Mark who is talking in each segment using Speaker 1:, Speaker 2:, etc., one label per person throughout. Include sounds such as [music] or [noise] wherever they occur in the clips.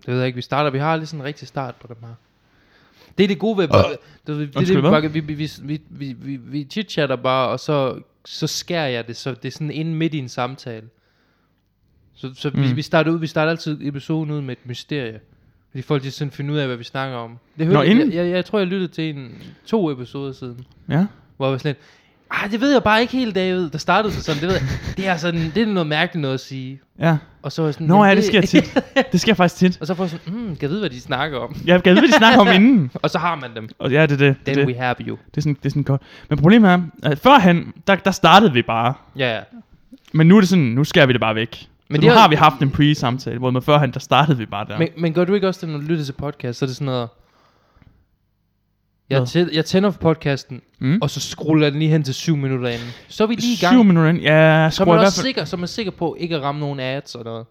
Speaker 1: Det ved jeg ikke, vi starter, vi har lige sådan en rigtig start på dem her. Det er det gode ved,
Speaker 2: Og-
Speaker 1: det, det, det, er det,
Speaker 3: Undskyld,
Speaker 1: vi,
Speaker 3: hvad?
Speaker 1: bare- vi, vi, vi, vi, vi, vi, vi chitchatter bare, og så, så skærer jeg det, så det er sådan inde midt i en samtale. Så, så mm. vi,
Speaker 3: Mm.
Speaker 1: vi, starter ud, vi starter altid episoden ud med et mysterie. Fordi folk de sådan finder ud af, hvad vi snakker om. Det hørte, jeg,
Speaker 3: inden-
Speaker 1: jeg, jeg, jeg, tror, jeg lyttede til en, to episoder siden,
Speaker 3: Ja.
Speaker 1: hvor jeg var sådan lidt, "Ah, det ved jeg bare ikke helt, David. Der startede sig sådan, det ved jeg. Det er, sådan, det er noget mærkeligt noget at sige.
Speaker 3: Ja.
Speaker 1: Og så var jeg sådan,
Speaker 3: Nå
Speaker 1: "Jamen,
Speaker 3: ja, det sker tit. Det sker faktisk
Speaker 1: [laughs]
Speaker 3: tit.
Speaker 1: og så får jeg sådan, mm, kan jeg vide, hvad de snakker om?
Speaker 3: Jeg kan vide, hvad de snakker om inden.
Speaker 1: Og så har man dem.
Speaker 3: Og ja, det er det. Det,
Speaker 1: Then
Speaker 3: det,
Speaker 1: we have you.
Speaker 3: det, er sådan, det er sådan godt. Men problemet er, at førhen, der, der startede vi bare.
Speaker 1: Ja, ja.
Speaker 3: Men nu er det sådan, nu skærer vi det bare væk. Men
Speaker 1: Men
Speaker 3: så nu
Speaker 1: det er-
Speaker 3: har vi haft en pre-samtale, hvor med førhen, der startede vi bare der.
Speaker 1: Men, men gør du ikke også det, når du lytter til podcast, så er det sådan noget... Jeg,
Speaker 3: Hvad?
Speaker 1: tæ- jeg tænder for podcasten,
Speaker 3: Mm.
Speaker 1: mm. og så scroller jeg den lige hen til 7 minutter inden. Så er vi lige i gang.
Speaker 3: Syv minutter ind. Ja,
Speaker 1: så, er
Speaker 3: skruer i
Speaker 1: man
Speaker 3: hvert
Speaker 1: også
Speaker 3: fald.
Speaker 1: sikker, så er man sikker på ikke at ramme nogen ads og noget.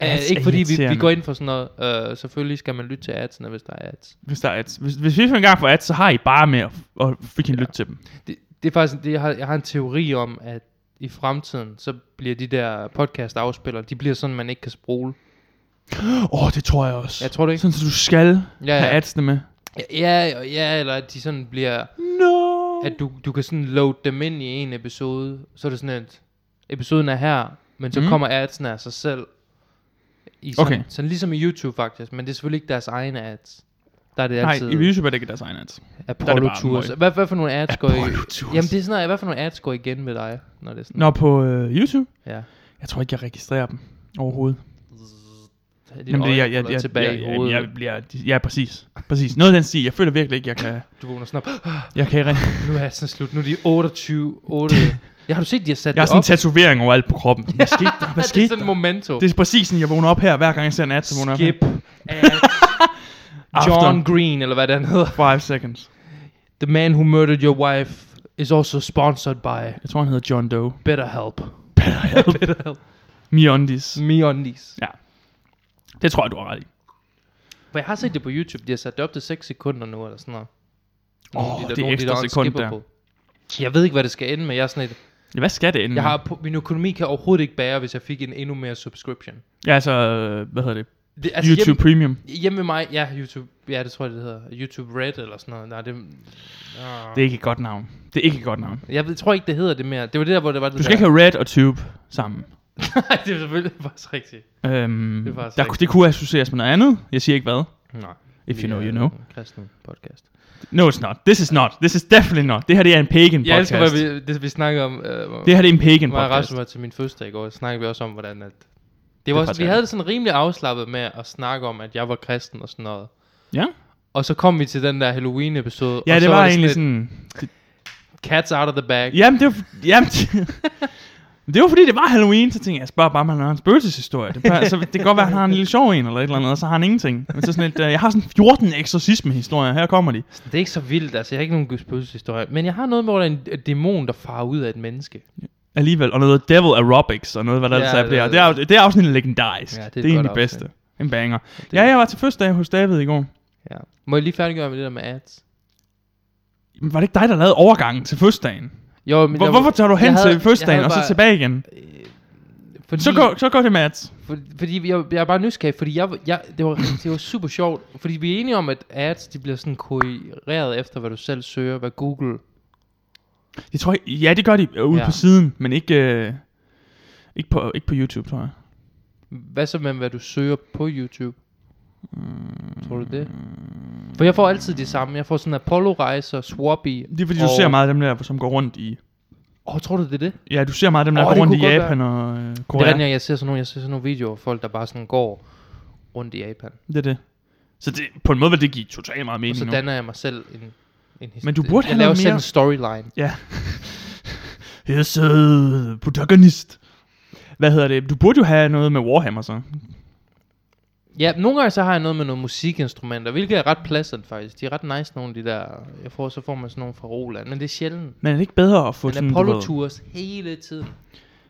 Speaker 3: Ads
Speaker 1: Uh,
Speaker 3: er
Speaker 1: ikke fordi vi, vi
Speaker 3: irriterende.
Speaker 1: går ind for sådan noget. Uh, selvfølgelig skal man lytte til adsene, hvis der er ads.
Speaker 3: Hvis, der er ads. Hvis, hvis vi får en gang for ads, så har I bare med at, at freaking ja. lytte til dem.
Speaker 1: Det, det er faktisk, det, jeg, har, jeg har en teori om, at i fremtiden, så bliver de der podcast afspillere, de bliver sådan, man ikke kan sprole.
Speaker 3: Åh, oh, det tror jeg også.
Speaker 1: Jeg tror
Speaker 3: [laughs]
Speaker 1: det ikke.
Speaker 3: Sådan, så du skal ja,
Speaker 1: Ja,
Speaker 3: ja. have
Speaker 1: ja.
Speaker 3: adsene med.
Speaker 1: Ja, ja, eller at de sådan bliver...
Speaker 3: No.
Speaker 1: at du, du kan sådan load dem ind i en episode, så er det sådan, at episoden er her, men så
Speaker 3: Mm.
Speaker 1: mm. kommer adsen af sig selv. I sådan,
Speaker 3: Okay.
Speaker 1: okay. sådan ligesom i YouTube faktisk, men det er selvfølgelig ikke deres egne ads. Der er det
Speaker 3: Nej,
Speaker 1: altid
Speaker 3: i YouTube er det ikke deres egen ads. der er det
Speaker 1: Apollo
Speaker 3: bare
Speaker 1: Tours.
Speaker 3: møg.
Speaker 1: Hvad, hvad for nogle ads går i?
Speaker 3: Apollo Tours.
Speaker 1: Jamen det er sådan noget, hvad for nogle ads går igen med dig, når det er sådan.
Speaker 3: Nå, på øh, YouTube?
Speaker 1: Ja.
Speaker 3: Jeg tror ikke, jeg registrerer dem overhovedet.
Speaker 1: Dit Jamen,
Speaker 3: det,
Speaker 1: det,
Speaker 3: er-
Speaker 1: jeg, jeg, jeg, tilbage
Speaker 3: jeg,
Speaker 1: i
Speaker 3: jeg,
Speaker 1: hovedet.
Speaker 3: jeg, bliver, ja, præcis. præcis. Noget af den stil. Jeg føler virkelig ikke, jeg kan...
Speaker 1: du vågner sådan op.
Speaker 3: Jeg kan
Speaker 1: [laughs]
Speaker 3: ikke...
Speaker 1: Nu er sådan slut. Nu er de 28. 8. ja, har du set, de har sat
Speaker 3: Jeg har
Speaker 1: det
Speaker 3: sådan en
Speaker 1: op?
Speaker 3: tatovering overalt på
Speaker 1: [laughs]
Speaker 3: kroppen. Hvad skete der? Hvad
Speaker 1: det er
Speaker 3: skete
Speaker 1: sådan
Speaker 3: der?
Speaker 1: en momento.
Speaker 3: Det er præcis sådan, jeg vågner op her, hver gang jeg ser en ad, så vågner jeg op
Speaker 1: Skip
Speaker 3: her.
Speaker 1: ads. John Green, eller hvad den hedder.
Speaker 3: After five seconds.
Speaker 1: The man who murdered your wife is also sponsored by
Speaker 3: Jeg tror, han hedder
Speaker 1: [laughs]
Speaker 3: John Doe.
Speaker 1: BetterHelp. BetterHelp.
Speaker 3: Miondis.
Speaker 1: Me on these.
Speaker 3: Ja. Det tror jeg, du har ret i.
Speaker 1: For jeg har set det på YouTube, de har sat det op til 6 sekunder nu, eller sådan noget.
Speaker 3: Åh,
Speaker 1: Nogle af
Speaker 3: det er
Speaker 1: nogle af
Speaker 3: ekstra
Speaker 1: der
Speaker 3: sekund
Speaker 1: skipper
Speaker 3: der.
Speaker 1: Jeg ved ikke, hvad det skal ende med. Jeg er sådan et,
Speaker 3: Ja, hvad skal det ende?
Speaker 1: jeg
Speaker 3: med?
Speaker 1: har, min økonomi kan overhovedet ikke bære, hvis jeg fik en endnu mere subscription.
Speaker 3: Ja, altså, øh, hvad hedder det?
Speaker 1: Det,
Speaker 3: Altså, YouTube
Speaker 1: Hjemme,
Speaker 3: Premium.
Speaker 1: hjemme med mig, ja, YouTube, ja, det tror jeg, det hedder. YouTube Red eller sådan noget. Nej, det, uh,
Speaker 3: Det er ikke et godt navn. Det er ikke et godt navn.
Speaker 1: jeg ved- tror ikke, det hedder det mere. Det var det der, hvor det var det
Speaker 3: Du skal
Speaker 1: der.
Speaker 3: ikke have Red og Tube sammen.
Speaker 1: [laughs] Nej, det er selvfølgelig [laughs] faktisk rigtigt.
Speaker 3: Øhm,
Speaker 1: Det
Speaker 3: det,
Speaker 1: er faktisk
Speaker 3: der,
Speaker 1: rigtigt.
Speaker 3: det kunne associeres med noget andet. Jeg siger ikke hvad.
Speaker 1: Nej.
Speaker 3: If you
Speaker 1: vi
Speaker 3: know,
Speaker 1: er
Speaker 3: you know.
Speaker 1: en Kristen podcast.
Speaker 3: No, it's not. This is not. This is definitely not. Det her, det er en pagan
Speaker 1: Jeg
Speaker 3: podcast.
Speaker 1: elsker, hvad vi, det, vi snakker om. Øh,
Speaker 3: Det her, det er en pagan
Speaker 1: mig og
Speaker 3: podcast.
Speaker 1: Rasmus var til min fødselsdag i går, så snakkede vi også om, hvordan at... Det
Speaker 3: er
Speaker 1: var, også,
Speaker 3: faktisk
Speaker 1: vi
Speaker 3: rigtigt.
Speaker 1: havde det sådan rimelig afslappet med at snakke om, at jeg var kristen og sådan noget.
Speaker 3: Ja,
Speaker 1: Og så kom vi til den der Halloween-episode.
Speaker 3: ja
Speaker 1: og
Speaker 3: det
Speaker 1: så
Speaker 3: var,
Speaker 1: var
Speaker 3: egentlig
Speaker 1: lidt,
Speaker 3: sådan... Det,
Speaker 1: Cats out of the bag.
Speaker 3: jamen, det var... Jamen,
Speaker 1: [laughs]
Speaker 3: det var fordi, det var Halloween, så tænkte jeg, jeg spørger bare, om han har en spøgelseshistorie. Det, bare, så det kan godt være, at han har en lille sjov en eller et eller andet, og så har han ingenting. Men så sådan et, øh, jeg har sådan 14 eksorcisme-historier, her kommer de.
Speaker 1: Det er ikke så vildt, altså. Jeg har ikke nogen spøgelseshistorie. Men jeg har noget med, hvor der er en en dæmon, der farer ud af et menneske.
Speaker 3: Alligevel, og noget Devil Aerobics, og noget, hvad der
Speaker 1: Ja,
Speaker 3: ellers er på det
Speaker 1: det-
Speaker 3: her. Det er, jo- det er afsnit legendarisk.
Speaker 1: Ja, det er et
Speaker 3: det er en af de
Speaker 1: godt
Speaker 3: bedste.
Speaker 1: afsnit.
Speaker 3: En banger. Ja, jeg var til første dag hos David i går.
Speaker 1: Ja. Må jeg lige færdiggøre med det der med ads?
Speaker 3: Men var det ikke dig, der lavede overgangen til fødsdagen?
Speaker 1: Jo, men
Speaker 3: Hvor,
Speaker 1: jeg-
Speaker 3: hvorfor tager du hen
Speaker 1: jeg havde-
Speaker 3: til fødsdagen
Speaker 1: jeg
Speaker 3: og så
Speaker 1: havde
Speaker 3: tilbage igen?
Speaker 1: Øh, fordi,
Speaker 3: Så går, så går det med ads.
Speaker 1: For, fordi jeg, jeg er bare nysgerrig, fordi jeg, jeg, det, var, det var super sjovt, fordi vi er enige om, at ads, de bliver sådan kureret efter, hvad du selv søger, hvad Google...
Speaker 3: Jeg tror, ikke- ja, det gør de øh, ude ja.
Speaker 1: Ja.
Speaker 3: på siden, men ikke, øh, ikke, på, ikke på YouTube, tror jeg.
Speaker 1: Hvad så med, hvad du søger på YouTube? Tror du det? For jeg får altid de samme. Jeg får sådan Apollo-rejser, Swabi.
Speaker 3: Det er fordi, du
Speaker 1: og-
Speaker 3: ser meget af dem der, som går rundt i...
Speaker 1: Åh, oh, tror du det er det?
Speaker 3: Ja, du ser meget af dem der,
Speaker 1: Åh,
Speaker 3: oh, går
Speaker 1: det
Speaker 3: rundt i
Speaker 1: kunne godt
Speaker 3: Japan og øh,
Speaker 1: Det er
Speaker 3: Korea.
Speaker 1: rigtigt, jeg ser sådan nogle, jeg ser sådan nogle videoer af folk, der bare sådan går rundt i Japan.
Speaker 3: Det er det. Så det, på en måde vil det give totalt meget
Speaker 1: Og
Speaker 3: mening
Speaker 1: så
Speaker 3: nu.
Speaker 1: danner jeg mig selv en, en his-
Speaker 3: Men du burde
Speaker 1: jeg
Speaker 3: have
Speaker 1: laver
Speaker 3: noget
Speaker 1: selv
Speaker 3: mere-
Speaker 1: en storyline.
Speaker 3: Ja. [laughs] Yes, uh, protagonist. Hvad hedder det? Du burde jo have noget med Warhammer så.
Speaker 1: Ja, nogle gange så har jeg noget med nogle musikinstrumenter, hvilket er ret pleasant faktisk. De er ret nice, nogle af de der... Jeg får, så får man sådan nogle fra Roland, men det er sjældent.
Speaker 3: Men er det ikke bedre at få
Speaker 1: Men
Speaker 3: sådan... du ved-
Speaker 1: Apollo Tours hele tiden.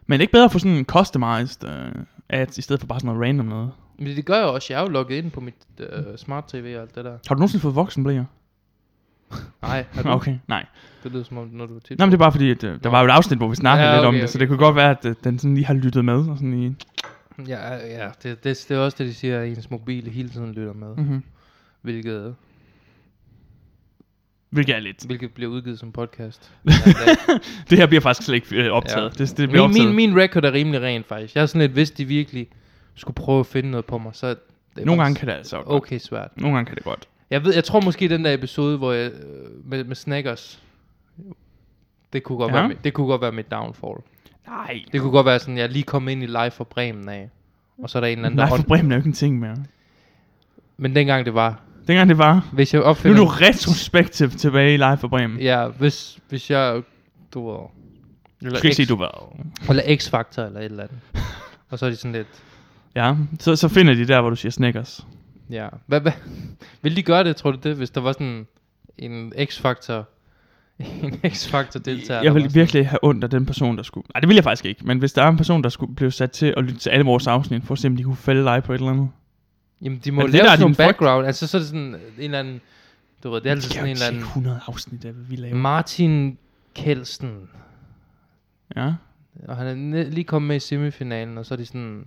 Speaker 3: Men er det ikke bedre at få sådan en customized uh, ads, i stedet for bare sådan noget random noget?
Speaker 1: Men det gør jeg også. Jeg er jo logget ind på mit øh, smart tv og alt det der.
Speaker 3: Har du nogensinde fået voksenblæer?
Speaker 1: Nej, har du?
Speaker 3: Okay, nej.
Speaker 1: det lyder som om, når du er tit.
Speaker 3: Nej, men det er bare fordi, at, øh, der
Speaker 1: Nå.
Speaker 3: var jo et afsnit, hvor vi snakkede ja,
Speaker 1: Ja,
Speaker 3: lidt om
Speaker 1: okay,
Speaker 3: det, så
Speaker 1: okay.
Speaker 3: det kunne godt være, at øh, den sådan lige har lyttet med. Og sådan lige.
Speaker 1: Ja, ja det, det, det er også det, de siger, at ens mobile hele tiden lytter med. Mm.
Speaker 3: Mm-hmm.
Speaker 1: Hvilket,
Speaker 3: Hvilket er lidt.
Speaker 1: hvilket bliver udgivet som podcast.
Speaker 3: Det her bliver faktisk slet ikke øh, optaget. Ja. [laughs] Det, det bliver
Speaker 1: min,
Speaker 3: optaget.
Speaker 1: min, min record er rimelig ren, faktisk. Jeg er sådan lidt, hvis de virkelig skulle prøve at finde noget på mig, så... er Det
Speaker 3: Nogle gange
Speaker 1: faktisk
Speaker 3: kan det altså godt.
Speaker 1: Okay, svært.
Speaker 3: Nogle gange kan det godt.
Speaker 1: Jeg ved, jeg tror måske den der episode, hvor jeg, øh, med, med Snackers, det kunne, godt
Speaker 3: Ja.
Speaker 1: ja. være, mit- det kunne godt være mit downfall.
Speaker 3: Nej.
Speaker 1: Det kunne godt være sådan, jeg lige kom ind i live for Bremen af, og så er der en eller anden,
Speaker 3: Nej,
Speaker 1: der
Speaker 3: for
Speaker 1: hånd...
Speaker 3: Bremen er jo ikke en ting mere.
Speaker 1: Men dengang det var,
Speaker 3: Dengang det var.
Speaker 1: hvis jeg
Speaker 3: Nu
Speaker 1: opfinder...
Speaker 3: er du retrospektiv tilbage i live for Bremen.
Speaker 1: Ja, hvis, hvis jeg, du ved...
Speaker 3: Du
Speaker 1: Eller
Speaker 3: skal ikke
Speaker 1: X-
Speaker 3: sige, du var...
Speaker 1: Eller X-Factor eller et eller andet. og så er de sådan lidt...
Speaker 3: Ja, så, så finder de der, hvor du siger Snickers.
Speaker 1: Ja. Hvad, hvad? Vil de gøre det, tror du det, hvis der var sådan en X-Factor... En X-Factor deltager?
Speaker 3: Jeg vil virkelig have ondt af den person, der skulle... Nej, det vil jeg faktisk ikke. Men hvis der er en person, der skulle blive sat til at lytte til alle vores afsnit, for at se, om de kunne fælde dig på et eller andet.
Speaker 1: Jamen, de må
Speaker 3: Er
Speaker 1: lave
Speaker 3: det der er
Speaker 1: sådan nogle
Speaker 3: din frygt?
Speaker 1: background. Altså, så er det sådan en eller anden... Du ved, det er altid
Speaker 3: De kan
Speaker 1: sådan en
Speaker 3: jo ikke
Speaker 1: eller
Speaker 3: se
Speaker 1: anden...
Speaker 3: 100 afsnit af, hvad vi laver.
Speaker 1: Martin Kelsen.
Speaker 3: Ja.
Speaker 1: Og han er ne- lige kommet med i semifinalen, og så er de sådan...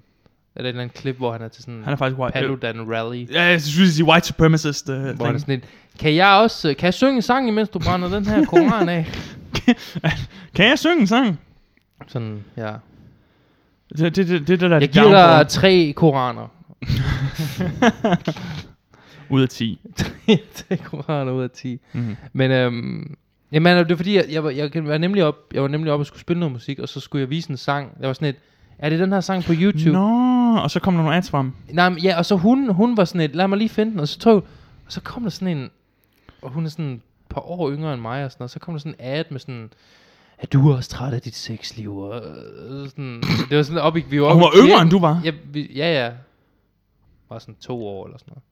Speaker 1: Er der et eller andet klip, hvor han er til sådan...
Speaker 3: Han er faktisk white. Øh,
Speaker 1: Paludan Rally.
Speaker 3: Ja, jeg synes, de white supremacist. Uh,
Speaker 1: Hvor han er sådan et, kan jeg også, kan jeg synge en sang, imens du brænder den her koran af?
Speaker 3: kan jeg synge en sang?
Speaker 1: Sådan, ja.
Speaker 3: Det, det, det, det der er
Speaker 1: Jeg
Speaker 3: dit
Speaker 1: giver dig
Speaker 3: downfall.
Speaker 1: tre koraner. [laughs]
Speaker 3: Ud af 10.
Speaker 1: tre koraner ud af ti.
Speaker 3: Mm.
Speaker 1: Men øhm, jamen, det er fordi, jeg, jeg, var, jeg, var nemlig op, jeg var nemlig op og skulle spille noget musik, og så skulle jeg vise en sang. Jeg var sådan et, er det den her sang på YouTube?
Speaker 3: Nå, og så kom der nogle ads frem.
Speaker 1: Nej, men ja, og så hun, hun var sådan et, lad mig lige finde den, og så tog, og så kom der sådan en, og hun er sådan et par år yngre end mig, og, sådan, og så kom der sådan en ad med sådan, er du også træt af dit sexliv? Og, øh, sådan, det var sådan, op, i- vi var
Speaker 3: Og
Speaker 1: oppe
Speaker 3: hun
Speaker 1: i
Speaker 3: var yngre,
Speaker 1: kirken.
Speaker 3: end du var.
Speaker 1: Ja, vi, ja, ja. Var sådan to år eller sådan noget.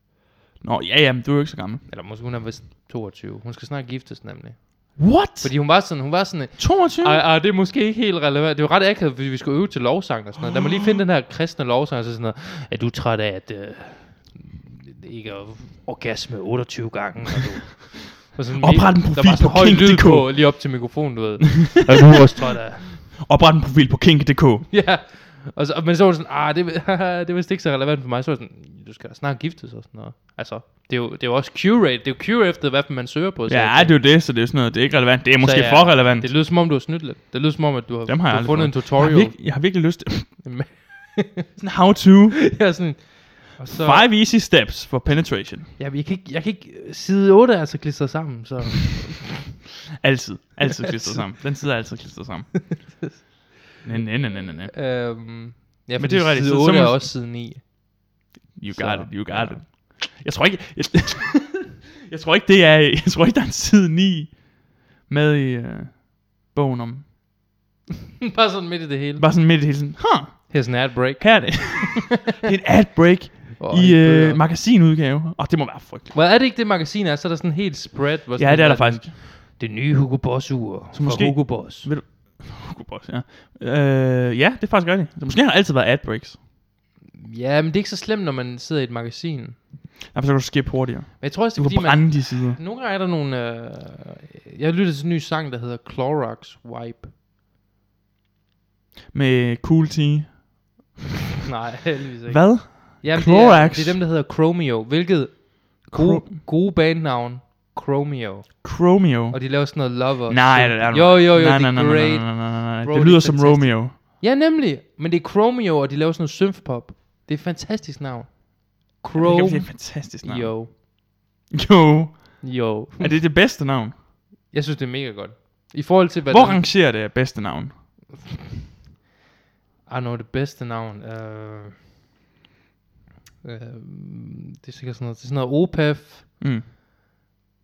Speaker 3: Nå, ja, ja, men du er jo ikke så gammel.
Speaker 1: Eller måske hun er vist 22. Hun skal snart giftes nemlig.
Speaker 3: What?
Speaker 1: Fordi hun var sådan, hun var sådan,
Speaker 3: 22?
Speaker 1: Ej, ej, det er måske ikke helt relevant. Det var ret akavet, fordi vi skulle øve til lovsang og sådan noget. Lad mig lige finde den her kristne lovsang, og så sådan noget. Er du træt af, at øh, ikke at orgasme 28 gange? Og
Speaker 3: [laughs]
Speaker 1: du, og sådan,
Speaker 3: Opret en
Speaker 1: Der
Speaker 3: profil
Speaker 1: var sådan
Speaker 3: på
Speaker 1: høj lyd
Speaker 3: kink.dk.
Speaker 1: på, lige op til mikrofonen, du
Speaker 3: [laughs]
Speaker 1: ved. er du også træt af? [laughs]
Speaker 3: Opret en profil på kink.dk.
Speaker 1: Ja. Og så, men så var det sådan, ah, det, [laughs] det er vist ikke så relevant for mig. Så var det sådan, du skal da snart giftes og sådan noget. Altså, det er jo, det er jo også curate. Det er jo curate efter, hvad man søger på. så
Speaker 3: Ja,
Speaker 1: jeg
Speaker 3: det er jo det, så det er sådan noget. Det er ikke relevant. Det er måske
Speaker 1: Så ja,
Speaker 3: for relevant.
Speaker 1: det lyder som om, du har snydt lidt. Det lyder som om, at du har,
Speaker 3: Dem har jeg
Speaker 1: du
Speaker 3: aldrig
Speaker 1: fundet en
Speaker 3: Jeg har,
Speaker 1: tutorial.
Speaker 3: virke, jeg har virkelig
Speaker 1: [laughs]
Speaker 3: lyst til
Speaker 1: Jamen,
Speaker 3: sådan how to.
Speaker 1: jeg er sådan, og så,
Speaker 3: Five easy steps for penetration.
Speaker 1: ja, jeg, kan ikke, jeg kan ikke, side 8 er altså klistret sammen, så
Speaker 3: Altid.
Speaker 1: [laughs]
Speaker 3: Altid klistret sammen. Den sidder altid klistret sammen. Nej, nej, nej, nej,
Speaker 1: øhm,
Speaker 3: nej.
Speaker 1: ja,
Speaker 3: Men
Speaker 1: men
Speaker 3: det er jo rigtigt,
Speaker 1: Side
Speaker 3: så- så
Speaker 1: 8
Speaker 3: må-
Speaker 1: er også side 9.
Speaker 3: You
Speaker 1: Så,
Speaker 3: got it, you got
Speaker 1: ja.
Speaker 3: it. Jeg tror ikke, jeg, [laughs] jeg tror ikke, det er, jeg tror ikke, der er en side 9 med i øh, bogen om.
Speaker 1: Bare sådan midt i det hele.
Speaker 3: [laughs] Bare sådan midt i hele tiden, huh,
Speaker 1: Here's an ad break.
Speaker 3: her er
Speaker 1: [laughs]
Speaker 3: det. det er en ad break
Speaker 1: Og
Speaker 3: i øh,
Speaker 1: bøger.
Speaker 3: magasinudgave. Og det må være frygteligt.
Speaker 1: Well, er det ikke det magasin er, så er der sådan en helt spread. Hvor
Speaker 3: Ja,
Speaker 1: sådan,
Speaker 3: det er der
Speaker 1: sådan,
Speaker 3: faktisk.
Speaker 1: Det nye Hugo Boss ur så
Speaker 3: måske-
Speaker 1: måske... Hugo Boss.
Speaker 3: Hugo Boss, ja. Øh, ja, det er faktisk rigtigt. Så måske har der altid været ad breaks.
Speaker 1: Ja, men det er ikke så slemt, når man sidder i et magasin. Men
Speaker 3: Nej, for så kan du skippe hurtigere.
Speaker 1: jeg tror også,
Speaker 3: Du
Speaker 1: det er fordi,
Speaker 3: kan
Speaker 1: man...
Speaker 3: brænde de sider.
Speaker 1: Nogle gange er der nogle... Øh... Jeg lyttede til en ny sang, der hedder Clorox
Speaker 3: [laughs]
Speaker 1: Wipe.
Speaker 3: Med cool tea.
Speaker 1: Nej, heldigvis ikke.
Speaker 3: Hvad?
Speaker 1: Jamen,
Speaker 3: Clorox.
Speaker 1: Det er, det er dem, der hedder Chromeo, hvilket gode, gode bandnavn, Chromeo.
Speaker 3: Chromeo.
Speaker 1: Og de laver sådan noget Love og
Speaker 3: Nej,
Speaker 1: shit.
Speaker 3: det er du-
Speaker 1: Jo, jo, jo,
Speaker 3: nej,
Speaker 1: det
Speaker 3: nej,
Speaker 1: er
Speaker 3: nej, nej, nej,
Speaker 1: great.
Speaker 3: nej, nej, nej, nej.
Speaker 1: Bro,
Speaker 3: Det
Speaker 1: det
Speaker 3: lyder
Speaker 1: er
Speaker 3: som
Speaker 1: fantastisk.
Speaker 3: Romeo.
Speaker 1: Ja, nemlig. Men det er Chromeo, og de laver sådan noget synthpop. Det er et fantastisk navn.
Speaker 3: Chrome. Det er et
Speaker 1: Chromeo.
Speaker 3: fantastisk navn. Jo.
Speaker 1: Jo.
Speaker 3: [laughs] jo.
Speaker 1: Jo.
Speaker 3: Er det det bedste navn?
Speaker 1: Jeg synes, det er mega godt. I forhold til, hvad
Speaker 3: Hvor rangerer det af bedste navn?
Speaker 1: Ah, no, det bedste navn. Uh, uh, det er sikkert sådan noget. Det er sådan noget OPEF.
Speaker 3: Mm.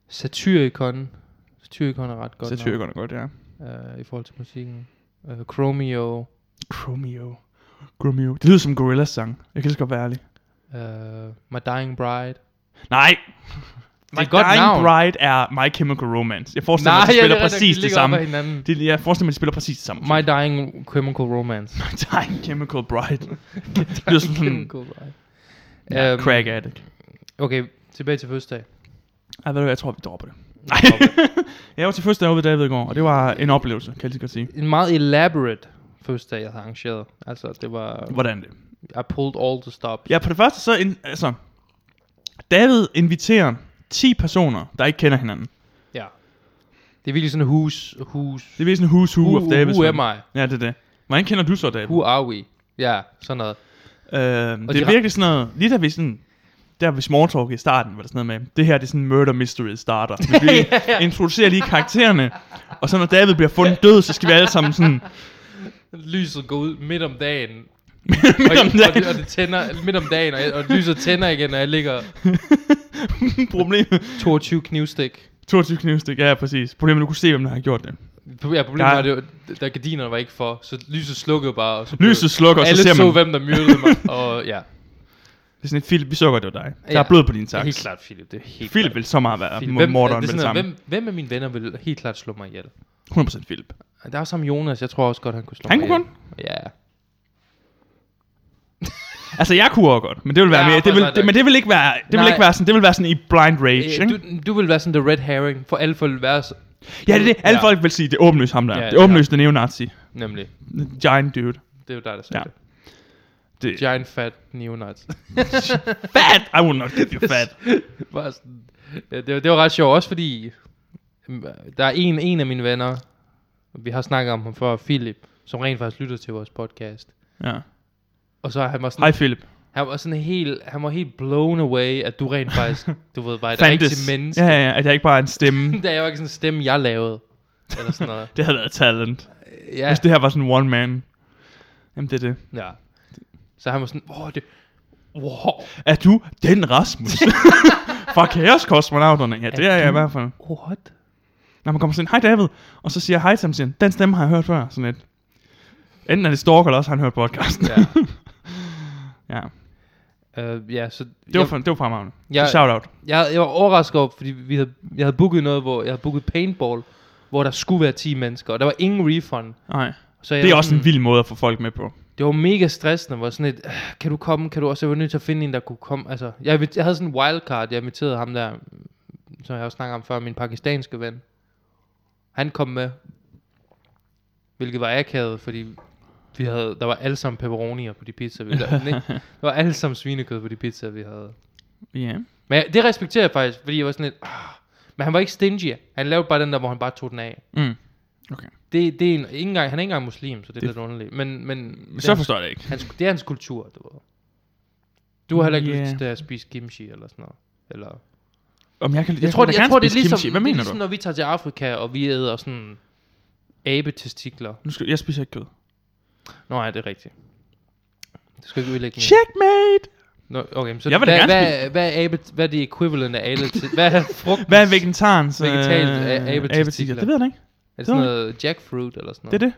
Speaker 1: Satyricon. Satyricon er ret godt.
Speaker 3: Så tykker godt godt, ja.
Speaker 1: navn, øh, I forhold til musikken. Uh, Chromeo.
Speaker 3: Chromeo. Chromeo. Det lyder som Gorillaz sang. Jeg kan lige så godt være ærlig.
Speaker 1: Uh, My Dying Bride.
Speaker 3: Nej.
Speaker 1: er et godt
Speaker 3: Dying
Speaker 1: navn.
Speaker 3: Bride er My Chemical Romance. Jeg forestiller mig, at de
Speaker 1: ja,
Speaker 3: spiller
Speaker 1: er rigtigt,
Speaker 3: præcis
Speaker 1: de
Speaker 3: det
Speaker 1: ligger op
Speaker 3: samme.
Speaker 1: ad hinanden.
Speaker 3: Det, jeg forestiller mig, at de spiller præcis det samme. [laughs]
Speaker 1: My Dying Chemical Romance.
Speaker 3: My Dying Chemical [laughs] Bride. det lyder som sådan...
Speaker 1: Chemical Romance.
Speaker 3: Ja, um,
Speaker 1: Øhm,
Speaker 3: crack addict.
Speaker 1: Okay, tilbage til fødselsdag.
Speaker 3: Ej, ved du hvad, jeg tror, vi dropper det. Nej.
Speaker 1: [laughs]
Speaker 3: [laughs] jeg var til første dag ude ved David i går, og det var en oplevelse, kan jeg lige så godt sige.
Speaker 1: En meget elaborate fødselsdag, jeg har arrangeret. Altså, det var...
Speaker 3: Hvordan det?
Speaker 1: I pulled all the stops.
Speaker 3: Ja, på det første så... In, altså, David inviterer 10 personer, der ikke kender hinanden.
Speaker 1: Ja. Det er virkelig sådan hus, hus,
Speaker 3: Det er virkelig sådan who's who
Speaker 1: who,
Speaker 3: of Davids.
Speaker 1: who
Speaker 3: ven.
Speaker 1: am I?
Speaker 3: Ja, det er det. Hvordan kender du så David?
Speaker 1: Who are we? Ja, sådan noget.
Speaker 3: Øhm,
Speaker 1: Og
Speaker 3: det
Speaker 1: de
Speaker 3: er
Speaker 1: har-
Speaker 3: virkelig sådan noget, lige da vi sådan, der ved small talk i starten, var der sådan noget med, det her det er sådan en murder mystery starter.
Speaker 1: [laughs]
Speaker 3: Vi lige introducerer lige karaktererne, og så når David bliver fundet død, så skal vi alle sammen sådan,
Speaker 1: Lyset går ud midt om dagen.
Speaker 3: midt
Speaker 1: [laughs] og,
Speaker 3: [laughs] om
Speaker 1: Og, det, og
Speaker 3: dagen,
Speaker 1: det tænder midt om dagen, og, jeg- og lyset tænder igen, og jeg ligger
Speaker 3: [laughs] problemet,
Speaker 1: 22 knivstik.
Speaker 3: 22 knivstik, ja præcis, problemet du kunne se, hvem der har gjort det.
Speaker 1: Ja, problemet
Speaker 3: Ja.
Speaker 1: var, det var, der gardinerne var ikke for, så lyset slukkede bare. Og så blev-
Speaker 3: Lyset slukker, og så
Speaker 1: Alle
Speaker 3: ser
Speaker 1: så,
Speaker 3: man,
Speaker 1: hvem der myrdede
Speaker 3: [laughs]
Speaker 1: mig, og ja.
Speaker 3: det er sådan et Philip, vi sukker, det var dig. Der
Speaker 1: Ja.
Speaker 3: er blod på din
Speaker 1: Det er helt
Speaker 3: saks.
Speaker 1: klart, Philip. Det er helt
Speaker 3: Philip
Speaker 1: klart.
Speaker 3: vil så meget være
Speaker 1: Philip. Hvem, det
Speaker 3: morderen med
Speaker 1: er
Speaker 3: det
Speaker 1: sådan, noget,
Speaker 3: samme.
Speaker 1: hvem, hvem af mine venner vil helt klart slå mig ihjel?
Speaker 3: 100% Philip.
Speaker 1: Der er også ham Jonas, jeg tror også godt, han kunne slå
Speaker 3: Han
Speaker 1: mig
Speaker 3: kunne
Speaker 1: ihjel. Ja.
Speaker 3: Altså jeg kunne også godt, men det vil være
Speaker 1: Ja,
Speaker 3: mere, det vil,
Speaker 1: faktisk
Speaker 3: det, men det vil ikke være, det vil
Speaker 1: Nej.
Speaker 3: ikke være sådan, det vil være sådan i blind rage,
Speaker 1: Øh,
Speaker 3: ikke?
Speaker 1: du, du vil være sådan the red herring, for alle folk vil være så,
Speaker 3: Ja, det er det. Alle
Speaker 1: Ja.
Speaker 3: ja. folk vil sige, det er åbenlyst ham der.
Speaker 1: Ja,
Speaker 3: Ja, det
Speaker 1: det
Speaker 3: er
Speaker 1: er
Speaker 3: åbenlyst den neonazi.
Speaker 1: nemlig.
Speaker 3: Giant dude.
Speaker 1: Det er jo dig, der sagde
Speaker 3: Ja.
Speaker 1: det.
Speaker 3: Det,
Speaker 1: Giant fat neonazi.
Speaker 3: fat! I will not
Speaker 1: [laughs]
Speaker 3: give you fat.
Speaker 1: Bare sådan- ja, det, var- det var ret sjovt, også fordi mm, der er en, en af mine venner, vi har snakket om ham før, Philip, som rent faktisk lytter til vores podcast.
Speaker 3: Ja.
Speaker 1: Og så han var sådan,
Speaker 3: Hej Philip.
Speaker 1: han var sådan helt, han var helt blown away, at du rent faktisk, du ved, var et
Speaker 3: Fandtes.
Speaker 1: rigtigt menneske.
Speaker 3: Ja,
Speaker 1: [laughs]
Speaker 3: ja, ja, at jeg ikke bare er en stemme.
Speaker 1: da jeg var ikke sådan en stemme, jeg lavede. Eller sådan noget.
Speaker 3: Det havde været talent.
Speaker 1: ja,
Speaker 3: [laughs] Hvis det her var sådan one man. Jamen det er det.
Speaker 1: ja. Så han var sådan, åh, det... Wow.
Speaker 3: Er du den
Speaker 1: [laughs]
Speaker 3: Rasmus? Fra kaoskosmonauterne. Ja, det er,
Speaker 1: Er
Speaker 3: jeg i
Speaker 1: du-
Speaker 3: hvert fald.
Speaker 1: What?
Speaker 3: Når man kommer sådan, hej David. Og så siger jeg hej til ham, siger han, den stemme har jeg hørt før. Sådan lidt. Enten er det Stork, eller også har han hørt podcasten.
Speaker 1: Ja.
Speaker 3: [laughs] ja.
Speaker 1: Uh, ja, så
Speaker 3: Det var,
Speaker 1: jeg,
Speaker 3: for, det var fremragende.
Speaker 1: Jeg-
Speaker 3: Shout out.
Speaker 1: jeg, jeg var overrasket over, fordi vi havde, jeg havde booket noget, hvor jeg havde booket paintball, hvor der skulle være 10 mennesker, og der var ingen refund.
Speaker 3: Nej.
Speaker 1: Så jeg
Speaker 3: Det er
Speaker 1: var
Speaker 3: også
Speaker 1: sådan,
Speaker 3: en vild måde at få folk med på.
Speaker 1: Det var mega stressende, hvor sådan et, "Ah, kan du komme, kan du også, jeg var nødt til at finde en, der kunne komme, altså, jeg, invit- jeg havde sådan en wildcard, jeg inviterede ham der, mm, som jeg også snakkede om før, min pakistanske ven. Han kom med, hvilket var akavet, fordi vi havde, der var alle sammen pepperonier på de pizzaer, vi der,
Speaker 3: [laughs]
Speaker 1: nej, der var alle sammen svinekød på de pizzaer, vi havde.
Speaker 3: Ja. Yeah.
Speaker 1: Men jeg, det respekterer jeg faktisk, fordi jeg var sådan lidt, ah. men han var ikke stingy, han lavede bare den der, hvor han bare tog den af.
Speaker 3: Mm. Okay.
Speaker 1: Det, det er en, ikke engang, han er ikke engang muslim, så det, er
Speaker 3: Det-
Speaker 1: lidt underligt. Men, men,
Speaker 3: Men så forstår jeg det ikke.
Speaker 1: Hans, det er hans kultur, du ved. Du har heller ikke
Speaker 3: Ja.
Speaker 1: yeah. lyst til at spise kimchi eller sådan noget. Eller, jeg,
Speaker 3: Om jeg kan, jeg,
Speaker 1: tror,
Speaker 3: kan
Speaker 1: det,
Speaker 3: da
Speaker 1: jeg
Speaker 3: gerne
Speaker 1: tror, det er
Speaker 3: spise
Speaker 1: ligesom,
Speaker 3: kimchi. Hvad mener
Speaker 1: det er
Speaker 3: du?
Speaker 1: ligesom, når vi tager til Afrika, og vi æder sådan abetestikler.
Speaker 3: Nu skal, jeg spiser ikke kød.
Speaker 1: Nå, nej, det er rigtigt. Det skal ikke udlægge mere.
Speaker 3: Checkmate!
Speaker 1: Nå, okay, men så
Speaker 3: Jeg vil da
Speaker 1: hvad,
Speaker 3: gerne
Speaker 1: hvad, hvad, er abe, hvad er det equivalent af ale til? Hvad er frugt?
Speaker 3: Hvad er vegetarens
Speaker 1: Vegetarisk
Speaker 3: øh,
Speaker 1: a- abetestikler.
Speaker 3: abetestikler? Det ved jeg da ikke.
Speaker 1: Er det sådan noget jackfruit eller sådan
Speaker 3: Det
Speaker 1: noget?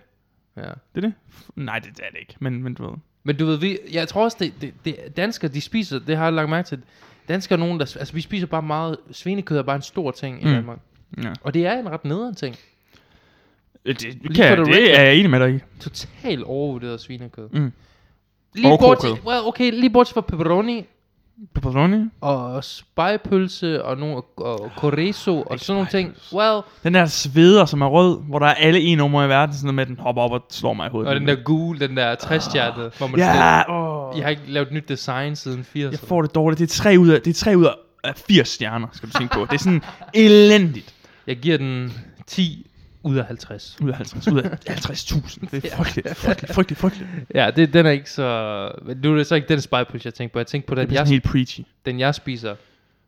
Speaker 3: er det.
Speaker 1: Ja.
Speaker 3: Det er det. F- Nej, det er det ikke. Men, men du ved.
Speaker 1: Men du ved, vi, jeg tror også, det, det, det danskere, de spiser, det har jeg lagt mærke til, danskere er nogen, der, altså vi spiser bare meget, svinekød er bare en stor ting mm.
Speaker 3: Mm.
Speaker 1: i Danmark.
Speaker 3: Ja.
Speaker 1: Og det er en ret nederen ting.
Speaker 3: Øh, Det,
Speaker 1: Lige
Speaker 3: kan,
Speaker 1: for
Speaker 3: jeg-
Speaker 1: the
Speaker 3: det
Speaker 1: record.
Speaker 3: er jeg enig med dig i.
Speaker 1: totalt overvurderet svinekød.
Speaker 3: Mm.
Speaker 1: Lige
Speaker 3: Og
Speaker 1: bortset,
Speaker 3: kokød.
Speaker 1: well, okay, lige bortset fra pepperoni
Speaker 3: Pepperoni?
Speaker 1: og spejpølse og, nogle, og chorizo og sådan nogle ting. Well,
Speaker 3: Den der sveder, som er rød, hvor der er alle en nummer i verden, sådan noget med, at den hopper op og slår mig i hovedet.
Speaker 1: og den der gule, den der 60 oh, hvor man
Speaker 3: Ja,
Speaker 1: sådan,
Speaker 3: åh.
Speaker 1: jeg har ikke lavet nyt design siden 80'erne.
Speaker 3: Jeg får det dårligt. Det er tre ud af, det er tre ud af- af 80 stjerner, skal du tænke på. Det er
Speaker 1: [laughs]
Speaker 3: sådan elendigt.
Speaker 1: jeg giver den 10 ud af 50.
Speaker 3: Ud af
Speaker 1: [laughs]
Speaker 3: 50. Ud af 50.000. Det er frygteligt, frygteligt, frygteligt, frygteligt.
Speaker 1: Ja, det, den er ikke så... men Nu er det så ikke den spejpølse, jeg tænker på. Jeg tænker på
Speaker 3: Det
Speaker 1: den,
Speaker 3: er
Speaker 1: jeg,
Speaker 3: sådan helt preachy.
Speaker 1: den jeg spiser,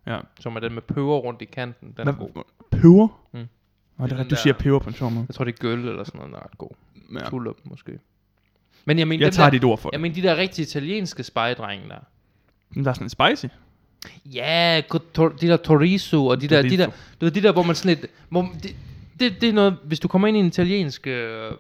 Speaker 3: Ja.
Speaker 1: som er den med peber rundt i kanten. Den er
Speaker 3: Hvad,
Speaker 1: god.
Speaker 3: peber?
Speaker 1: Mm.
Speaker 3: Mm. Og det, er
Speaker 1: Den
Speaker 3: ret- du
Speaker 1: der-
Speaker 3: siger peber på en sjov måde.
Speaker 1: Jeg tror, det er gøl eller sådan noget, der er ret god.
Speaker 3: Ja.
Speaker 1: Ja. Tulip, måske. Men jeg mener,
Speaker 3: Jeg
Speaker 1: dem
Speaker 3: tager
Speaker 1: der,
Speaker 3: dit ord for det.
Speaker 1: Jeg mener, de der rigtige italienske spejdrenge der.
Speaker 3: Men der er sådan en spicy.
Speaker 1: Ja, co- tor- de der chorizo og de der, de der,
Speaker 3: Chorizo.
Speaker 1: du ved, de der, hvor man sådan lidt, hvor, det, det, det er noget, hvis du kommer ind i en italiensk øh,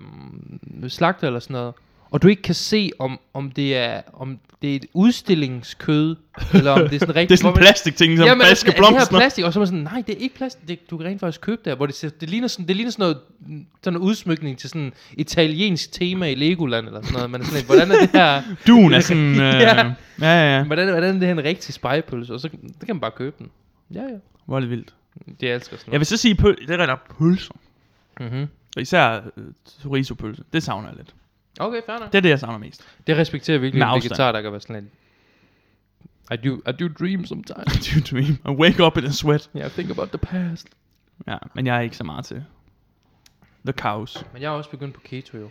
Speaker 1: slagter eller sådan noget, og du ikke kan se, om, om, det, er, om det er et udstillingskød, eller om det er
Speaker 3: [laughs]
Speaker 1: sådan
Speaker 3: Det er
Speaker 1: rigtigt.
Speaker 3: sådan en plastikting, som
Speaker 1: Ja, men
Speaker 3: baske
Speaker 1: altså, er det her
Speaker 3: blomster.
Speaker 1: plastik? Og så er man sådan, nej, det er ikke plastik, det, du kan rent faktisk købe der, hvor det, ser, det, ligner sådan, det ligner sådan noget mm, sådan en udsmykning til sådan italiensk tema i Legoland, eller sådan noget. Man er sådan lidt, hvordan er det her,
Speaker 3: Duen er
Speaker 1: [laughs]
Speaker 3: sådan... Øh,
Speaker 1: Ja.
Speaker 3: ja. ja, ja,
Speaker 1: hvordan, hvordan er det her en rigtig spejepølse? Og så det kan man bare købe den. Ja, ja.
Speaker 3: Hvor er det vildt.
Speaker 1: Det elsker sådan
Speaker 3: Jeg vil så sige, pøl, det er rigtig pølser.
Speaker 1: noget. Mm-hmm.
Speaker 3: Og især øh, chorizo-pølse. Det savner jeg lidt.
Speaker 1: Okay, fair nok.
Speaker 3: Det er det, jeg savner
Speaker 1: [laughs]
Speaker 3: mest.
Speaker 1: Det respekterer virkelig
Speaker 3: Med
Speaker 1: en
Speaker 3: afstand.
Speaker 1: vegetar, der kan være sådan lidt... I do, I do dream sometimes.
Speaker 3: Do you dream? I wake up in a sweat.
Speaker 1: Yeah, I think about the past.
Speaker 3: Ja, men jeg er ikke så meget til The Cows.
Speaker 1: Men jeg har også begyndt på keto, jo.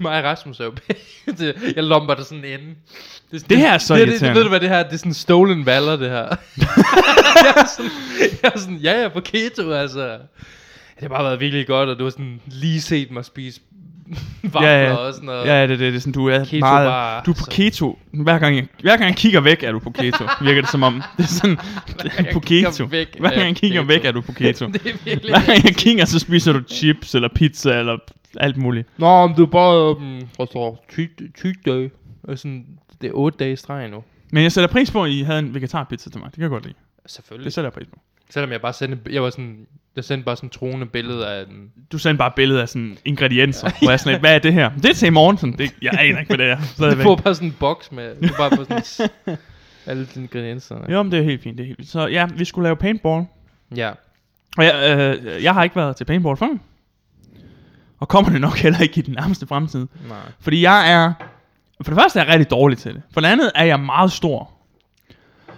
Speaker 1: Mig og Rasmus er jo det- Jeg lomper det sådan inden. Det,
Speaker 3: Det her er så
Speaker 1: det, det, det,
Speaker 3: irriterende.
Speaker 1: Ved du hvad det her er? Det er sådan stolen valor, det her. jeg, er sådan, jeg er sådan, ja, jeg er på keto, altså. Det har bare været virkelig godt, og du har sådan lige set mig spise vafler
Speaker 3: Ja, ja.
Speaker 1: og sådan noget.
Speaker 3: Ja, det, det, det er sådan, du er
Speaker 1: Keto altså.
Speaker 3: meget...
Speaker 1: var-
Speaker 3: du er på
Speaker 1: så-
Speaker 3: keto. Hver gang, jeg, hver gang jeg kigger væk, er du på keto. Virker det som om. Det er
Speaker 1: [laughs]
Speaker 3: sådan,
Speaker 1: gang jeg
Speaker 3: på
Speaker 1: kigger
Speaker 3: keto.
Speaker 1: væk,
Speaker 3: Hver
Speaker 1: er jeg
Speaker 3: gang jeg
Speaker 1: på
Speaker 3: kigger
Speaker 1: keto.
Speaker 3: væk, er du
Speaker 1: [laughs]
Speaker 3: på keto.
Speaker 1: det er virkelig...
Speaker 3: Hver gang jeg kigger, så spiser du chips, eller pizza, eller alt muligt.
Speaker 1: Nå, men det er bare, um, hvad står, cheat, cheat day. Og sådan, det er otte dage i streg nu.
Speaker 3: Men jeg sætter pris på, at I havde en vegetarpizza til mig. Det kan jeg godt lide.
Speaker 1: Selvfølgelig.
Speaker 3: Det sætter jeg pris på.
Speaker 1: Selvom jeg bare sendte, jeg var sådan, jeg sendte bare sådan troende billede af den.
Speaker 3: Du sendte bare billeder af sådan ingredienser, hvor jeg sådan lidt, hvad er det her? Det er til i morgen, sådan, det, jeg aner ikke, hvad det er.
Speaker 1: [laughs] Du
Speaker 3: Stadigvæk.
Speaker 1: får bare sådan en boks med, du bare får sådan
Speaker 3: [laughs]
Speaker 1: s- alle dine ingredienser. Ja.
Speaker 3: Jo, men det er helt fint, det er helt fint. Så ja, vi skulle lave paintball.
Speaker 1: ja.
Speaker 3: Og jeg, øh, jeg har ikke været til paintball før. Og kommer det nok heller ikke i den nærmeste fremtid.
Speaker 1: Nej.
Speaker 3: Fordi jeg er... For det første er jeg rigtig dårlig til det. For det andet er jeg meget stor.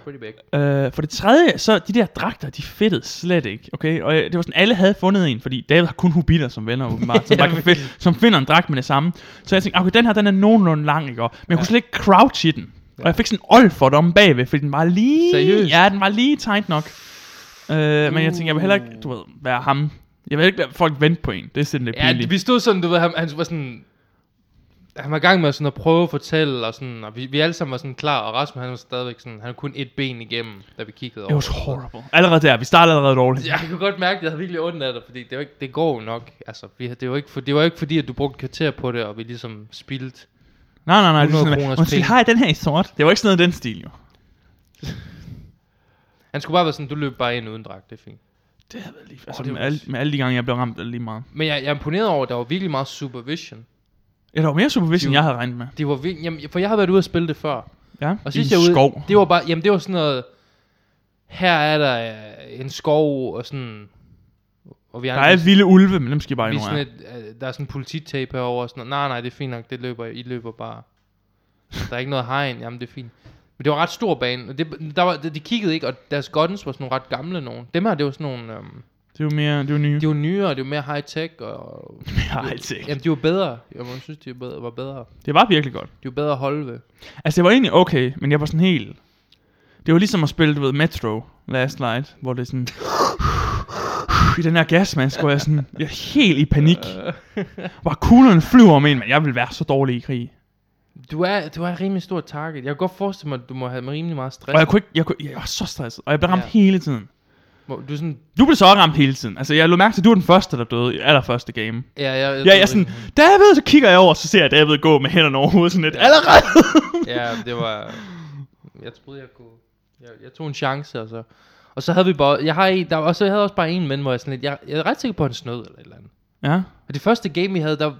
Speaker 1: Pretty big.
Speaker 3: Øh, for det tredje, så de der dragter, de fedtede slet ikke, okay? Og øh, det var sådan, alle havde fundet en, fordi David har kun hobitter som venner,
Speaker 1: [laughs]
Speaker 3: åbenbart, som, bare kan find, som finder en dragt med det samme. Så jeg tænkte, okay, den her, den er nogenlunde lang, ikke? Og- Men jeg kunne slet ikke crouch i den. Og jeg fik sådan en old for dem bagved, fordi den var lige...
Speaker 1: Seriøst?
Speaker 3: Ja, den var lige tight nok. Øh, Men jeg tænkte, jeg vil heller ikke, du ved, være ham. Jeg vil ikke lade folk vente på en. Det er sådan lidt
Speaker 1: Ja,
Speaker 3: pinligt.
Speaker 1: vi stod sådan, du ved, han, han var sådan, han var i gang med sådan at prøve at fortælle, og, sådan, og vi, vi alle sammen var sådan klar, og Rasmus han var stadigvæk sådan, han havde kun et ben igennem, da vi kiggede over.
Speaker 3: It was horrible. Allerede der, vi startede allerede dårligt.
Speaker 1: Jeg kunne godt mærke, at jeg havde virkelig ondt af dig, fordi det, var ikke, det går jo nok. Altså, vi, det, var ikke for, det var ikke fordi, at du brugte et kvarter på det, og vi ligesom spildt.
Speaker 3: Nej, nej, nej. Det
Speaker 1: 100
Speaker 3: er sådan,
Speaker 1: kroners
Speaker 3: noget, Undskyld,
Speaker 1: penge."
Speaker 3: har jeg den her i sort? Det var ikke sådan noget i den stil, jo.
Speaker 1: Han skulle bare være sådan, du løb bare ind uden dragt, det er fint.
Speaker 3: Det havde været lige altså,
Speaker 1: det
Speaker 3: med,
Speaker 1: var-
Speaker 3: alle, med alle de gange, jeg blev ramt, er det lige meget.
Speaker 1: Men jeg, jeg er imponeret over, at der var virkelig meget supervision.
Speaker 3: Ja, der var mere supervision,
Speaker 1: Jo.
Speaker 3: end jeg havde regnet med.
Speaker 1: Det var virkelig, jamen, for jeg har været ude at spille det før.
Speaker 3: Ja,
Speaker 1: Og
Speaker 3: i
Speaker 1: sidst jeg var ude,
Speaker 3: skov.
Speaker 1: det var bare, jamen det var sådan noget, her er der øh, en skov, og sådan, og vi
Speaker 3: Der er vilde ulve, men dem skal I bare
Speaker 1: vi er sådan
Speaker 3: ignorere.
Speaker 1: et, øh, der er sådan en polititape herovre, og sådan noget. nej, nej, det er fint nok, det løber, I løber bare. Der er ikke noget hegn, jamen det er fint. Men det var en ret stor bane, og det, der var, de, de kiggede ikke, og deres guns var sådan nogle ret gamle nogen. Dem her, det var sådan nogle, øhm,
Speaker 3: Det var mere, det var nye.
Speaker 1: de var nyere, det var mere high-tech,
Speaker 3: [laughs]
Speaker 1: og
Speaker 3: Nej, det
Speaker 1: jamen, de var bedre. Jeg må synes, de var bedre, var bedre.
Speaker 3: Det var virkelig godt.
Speaker 1: De var bedre at holde ved.
Speaker 3: Altså, det var egentlig okay, men jeg var sådan helt... Det var ligesom at spille, du ved, Metro last night, hvor det er sådan... [sighs] I den her gasmaske, hvor jeg sådan... Jeg er helt i
Speaker 1: [laughs]
Speaker 3: panik. Hvor kuglerne flyver om en, men jeg vil være så dårlig i krig.
Speaker 1: Du er, du er et rimelig stor target. Jeg kan godt forestille mig, at du må have rimelig meget
Speaker 3: Og
Speaker 1: stress.
Speaker 3: jeg kunne ikke... Jeg, kunne, jeg var så stresset, og jeg blev ramt
Speaker 1: Ja.
Speaker 3: hele tiden.
Speaker 1: Hvor Du er sådan,
Speaker 3: Du blev så ramt hele tiden. Altså, jeg lå mærke til, at du var den første, der døde i allerførste game.
Speaker 1: ja, jeg, jeg,
Speaker 3: Ja, jeg er sådan, David, så kigger jeg over, så ser jeg David gå med hænderne over hovedet sådan lidt. Allerede!
Speaker 1: Ja, det var... Jeg troede, jeg kunne... Jeg, jeg tog en chance, og så... Og så havde vi bare... Jeg, har en, der, og så jeg havde også bare en ven, hvor jeg sådan lidt... Jeg, jeg er ret sikker på, at han snød eller et eller andet.
Speaker 3: Ja.
Speaker 1: Og det første game, vi havde, der...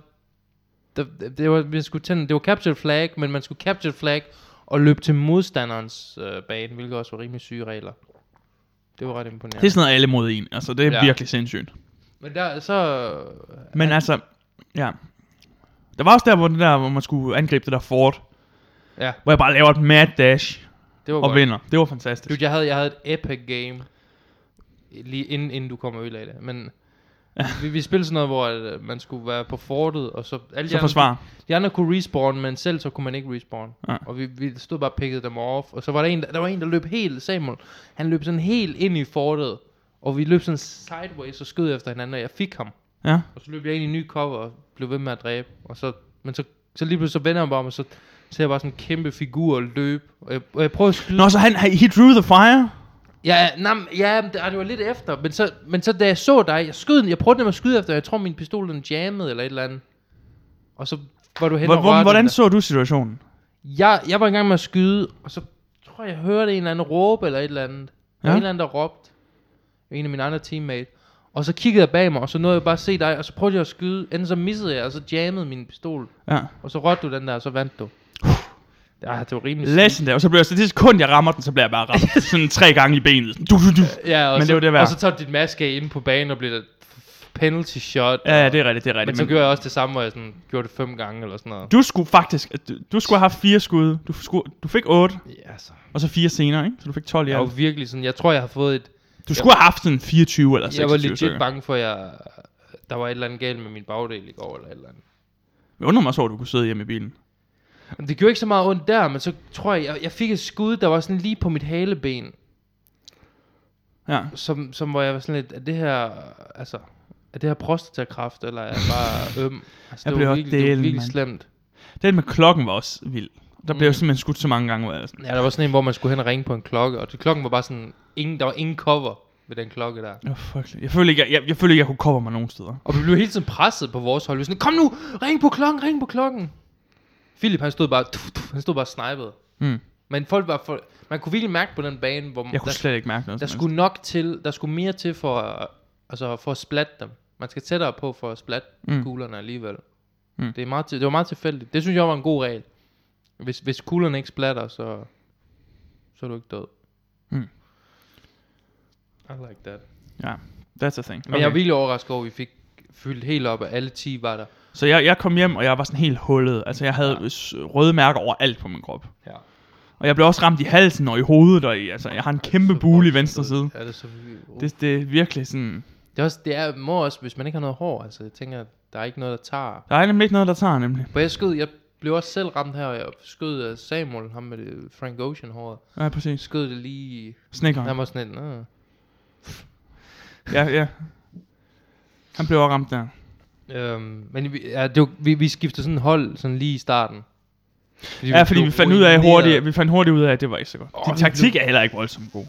Speaker 1: der det, var, vi skulle tænde, det var Capture Flag, men man skulle Capture Flag og løbe til modstanderens øh, bane, hvilket også var rimelig syge regler. Det var ret imponerende.
Speaker 3: Det er sådan noget alle mod en. Altså, det er
Speaker 1: Ja.
Speaker 3: ja. virkelig sindssygt.
Speaker 1: Men der, så...
Speaker 3: Men altså, ja. Der var også der, hvor, det der, hvor man skulle angribe det der fort,
Speaker 1: Ja,
Speaker 3: hvor jeg bare laver et mad dash
Speaker 1: det var
Speaker 3: og
Speaker 1: godt.
Speaker 3: vinder. Det var fantastisk.
Speaker 1: Dude, jeg havde, jeg havde et epic game, lige inden, inden du kom og ødelagde det, men vi, vi spillede sådan noget, hvor at, øh, man skulle være på fortet, og så alle de,
Speaker 3: Så
Speaker 1: andre,
Speaker 3: forsvar.
Speaker 1: de andre kunne respawn, men selv så kunne man ikke respawn.
Speaker 3: Ja.
Speaker 1: Og vi, vi stod bare og pickede dem off, og så var der en, der, der var en, der løb helt, Samuel, han løb sådan helt ind i fortet, og vi løb sådan sideways og skød efter hinanden, og jeg fik ham.
Speaker 3: Ja.
Speaker 1: Og så løb jeg ind i en ny cover og blev ved med at dræbe. Og så, men så, så lige pludselig så vender jeg mig om, og så ser jeg bare sådan en kæmpe figur løbe. Og jeg, og jeg prøver at skyde
Speaker 3: Nå, så han, han- he drew the fire.
Speaker 1: Ja, nej, ja, men det, ah, det var lidt efter, men så, men så da jeg så dig, jeg, skød, den- jeg prøvede nemlig at skyde efter, jeg tror min pistol den jammede eller et eller andet. Og så var du hen
Speaker 3: Hvor,
Speaker 1: og
Speaker 3: hvor,
Speaker 1: rørte
Speaker 3: hvordan
Speaker 1: den der.
Speaker 3: så du situationen?
Speaker 1: Jeg, jeg var i gang med at skyde, og så tror jeg, jeg hørte en eller anden råbe eller et eller andet. Ja.
Speaker 3: Ja.
Speaker 1: En eller anden, der råbte. En af mine andre teammates. Og så kiggede jeg bag mig, og så nåede jeg bare at se dig, og så prøvede jeg at skyde. Enten så missede jeg, og så jammede min pistol.
Speaker 3: Ja.
Speaker 1: Og så rørte du den der, og så vandt du. Ja, det var rimelig
Speaker 3: Legendary. Og så blev jeg, så det sekund, jeg rammer den, så bliver jeg bare
Speaker 1: [laughs]
Speaker 3: ramt sådan tre gange i benet. Sådan, Du, du, du.
Speaker 1: Ja, og så,
Speaker 3: Men det var det værd.
Speaker 1: Og så tager du dit maske af inde på banen og bliver penalty shot.
Speaker 3: Ja, ja, det er rigtigt, det er
Speaker 1: Men
Speaker 3: rigtigt.
Speaker 1: så gjorde jeg også det samme, hvor jeg sådan, gjorde det fem gange eller sådan noget.
Speaker 3: du skulle faktisk, du, du skulle have haft fire skud. Du, skulle, du fik otte,
Speaker 1: Ja, altså.
Speaker 3: og så fire senere, ikke? Så du fik 12 i
Speaker 1: Jeg var
Speaker 3: alt.
Speaker 1: virkelig sådan, jeg tror, jeg har fået et...
Speaker 3: Du skulle have haft sådan 24 eller 26
Speaker 1: Jeg var legit
Speaker 3: stykker.
Speaker 1: bange for, at jeg, der var et eller andet galt med min bagdel i går, eller et eller andet.
Speaker 3: Jeg undrer mig så, at du kunne sidde hjemme i bilen.
Speaker 1: Men det gjorde ikke så meget ondt der, men så tror jeg, jeg, jeg fik et skud, der var sådan lige på mit haleben,
Speaker 3: Ja.
Speaker 1: som, som hvor jeg var sådan lidt, er det her, altså, er det her prostatakræft, eller er jeg bare øm? Altså,
Speaker 3: Jeg
Speaker 1: det,
Speaker 3: blev
Speaker 1: var
Speaker 3: også
Speaker 1: virkelig, det var
Speaker 3: delen,
Speaker 1: virkelig
Speaker 3: mand.
Speaker 1: slemt.
Speaker 3: Den med klokken var også vild. Der blev
Speaker 1: Mm.
Speaker 3: jeg simpelthen skudt så mange gange, hvor jeg var sådan,
Speaker 1: Ja, der var sådan en, hvor man skulle hen og ringe på en klokke, og det, klokken var bare sådan, ingen, der var ingen cover ved den klokke der.
Speaker 3: oh, fuck. Jeg følte ikke, jeg, jeg, jeg, følte ikke, jeg kunne cover mig nogen steder.
Speaker 1: Og vi blev hele tiden presset på vores hold. Vi var sådan, kom nu, ring på klokken, ring på klokken. Philip, han stod bare, [laughs] tuff, tuff, han stod bare og snipede.
Speaker 3: Mm.
Speaker 1: Men folk var for, man kunne virkelig mærke på den bane, hvor
Speaker 3: Jeg kunne
Speaker 1: der,
Speaker 3: slet ikke mærke noget.
Speaker 1: der
Speaker 3: som
Speaker 1: skulle nok til, der skulle mere til for, øh, altså for at splatte dem. Man skal tættere på for at splatte
Speaker 3: Mm.
Speaker 1: mm. kuglerne alligevel.
Speaker 3: Mm.
Speaker 1: Mm. Det, er meget, til- det var meget tilfældigt. Det synes jeg var en god regel. Hvis, hvis kuglerne ikke splatter, så, så er du ikke død.
Speaker 3: Mm.
Speaker 1: I like that.
Speaker 3: helst. Ja, that's a thing.
Speaker 1: Men okay. jeg er virkelig overrasket over, at vi fik fyldt helt op, at alle 10 var der.
Speaker 3: Så jeg, jeg kom hjem, og jeg var sådan helt hullet. Altså, jeg havde
Speaker 1: Ja.
Speaker 3: s- røde mærker over alt på min krop.
Speaker 1: Ja.
Speaker 3: Og jeg blev også ramt i halsen og i hovedet, og i, altså, jeg har en kæmpe bule i venstre side.
Speaker 1: Ja, det er så vildt. det,
Speaker 3: Uh. Det, det er virkelig sådan...
Speaker 1: det, er også, det er, må også, hvis man ikke har noget hår, altså jeg tænker, der er ikke noget, der tager.
Speaker 3: Der er nemlig ikke noget, der tager nemlig.
Speaker 1: For jeg skød, jeg blev også selv ramt her, og jeg skød af Samuel, ham med det Frank Ocean håret.
Speaker 3: Ja, præcis.
Speaker 1: Skød det lige,
Speaker 3: Snikker.
Speaker 1: han var sådan lidt, "Nå."
Speaker 3: Ja, ja. Han blev også ramt der.
Speaker 1: øhm, men vi, ja, det var, vi, vi skiftede sådan hold, sådan lige i starten. Fordi
Speaker 3: Ja, fordi
Speaker 1: blev
Speaker 3: vi fandt ud af
Speaker 1: ruineret.
Speaker 3: hurtigt, vi fandt hurtigt ud af, at det var ikke så godt.
Speaker 1: Åh,
Speaker 3: Din
Speaker 1: vi
Speaker 3: taktik er heller ikke voldsomt god.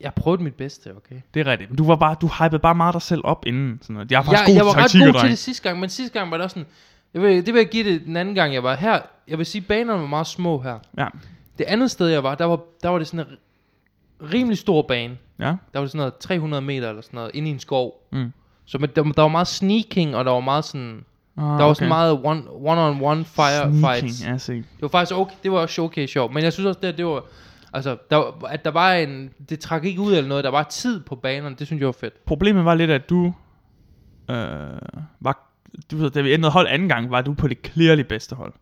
Speaker 1: Jeg prøvede mit bedste, okay?
Speaker 3: Det er rigtigt. Men du var bare, du hypede bare meget dig selv op inden. Sådan noget. Jeg er
Speaker 1: Jeg,
Speaker 3: faktisk ja,
Speaker 1: jeg
Speaker 3: god
Speaker 1: var
Speaker 3: til
Speaker 1: ret
Speaker 3: taktikker,
Speaker 1: god til det
Speaker 3: dreng.
Speaker 1: sidste gang, men sidste gang var det også sådan, jeg vil, det vil jeg give det den anden gang, jeg var her. Jeg vil sige, banerne var meget små her.
Speaker 3: Ja.
Speaker 1: Det andet sted, jeg var, der var, der var det sådan en ri- rimelig stor bane.
Speaker 3: Ja.
Speaker 1: Der var det sådan noget 300 meter eller sådan noget, inde i en skov.
Speaker 3: Mm.
Speaker 1: Så men der, der var meget sneaking, og der var meget sådan...
Speaker 3: Ah,
Speaker 1: Der var sådan meget one- one-on-one fire
Speaker 3: Sneaking,
Speaker 1: fights.
Speaker 3: Ja, se.
Speaker 1: Det var faktisk okay, det var også okay sjovt, men jeg synes også, det, her, det var... Altså, der, var- at der var en... Det trak ikke ud eller noget, der var tid på banerne, det synes jeg var fedt.
Speaker 3: Problemet var lidt, at du... Øh, var, du ved, da vi ændrede hold anden gang, var du på det clearly bedste hold.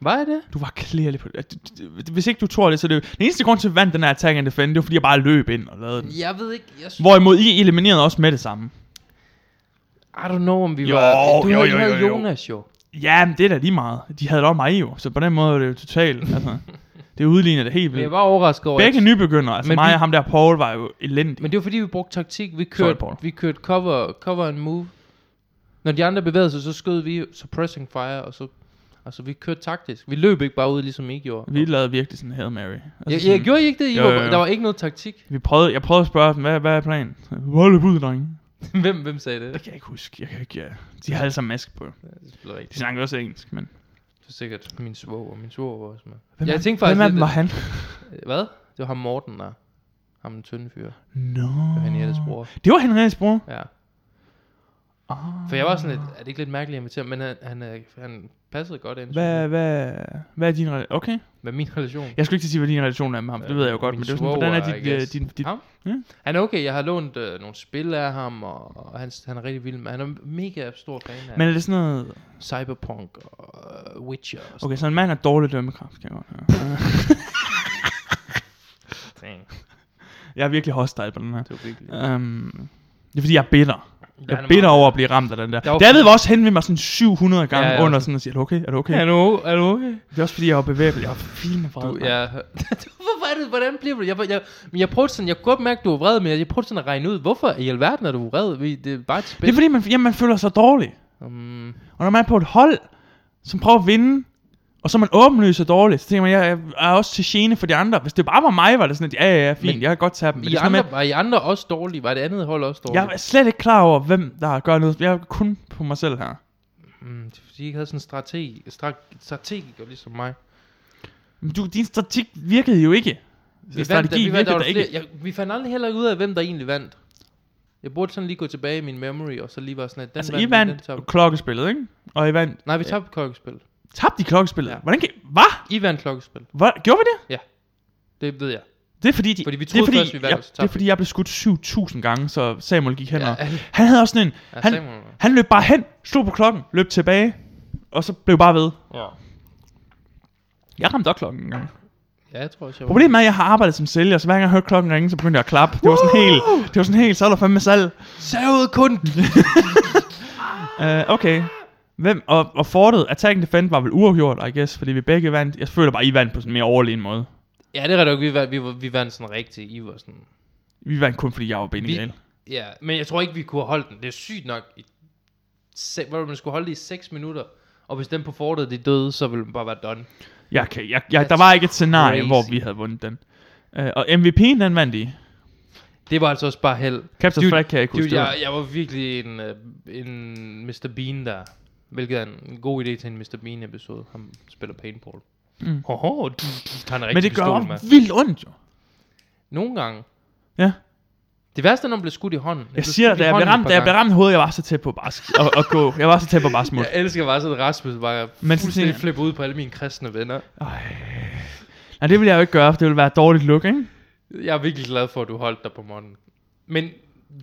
Speaker 1: Var jeg det?
Speaker 3: Du var clearly på det. d- d- d- Hvis ikke du tror det, så er det jo... Den eneste grund til, at vi vandt den her attack and defend, det var, fordi jeg bare løb ind og lavede den.
Speaker 1: Jeg ved ikke, jeg synes...
Speaker 3: Hvorimod I eliminerede os med det samme.
Speaker 1: I don't know, om vi
Speaker 3: Jo,
Speaker 1: var... Du
Speaker 3: jo,
Speaker 1: havde,
Speaker 3: jo,
Speaker 1: du havde
Speaker 3: jo, jo.
Speaker 1: Jonas jo.
Speaker 3: Ja, men det er da lige meget. De havde da også mig jo, så på den måde er det jo totalt, altså, det udligner det helt
Speaker 1: Men jeg
Speaker 3: vildt.
Speaker 1: var overrasket over... at-
Speaker 3: Begge nybegynder, altså men
Speaker 1: Men
Speaker 3: mig
Speaker 1: vi-
Speaker 3: og ham der Paul var jo elendige.
Speaker 1: Men det var fordi, vi brugte taktik. Vi
Speaker 3: Sorry,
Speaker 1: kørte,
Speaker 3: Paul.
Speaker 1: vi kørte cover, cover and move. Når de andre bevægede sig, så skød vi suppressing fire, og så... Altså, vi kørte taktisk. Vi løb ikke bare ud, ligesom I gjorde.
Speaker 3: Vi lavede virkelig sådan en Hail Mary. Altså
Speaker 1: Jeg,
Speaker 3: sådan,
Speaker 1: jeg gjorde I ikke det, I
Speaker 3: Jo,
Speaker 1: var,
Speaker 3: jo, jo.
Speaker 1: Der var ikke noget taktik. [laughs]
Speaker 3: Vi prøvede, jeg prøvede at spørge dem, hvad, hvad er planen? Hold op ud, drenge.
Speaker 1: hvem, hvem sagde det?
Speaker 3: Det kan jeg ikke huske. Jeg kan ikke, ja. De havde alle sammen maske på.
Speaker 1: Det blev
Speaker 3: De
Speaker 1: rigtigt.
Speaker 3: snakkede også engelsk, men...
Speaker 1: Det er sikkert min svoger. Min svoger var også med.
Speaker 3: Hvem,
Speaker 1: Jeg
Speaker 3: er-
Speaker 1: tænkte faktisk
Speaker 3: hvem er den,
Speaker 1: lidt,
Speaker 3: var han?
Speaker 1: Hvad? Det var ham Morten, der. Ham den tynde fyr. Det
Speaker 3: Nå.
Speaker 1: var Henriettes bror.
Speaker 3: Det var Henriettes bror.
Speaker 1: Ja.
Speaker 3: Ah.
Speaker 1: For jeg var sådan lidt, er det ikke lidt mærkeligt at invitere, ham? men han, han, øh, han passede godt ind.
Speaker 3: Hvad, hvad, hvad er din relation? Okay.
Speaker 1: Med min relation.
Speaker 3: Jeg skulle ikke til at sige, hvad din relation er med ham, for det ved jeg jo godt,
Speaker 1: Min
Speaker 3: men det var sådan,
Speaker 1: svoger,
Speaker 3: hvordan er
Speaker 1: I
Speaker 3: dit, øh,
Speaker 1: guess. Ah,
Speaker 3: din, dit,
Speaker 1: Ham?
Speaker 3: Ja.
Speaker 1: Han er okay, jeg har lånt øh, nogle spil af ham, og, og han, han er rigtig vild med. Han er mega stor fan af
Speaker 3: Men er det sådan noget...
Speaker 1: Cyberpunk og øh, Witcher og sådan
Speaker 3: Okay, så en mand har dårlig dømmekraft, kan jeg godt høre.
Speaker 1: okay. ting.
Speaker 3: Jeg er virkelig hostile på den her.
Speaker 1: Det var virkelig...
Speaker 3: Um, det er fordi, jeg er bitter. Jeg
Speaker 1: Han
Speaker 3: er
Speaker 1: er
Speaker 3: bitter
Speaker 1: meget-
Speaker 3: over at blive ramt af den der.
Speaker 1: Der var-
Speaker 3: David var også hen ved mig sådan 700 gange
Speaker 1: Ja,
Speaker 3: ja,
Speaker 1: ja.
Speaker 3: under sådan og siger, er du okay? Er du okay?
Speaker 1: Er du, er du okay?
Speaker 3: Det er også fordi, jeg var bevæbnet. Jeg var fine vred.
Speaker 1: Du, ja. [laughs] Du, hvorfor er det, hvordan bliver du? Jeg, jeg, men jeg prøvede sådan, jeg kunne godt mærke, du var vred, men jeg prøvede sådan at regne ud, hvorfor i alverden er du vred? Vi- Det er bare et
Speaker 3: Det er
Speaker 1: spil.
Speaker 3: fordi, man, jamen, man føler sig dårlig.
Speaker 1: Um,
Speaker 3: Og når man er på et hold, som prøver at vinde, og så er man åbenløs og dårlig, så tænker man, jeg er også til gene for de andre. Hvis det bare var mig, var det sådan, at ja, ja, ja, fint,
Speaker 1: Men-
Speaker 3: jeg kan godt tage dem. Men
Speaker 1: I
Speaker 3: det er sådan noget
Speaker 1: andre, var I andre også dårlige? Var det andet hold også
Speaker 3: med,
Speaker 1: dårligt?
Speaker 3: jeg er slet ikke klar over, hvem der gør noget. Jeg er kun på mig selv her.
Speaker 1: Mm, det er fordi, I ikke havde sådan en strategi, strat- strategiker ligesom mig.
Speaker 3: Men du, din strategi virkede jo ikke.
Speaker 1: Vi vandt,
Speaker 3: Strategi
Speaker 1: vi, vandt, der
Speaker 3: virkede
Speaker 1: var
Speaker 3: der
Speaker 1: flere,
Speaker 3: ikke.
Speaker 1: jeg, vi fandt aldrig heller ud af, hvem der egentlig vandt. Jeg burde sådan lige gå tilbage i min memory, og så lige være sådan, at den
Speaker 3: Altså,
Speaker 1: vandt,
Speaker 3: I
Speaker 1: vi, den
Speaker 3: vandt
Speaker 1: tabte.
Speaker 3: klokkespillet, ikke? Og I vandt...
Speaker 1: Nej, vi tabte klokkespil.
Speaker 3: Tabte I klokkespillet?
Speaker 1: Ja.
Speaker 3: Hvordan kan... Hvad?
Speaker 1: I vandt klokkespil.
Speaker 3: Hvor, gjorde vi det?
Speaker 1: Det ved jeg.
Speaker 3: Det er fordi, de,
Speaker 1: Fordi vi
Speaker 3: det
Speaker 1: troede
Speaker 3: er fordi,
Speaker 1: først, vi vandt,
Speaker 3: jeg,
Speaker 1: og så
Speaker 3: det
Speaker 1: tabte
Speaker 3: er
Speaker 1: vi.
Speaker 3: fordi, jeg blev skudt 7.000 gange, så Samuel gik hen
Speaker 1: Ja,
Speaker 3: og...
Speaker 1: han-
Speaker 3: Han havde også sådan en...
Speaker 1: Ja,
Speaker 3: han,
Speaker 1: Samuel.
Speaker 3: han løb bare hen, slog på klokken, løb tilbage, og så blev bare ved.
Speaker 1: Ja.
Speaker 3: Jeg ramte også klokken en gang.
Speaker 1: Ja, jeg tror også, jeg var-
Speaker 3: Problemet er, at jeg har arbejdet som sælger, så hver gang jeg hørte klokken ringe, så begyndte jeg at klappe. Det var sådan helt, det var sådan helt, så er der fandme salg.
Speaker 1: Savet kun
Speaker 3: Uh, okay. Hvem, og, og fortet, Attack and Defend var vel uafgjort, I guess, fordi vi begge vandt. Jeg føler bare, I vandt på sådan en mere overlegen måde.
Speaker 1: Ja, det er rigtigt. nok. Vi, var, vi, var, vi vandt sådan rigtig. I var sådan...
Speaker 3: Vi vandt kun, fordi jeg var benigel.
Speaker 1: Ja, men jeg tror ikke, vi kunne have holdt den. Det er sygt nok. I, se, hvor man skulle holde det i 6 minutter. Og hvis den på fortet, de døde, så ville den bare være done.
Speaker 3: Jeg kan, jeg, jeg, der
Speaker 1: That's
Speaker 3: var ikke et scenarie,
Speaker 1: crazy.
Speaker 3: hvor vi havde vundet den. Uh, og MVP'en, den vandt I.
Speaker 1: Det var altså også bare held.
Speaker 3: Captain
Speaker 1: Dude,
Speaker 3: Flag kan jeg ikke huske.
Speaker 1: Dude,
Speaker 3: det var.
Speaker 1: jeg, jeg var virkelig en, øh, en Mr. Bean der. Hvilket er en god idé til en Mr. Bean episode. Han spiller paintball.
Speaker 3: Mm.
Speaker 1: Hoho, du, du, du, han er rigtig
Speaker 3: Men det gør
Speaker 1: pistol,
Speaker 3: også
Speaker 1: mand.
Speaker 3: vildt ondt, jo.
Speaker 1: Nogle gange.
Speaker 3: Ja.
Speaker 1: Det værste, er, når man bliver skudt i hånden.
Speaker 3: Jeg siger, da jeg blev ramt, da jeg blev ramt i hovedet, jeg var så tæt på bare sk- at, at gå. Jeg var så tæt på bare smut.
Speaker 1: Jeg elsker bare sådan, at Rasmus bare
Speaker 3: Men
Speaker 1: Men
Speaker 3: så
Speaker 1: fuldstændig
Speaker 3: tænker jeg-
Speaker 1: flippe ud på alle mine kristne venner.
Speaker 3: Nej, det ville jeg jo ikke gøre, for det ville være et dårligt look, ikke?
Speaker 1: Jeg er virkelig glad for, at du holdt dig på måtten. Men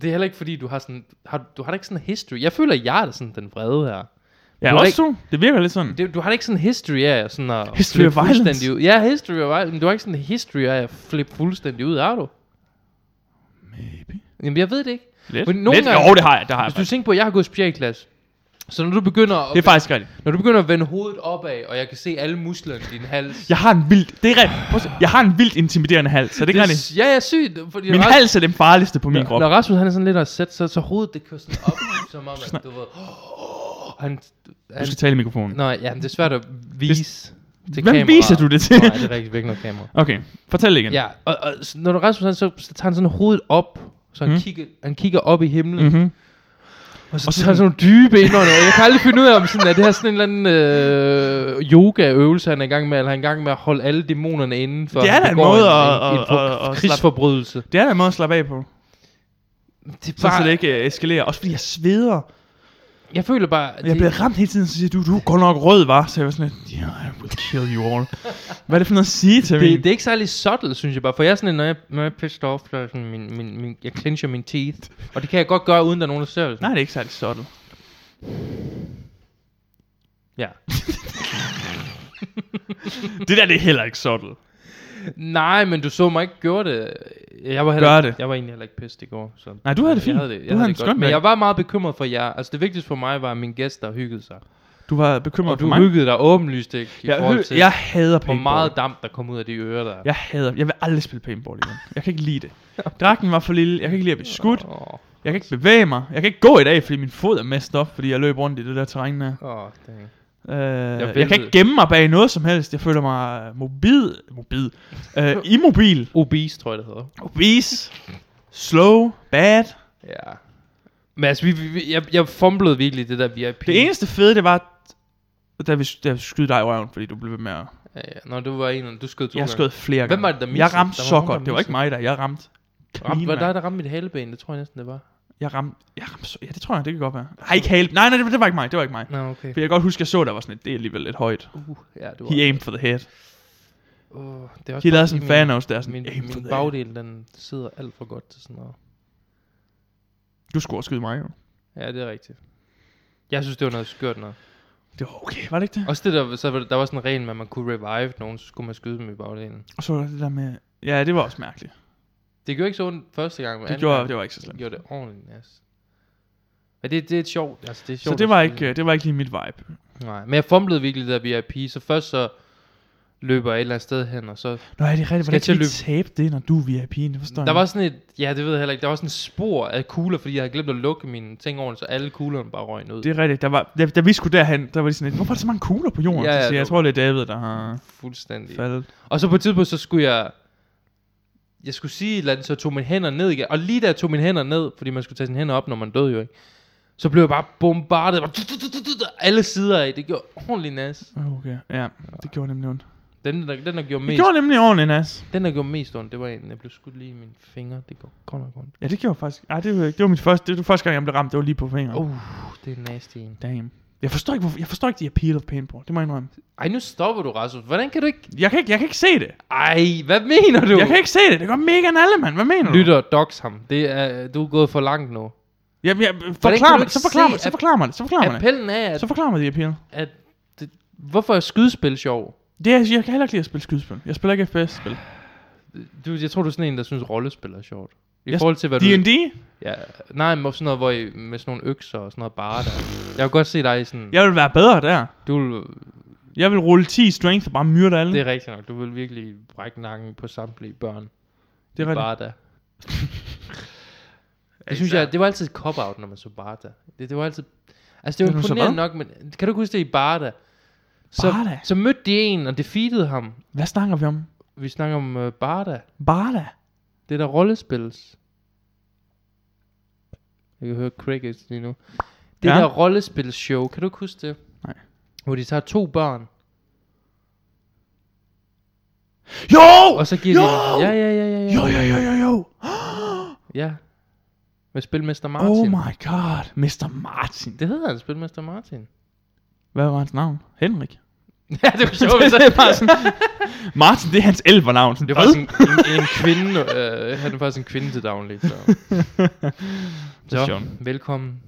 Speaker 1: det er heller ikke, fordi du har sådan... Har, du har da ikke sådan en history. Jeg føler, at jeg er da sådan den vrede her.
Speaker 3: Ja,
Speaker 1: Du er
Speaker 3: også
Speaker 1: ikke-
Speaker 3: du. Det virker lidt sådan.
Speaker 1: Det, du har da ikke sådan en history af sådan at...
Speaker 3: History
Speaker 1: flippe
Speaker 3: of violence.
Speaker 1: fuldstændig Ud. Ja, history of violence. Men du har ikke sådan en history af at flippe fuldstændig ud, har du?
Speaker 3: Maybe.
Speaker 1: Jamen, jeg ved det ikke.
Speaker 3: Lidt.
Speaker 1: Men nogle
Speaker 3: lidt.
Speaker 1: gange-
Speaker 3: Jo, det har jeg. Det, har jeg
Speaker 1: Hvis du
Speaker 3: faktisk.
Speaker 1: tænker på, at jeg har gået i klasse så når du begynder at,
Speaker 3: det er faktisk rigtigt.
Speaker 1: når du begynder at vende hovedet opad, og jeg kan se alle musklerne i din hals.
Speaker 3: Jeg har en vildt... Det er rigtigt. Prøv at se. Jeg har en vildt intimiderende hals, så det er
Speaker 1: det
Speaker 3: ikke
Speaker 1: er,
Speaker 3: rigtigt.
Speaker 1: s- ja, jeg er syg. Fordi
Speaker 3: Min
Speaker 1: Rasmus-
Speaker 3: hals er den farligste på min
Speaker 1: Når-
Speaker 3: krop.
Speaker 1: Når Rasmus han er sådan lidt at sætte, så, så hovedet det kører sådan op, [laughs] som om, at du ved, [gasps] han,
Speaker 3: Du
Speaker 1: han,
Speaker 3: skal tale i mikrofonen.
Speaker 1: nej, ja, men det er svært at vise til
Speaker 3: Hvem
Speaker 1: kameraet.
Speaker 3: viser du det til?
Speaker 1: Nej, det er rigtig væk noget kamera.
Speaker 3: Okay, fortæl igen.
Speaker 1: Ja, og, og s- når du Rasmus han, så, så tager han sådan hovedet op, så han,
Speaker 3: Mm.
Speaker 1: mm. kigger, han kigger op i himlen, mm.
Speaker 3: Mm-hmm.
Speaker 1: og så,
Speaker 3: Og
Speaker 1: og
Speaker 3: så
Speaker 1: så tager han sådan nogle dybe indåndinger. Jeg kan aldrig finde ud af, om sådan, er det her sådan en eller anden øh, yoga-øvelse, han er i gang med, eller han er i gang med at holde alle dæmonerne inden for,
Speaker 3: Det er
Speaker 1: han
Speaker 3: da en
Speaker 1: begår
Speaker 3: måde
Speaker 1: en,
Speaker 3: at-
Speaker 1: en, en,
Speaker 3: at-
Speaker 1: for-
Speaker 3: at- at slappe-
Speaker 1: krigsforbrydelse.
Speaker 3: Det er der en måde at slappe af på,
Speaker 1: Det er
Speaker 3: så, så
Speaker 1: bare,
Speaker 3: det ikke øh, eskalerer. Også fordi jeg sveder.
Speaker 1: jeg føler bare,
Speaker 3: Jeg bliver ramt hele tiden, så siger du, du er godt nok rød, var. Så jeg var sådan lidt, yeah, I will kill you all. Hvad er det for noget at sige til mig?
Speaker 1: det, det er ikke særlig subtle, synes jeg bare. For jeg er sådan, en, når jeg, når jeg er pissed off, så er jeg sådan, min, min, min, jeg clencher mine teeth. Og det kan jeg godt gøre, uden der er nogen, der ser det.
Speaker 3: Nej, det er ikke særlig subtle.
Speaker 1: Ja.
Speaker 3: Det der, det er heller ikke subtle.
Speaker 1: Nej, men du så mig ikke gøre det. Jeg var, heller,
Speaker 3: Gør det.
Speaker 1: jeg var egentlig heller ikke pissed i går. Så
Speaker 3: Nej, du havde det fint.
Speaker 1: Jeg havde det, jeg
Speaker 3: Du havde
Speaker 1: havde
Speaker 3: en
Speaker 1: det
Speaker 3: skøn
Speaker 1: godt. Men
Speaker 3: dag.
Speaker 1: jeg var meget bekymret for jer. Altså det vigtigste for mig var, at mine gæster hyggede sig.
Speaker 3: Du var bekymret
Speaker 1: Og
Speaker 3: for
Speaker 1: du
Speaker 3: mig.
Speaker 1: hyggede dig åbenlyst ikke, i
Speaker 3: jeg,
Speaker 1: forhold
Speaker 3: hø-
Speaker 1: til,
Speaker 3: jeg hader
Speaker 1: hvor
Speaker 3: paintball.
Speaker 1: meget damp, der kom ud af de ører der.
Speaker 3: Jeg hader, jeg vil aldrig spille paintball igen. Jeg kan ikke lide
Speaker 1: [laughs]
Speaker 3: det. Dragten var for lille, jeg kan ikke lide at blive skudt.
Speaker 1: Åh,
Speaker 3: Jeg kan ikke bevæge mig. Jeg kan ikke gå i dag, fordi min fod er messed op, fordi jeg løb rundt i det der terræn der.
Speaker 1: åh, dang.
Speaker 3: Øh, jeg, jeg
Speaker 1: væltede.
Speaker 3: kan ikke gemme mig bag noget som helst. Jeg føler mig øh, mobil. Mobil. Øh, immobil.
Speaker 1: Obese, tror jeg, det hedder.
Speaker 3: Obese. Slow. Bad.
Speaker 1: Ja. Men altså, vi, vi, vi- jeg, jeg fumblede virkelig det der VIP.
Speaker 3: Det eneste fede, det var, da vi, da vi skød dig i røven, fordi du blev ved med at...
Speaker 1: Ja, ja. Nå, du var en, du skød to
Speaker 3: Jeg
Speaker 1: gange.
Speaker 3: skød flere gange.
Speaker 1: Hvem var det, der
Speaker 3: Jeg
Speaker 1: missede?
Speaker 3: ramte
Speaker 1: Der var
Speaker 3: så
Speaker 1: nogen, der
Speaker 3: godt. Det var ikke
Speaker 1: missede.
Speaker 3: mig, der. Jeg ramte.
Speaker 1: Ramte,
Speaker 3: Kanin,
Speaker 1: var det
Speaker 3: mand.
Speaker 1: dig, der ramte mit haleben? Det tror jeg næsten, det var.
Speaker 3: Jeg ramte... Jeg ramte så... Ja, det tror jeg, det kan godt være. Har ikke hale. Nej, nej, det, det var ikke mig. Det var ikke mig.
Speaker 1: Nå, okay.
Speaker 3: For jeg kan godt huske, jeg så, der var sådan et, det er alligevel lidt højt.
Speaker 1: Uh, ja, det var...
Speaker 3: He aimed for the head.
Speaker 1: Uh, det er også
Speaker 3: De lavede
Speaker 1: bare,
Speaker 3: sådan
Speaker 1: fordi
Speaker 3: en Thanos der, sådan,
Speaker 1: min,
Speaker 3: aim for
Speaker 1: min, min
Speaker 3: the
Speaker 1: bagdel, den sidder alt for godt til sådan noget.
Speaker 3: Du skulle også skyde mig, jo.
Speaker 1: Ja, det er rigtigt. Jeg synes, det var noget skørt noget.
Speaker 3: Det var okay, var det ikke det?
Speaker 1: Også det der, så var der, der var sådan en regel med, at man kunne revive nogen, så skulle man skyde dem i bagdelen.
Speaker 3: Og så var der det der med... Ja, det var også mærkeligt.
Speaker 1: Det gjorde ikke så ondt første gang, men
Speaker 3: Det,
Speaker 1: anden
Speaker 3: gjorde,
Speaker 1: gang,
Speaker 3: det var ikke så slemt.
Speaker 1: gjorde det ordentligt, altså. Men det, det er sjovt, altså det er sjovt.
Speaker 3: Så det
Speaker 1: at
Speaker 3: var,
Speaker 1: skyde.
Speaker 3: ikke, øh, det var ikke lige mit vibe.
Speaker 1: Nej, men jeg fumblede virkelig det der VIP, så først så løber jeg et eller andet sted hen, og så
Speaker 3: Nå, er det rigtigt? Hvordan
Speaker 1: jeg til
Speaker 3: kan
Speaker 1: at
Speaker 3: vi tabe det, når du er VIP'en? Det forstår
Speaker 1: Der
Speaker 3: jeg
Speaker 1: var
Speaker 3: ikke.
Speaker 1: sådan et, ja det ved jeg heller ikke, der var sådan et spor af kugler, fordi jeg havde glemt at lukke mine ting ordentligt, så alle kuglerne bare røg ud.
Speaker 3: Det
Speaker 1: Det
Speaker 3: er rigtigt. Der var, da, da, vi skulle derhen, der var de sådan lidt, hvorfor er der så mange kugler på jorden?
Speaker 1: Ja,
Speaker 3: Ja,
Speaker 1: ja,
Speaker 3: ja, så jeg
Speaker 1: det
Speaker 3: tror, det er David, der har
Speaker 1: fuldstændig.
Speaker 3: faldet.
Speaker 1: Og så på et tidspunkt, så skulle jeg, jeg skulle sige et eller andet, så jeg tog mine hænder ned igen. Og lige da jeg tog mine hænder ned, fordi man skulle tage sine hænder op, når man døde jo ikke, så blev jeg bare bombardet, bare alle sider af, det gjorde ordentligt nas.
Speaker 3: Ah, Okay, ja. Det gjorde nemlig ondt.
Speaker 1: Den der, den, der gjorde
Speaker 3: Det
Speaker 1: mest,
Speaker 3: gjorde nemlig ordentligt, Nas.
Speaker 1: den, der gjorde mest ondt, det var en, jeg blev skudt lige i mine fingre, det gjorde godt nok ondt.
Speaker 3: Uh.
Speaker 1: Oh.
Speaker 3: Ja, det gjorde faktisk... Ej, det var, det var mit første... Det var første gang, jeg blev ramt. Det var lige på fingeren.
Speaker 1: Uh, det er en nasty en.
Speaker 3: Damn. Jeg forstår ikke, hvorfor, jeg forstår ikke the appeal of paintball. Det må jeg indrømme.
Speaker 1: Ej, nu stopper du, Rasmus. Hvordan kan du ikke...
Speaker 3: Jeg kan ikke, jeg kan ikke se det.
Speaker 1: Ej, hvad mener du?
Speaker 3: Jeg kan ikke se det. Det går mega nalle, mand. Hvad mener du?
Speaker 1: Lytter og dox ham. Det er, du er gået for langt nu.
Speaker 3: Jeg, jeg,
Speaker 1: kan
Speaker 3: forklar
Speaker 1: du
Speaker 3: mig,
Speaker 1: ikke
Speaker 3: så forklar
Speaker 1: se,
Speaker 3: mig, så
Speaker 1: at-
Speaker 3: forklar mig det, så forklar mig det.
Speaker 1: Appellen er, at,
Speaker 3: Så forklar mig the appeal.
Speaker 1: at det, hvorfor er skydespil sjov?
Speaker 3: Det er, jeg kan heller ikke lide at spille skydespil. Jeg spiller ikke FPS-spil.
Speaker 1: Du, jeg tror, du er sådan en, der synes, rollespil er sjovt. I
Speaker 3: Jeg-
Speaker 1: forhold til, hvad du...
Speaker 3: D&D?
Speaker 1: Ja, nej, men sådan noget, hvor I, med sådan nogle økser og sådan noget bare der. Jeg kunne godt se dig i sådan...
Speaker 3: Jeg vil være bedre der.
Speaker 1: Du, vil-
Speaker 3: Jeg vil rulle 10 strength og bare myrde alle.
Speaker 1: det
Speaker 3: Det,
Speaker 1: er rigtigt nok. Du vil virkelig brække nakken på samtlige børn.
Speaker 3: det er rigtigt.
Speaker 1: Bare
Speaker 3: [laughs]
Speaker 1: der. Det synes jeg, det var altid et cop-out, når man så Barda. Det, det var altid... Altså, det var
Speaker 3: Når man så
Speaker 1: imponerende nok, men kan du ikke huske det i Barda? Så,
Speaker 3: Barda?
Speaker 1: så mødte de en og defeatede ham.
Speaker 3: Hvad snakker vi om?
Speaker 1: Vi snakker om uh, Barda.
Speaker 3: Barda?
Speaker 1: Det der rollespils. Jeg kan høre crickets lige nu. Det
Speaker 3: Ja.
Speaker 1: ja. der rollespilshow, kan du ikke huske det?
Speaker 3: Nej.
Speaker 1: Hvor de tager to børn,
Speaker 3: Jo!
Speaker 1: og så giver
Speaker 3: jo!
Speaker 1: de... Ja, ja, ja, ja,
Speaker 3: Jo,
Speaker 1: ja.
Speaker 3: jo, jo, jo, jo.
Speaker 1: ja. Med Spilmester Martin.
Speaker 3: Oh my god. Mr. Martin.
Speaker 1: Det hedder han, Spilmester Martin. [laughs]
Speaker 3: Hvad var hans navn? Henrik.
Speaker 1: ja, det var
Speaker 3: [laughs]
Speaker 1: sjovt.
Speaker 3: det er bare sådan, Martin, det er hans elvernavn. Sådan,
Speaker 1: Det er
Speaker 3: hvad?
Speaker 1: faktisk en, en, en kvinde, øh, han er faktisk en kvinde til daglig,
Speaker 3: [laughs]
Speaker 1: så.
Speaker 3: er
Speaker 1: så,
Speaker 3: sjovt.
Speaker 1: velkommen.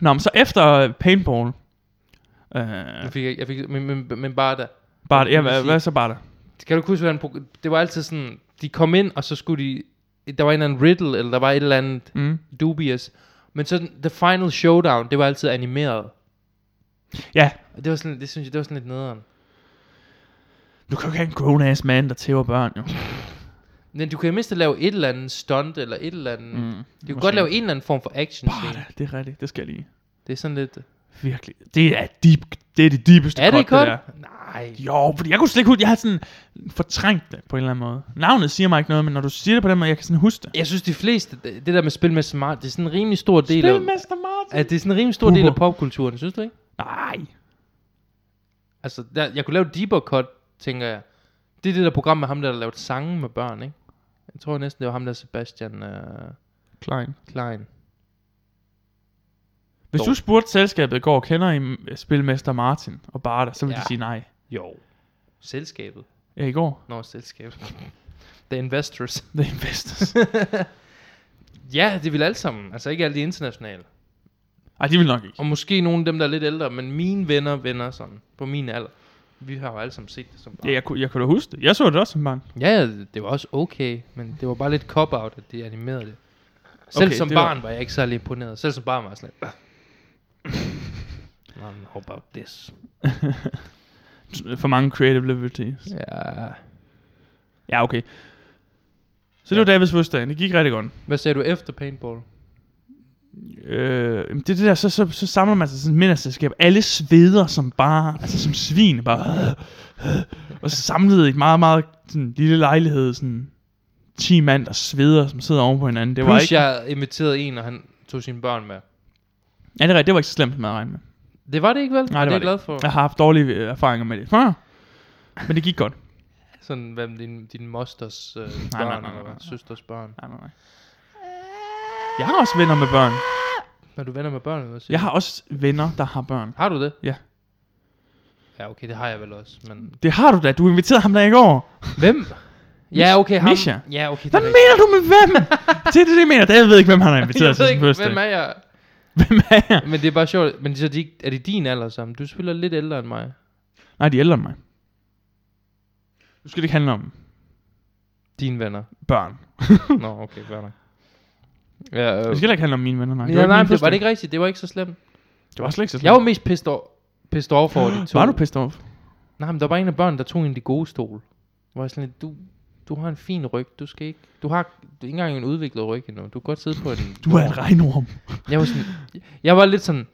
Speaker 3: Nå, men så efter paintball. Øh,
Speaker 1: Jeg fik, jeg fik, men, men, men bare da.
Speaker 3: Barda, ja,
Speaker 1: vil
Speaker 3: hvad,
Speaker 1: sige-
Speaker 3: hvad så Barda?
Speaker 1: Kan du ikke huske, hvordan, pro- det var altid sådan, de kom ind, og så skulle de, der var en eller anden riddle, eller der var et eller andet
Speaker 3: Mm.
Speaker 1: dubious. Men så den- The Final Showdown, det var altid animeret.
Speaker 3: Ja,
Speaker 1: Og det var sådan, det synes jeg, det var sådan lidt nederen.
Speaker 3: du kan jo ikke have en grown-ass mand, der tæver børn, jo.
Speaker 1: Men du kan i det mindste lave et eller andet stunt, eller et eller andet. Mm,
Speaker 3: Mm.
Speaker 1: du kan
Speaker 3: måske.
Speaker 1: godt lave en eller anden form for action scene.
Speaker 3: Barda, det er rigtigt. Det skal jeg lige.
Speaker 1: Det er sådan lidt...
Speaker 3: Virkelig. Det er, deep, det, er det dybeste
Speaker 1: Er det
Speaker 3: cut,
Speaker 1: godt?
Speaker 3: der.
Speaker 1: Nej.
Speaker 3: Jo, fordi jeg kunne slet ikke huske, jeg havde sådan fortrængt det på en eller anden måde. Navnet siger mig ikke noget, men når du siger det på den måde, jeg kan sådan huske det.
Speaker 1: Jeg synes, de fleste, det det der med spil med smart, det er sådan en rimelig stor del af...
Speaker 3: Spilmester Martin.
Speaker 1: Ja, det er sådan en rimelig stor del af popkulturen, synes du ikke?
Speaker 3: Nej.
Speaker 1: Altså, der, jeg kunne lave et deeper cut, tænker jeg. Det er det der program med ham, der har lavet sange med børn, ikke? Jeg tror næsten, det var ham der Sebastian øh,
Speaker 3: Klein.
Speaker 1: Klein.
Speaker 3: Hvis du
Speaker 1: Dog.
Speaker 3: spurgte selskabet i går, kender I øh, Spilmester Martin og Barda, så ville ja.
Speaker 1: Ja.
Speaker 3: de sige nej.
Speaker 1: Jo. Selskabet.
Speaker 3: Ja, i går.
Speaker 1: Nå, selskabet. [laughs] The Investors.
Speaker 3: The Investors. [laughs]
Speaker 1: Ja, det vil alle sammen. Altså ikke alle de internationale.
Speaker 3: Ej, de vil nok ikke.
Speaker 1: Og måske nogle af dem, der er lidt ældre, men mine venner venner sådan, på min alder. Vi har jo alle sammen set det som barn.
Speaker 3: Ja, jeg, kunne, jeg kunne da huske det. Jeg så det også som barn. [laughs]
Speaker 1: Ja, ja, det var også okay, men det var bare lidt cop-out, at de animerede det. Selv
Speaker 3: Okay,
Speaker 1: okay, som
Speaker 3: det var-
Speaker 1: barn var... var jeg ikke særlig imponeret. Selv som barn var jeg sådan lidt... "Ah." Mm, How about this?
Speaker 3: For mange creative liberties.
Speaker 1: Ja.
Speaker 3: Ja, okay. Så det var Davids fødselsdag. Det gik rigtig godt.
Speaker 1: Hvad sagde du efter paintball?
Speaker 3: Øh, jamen, det er det der, så, så, så samler man sig sådan et middagsselskab. Alle sveder som bare, altså som svin, bare. [laughs] og så samlet i et meget, meget sådan, lille lejlighed, sådan 10 mand, der sveder, som sidder oven på hinanden. Det
Speaker 1: Det
Speaker 3: var
Speaker 1: var Plus
Speaker 3: ikke,
Speaker 1: ikke... jeg inviterede en, og han tog sine børn med.
Speaker 3: ja, det, er rigtigt, det var ikke så slemt, som jeg havde regnet med.
Speaker 1: Det var det ikke vel?
Speaker 3: Nej, det
Speaker 1: er
Speaker 3: var
Speaker 1: jeg
Speaker 3: det
Speaker 1: glad for.
Speaker 3: Jeg har haft dårlige øh, erfaringer med det før, men det gik godt.
Speaker 1: Sådan, hvem din, din mosters øh, børn,
Speaker 3: nej, nej, nej,
Speaker 1: eller
Speaker 3: nej.
Speaker 1: søsters børn.
Speaker 3: Nej, nej, nej. Jeg har også venner med børn.
Speaker 1: Når du venner med børn, eller hvad siger
Speaker 3: Jeg har også venner, der har børn.
Speaker 1: du? Har du det?
Speaker 3: Ja.
Speaker 1: Ja, okay, det har jeg vel også, men...
Speaker 3: Det har du da. Du inviterede ham der i går.
Speaker 1: [laughs] Hvem? Ja, okay, ham...
Speaker 3: Misha.
Speaker 1: Ja, okay, det
Speaker 3: Hvad
Speaker 1: er
Speaker 3: mener du med hvem? det er det, jeg mener. David ved ikke, hvem han har inviteret
Speaker 1: rigtigt.
Speaker 3: til
Speaker 1: [laughs] Jeg ved
Speaker 3: sin
Speaker 1: ikke,
Speaker 3: fødselsdag.
Speaker 1: hvem er jeg?
Speaker 3: Hvem er jeg?
Speaker 1: Men det er bare sjovt. Men så er de, ikke- er det din alder sammen? Du spiller lidt ældre end mig.
Speaker 3: Nej, de er ældre end mig. Nu skal det ikke handle om
Speaker 1: Dine venner.
Speaker 3: børn.
Speaker 1: Nå, okay, fair nok. Ja, øh.
Speaker 3: Det Hmm. skal heller ikke handle om mine venner, nej.
Speaker 1: ja, nej,
Speaker 3: min
Speaker 1: det var det
Speaker 3: fødselsdag.
Speaker 1: ikke rigtigt. Det var ikke så slemt.
Speaker 3: Det var slet ikke så slemt.
Speaker 1: Jeg var mest pissed over, pissed over for de to.
Speaker 3: Var du pissed off?
Speaker 1: Nej, men der var en af børnene, der tog en af de gode stol. Hvor jeg sådan lidt, du, du har en fin ryg, du skal ikke... Du har du er ikke engang en udviklet ryg endnu. Du kan godt sidde på en...
Speaker 3: [laughs] Du er en regnorm.
Speaker 1: Jeg var, sådan, jeg var lidt sådan...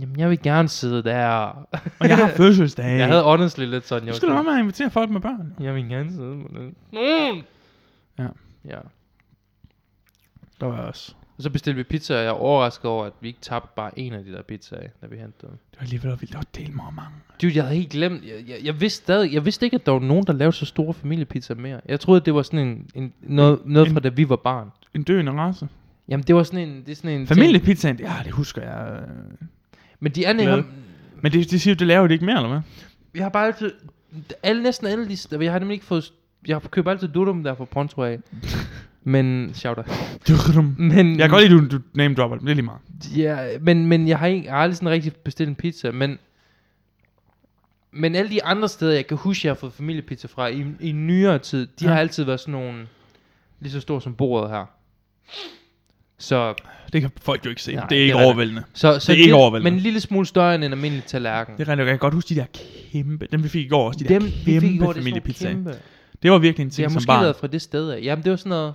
Speaker 1: Jamen, jeg vil gerne sidde der.
Speaker 3: Og jeg
Speaker 1: [laughs]
Speaker 3: har fødselsdag.
Speaker 1: Jeg havde honestly lidt sådan...
Speaker 3: Du
Speaker 1: Jeg var
Speaker 3: skal da
Speaker 1: sådan,
Speaker 3: være med at invitere folk med børn.
Speaker 1: Jeg vil gerne sidde på den. Mm.
Speaker 3: Ja.
Speaker 1: Ja.
Speaker 3: Der var jeg også.
Speaker 1: Og så bestilte vi pizza, og jeg er overrasket over, at vi ikke tabte bare en af de der pizzaer, da vi hentede dem.
Speaker 3: Det var alligevel vildt. Det var del mig mange.
Speaker 1: Dude, jeg havde helt glemt. Jeg, jeg, jeg, vidste stadig, jeg vidste ikke, at der var nogen, der lavede så store familiepizzaer mere. Jeg troede, at det var sådan en, en noget, noget
Speaker 3: En-
Speaker 1: fra da vi var barn.
Speaker 3: En døende race.
Speaker 1: Jamen, det var sådan en... Det er sådan en ting.
Speaker 3: Familiepizzaen, ja, det husker jeg. øh,
Speaker 1: Men Men de andre,
Speaker 3: Glade.
Speaker 1: ham,
Speaker 3: Men det, det siger jo, det laver det ikke mere, eller hvad?
Speaker 1: jeg har bare altid, alle, næsten alle de, st- jeg har nemlig ikke fået, jeg køber altid dudum der fra Pronto [laughs] af. men, shout out. Men,
Speaker 3: Jeg kan godt lide, du, du name dropper, det er lige meget.
Speaker 1: Ja, men, men jeg har ikke jeg har aldrig sådan rigtig bestilt en pizza, men men alle de andre steder, jeg kan huske, jeg har fået familiepizza fra i, i nyere tid, de
Speaker 3: Ja.
Speaker 1: ja. har altid været sådan nogle lige så store som bordet her. Så,
Speaker 3: Det kan folk jo ikke se.
Speaker 1: Nej,
Speaker 3: det er ikke
Speaker 1: det er
Speaker 3: overvældende.
Speaker 1: så, så
Speaker 3: Det er ikke
Speaker 1: lidt-
Speaker 3: overvældende.
Speaker 1: Men en lille smule større end en almindelig tallerken.
Speaker 3: Det er rent, jeg kan godt huske de der kæmpe, dem vi fik i går også, de
Speaker 1: Dem,
Speaker 3: der
Speaker 1: vi fik i
Speaker 3: kæmpe
Speaker 1: går, det er sådan nogle
Speaker 3: familiepizzaer.
Speaker 1: kæmpe.
Speaker 3: Det var virkelig en
Speaker 1: Det
Speaker 3: ting
Speaker 1: har
Speaker 3: som
Speaker 1: måske
Speaker 3: barn.
Speaker 1: været fra det sted af. Jamen, det var sådan noget,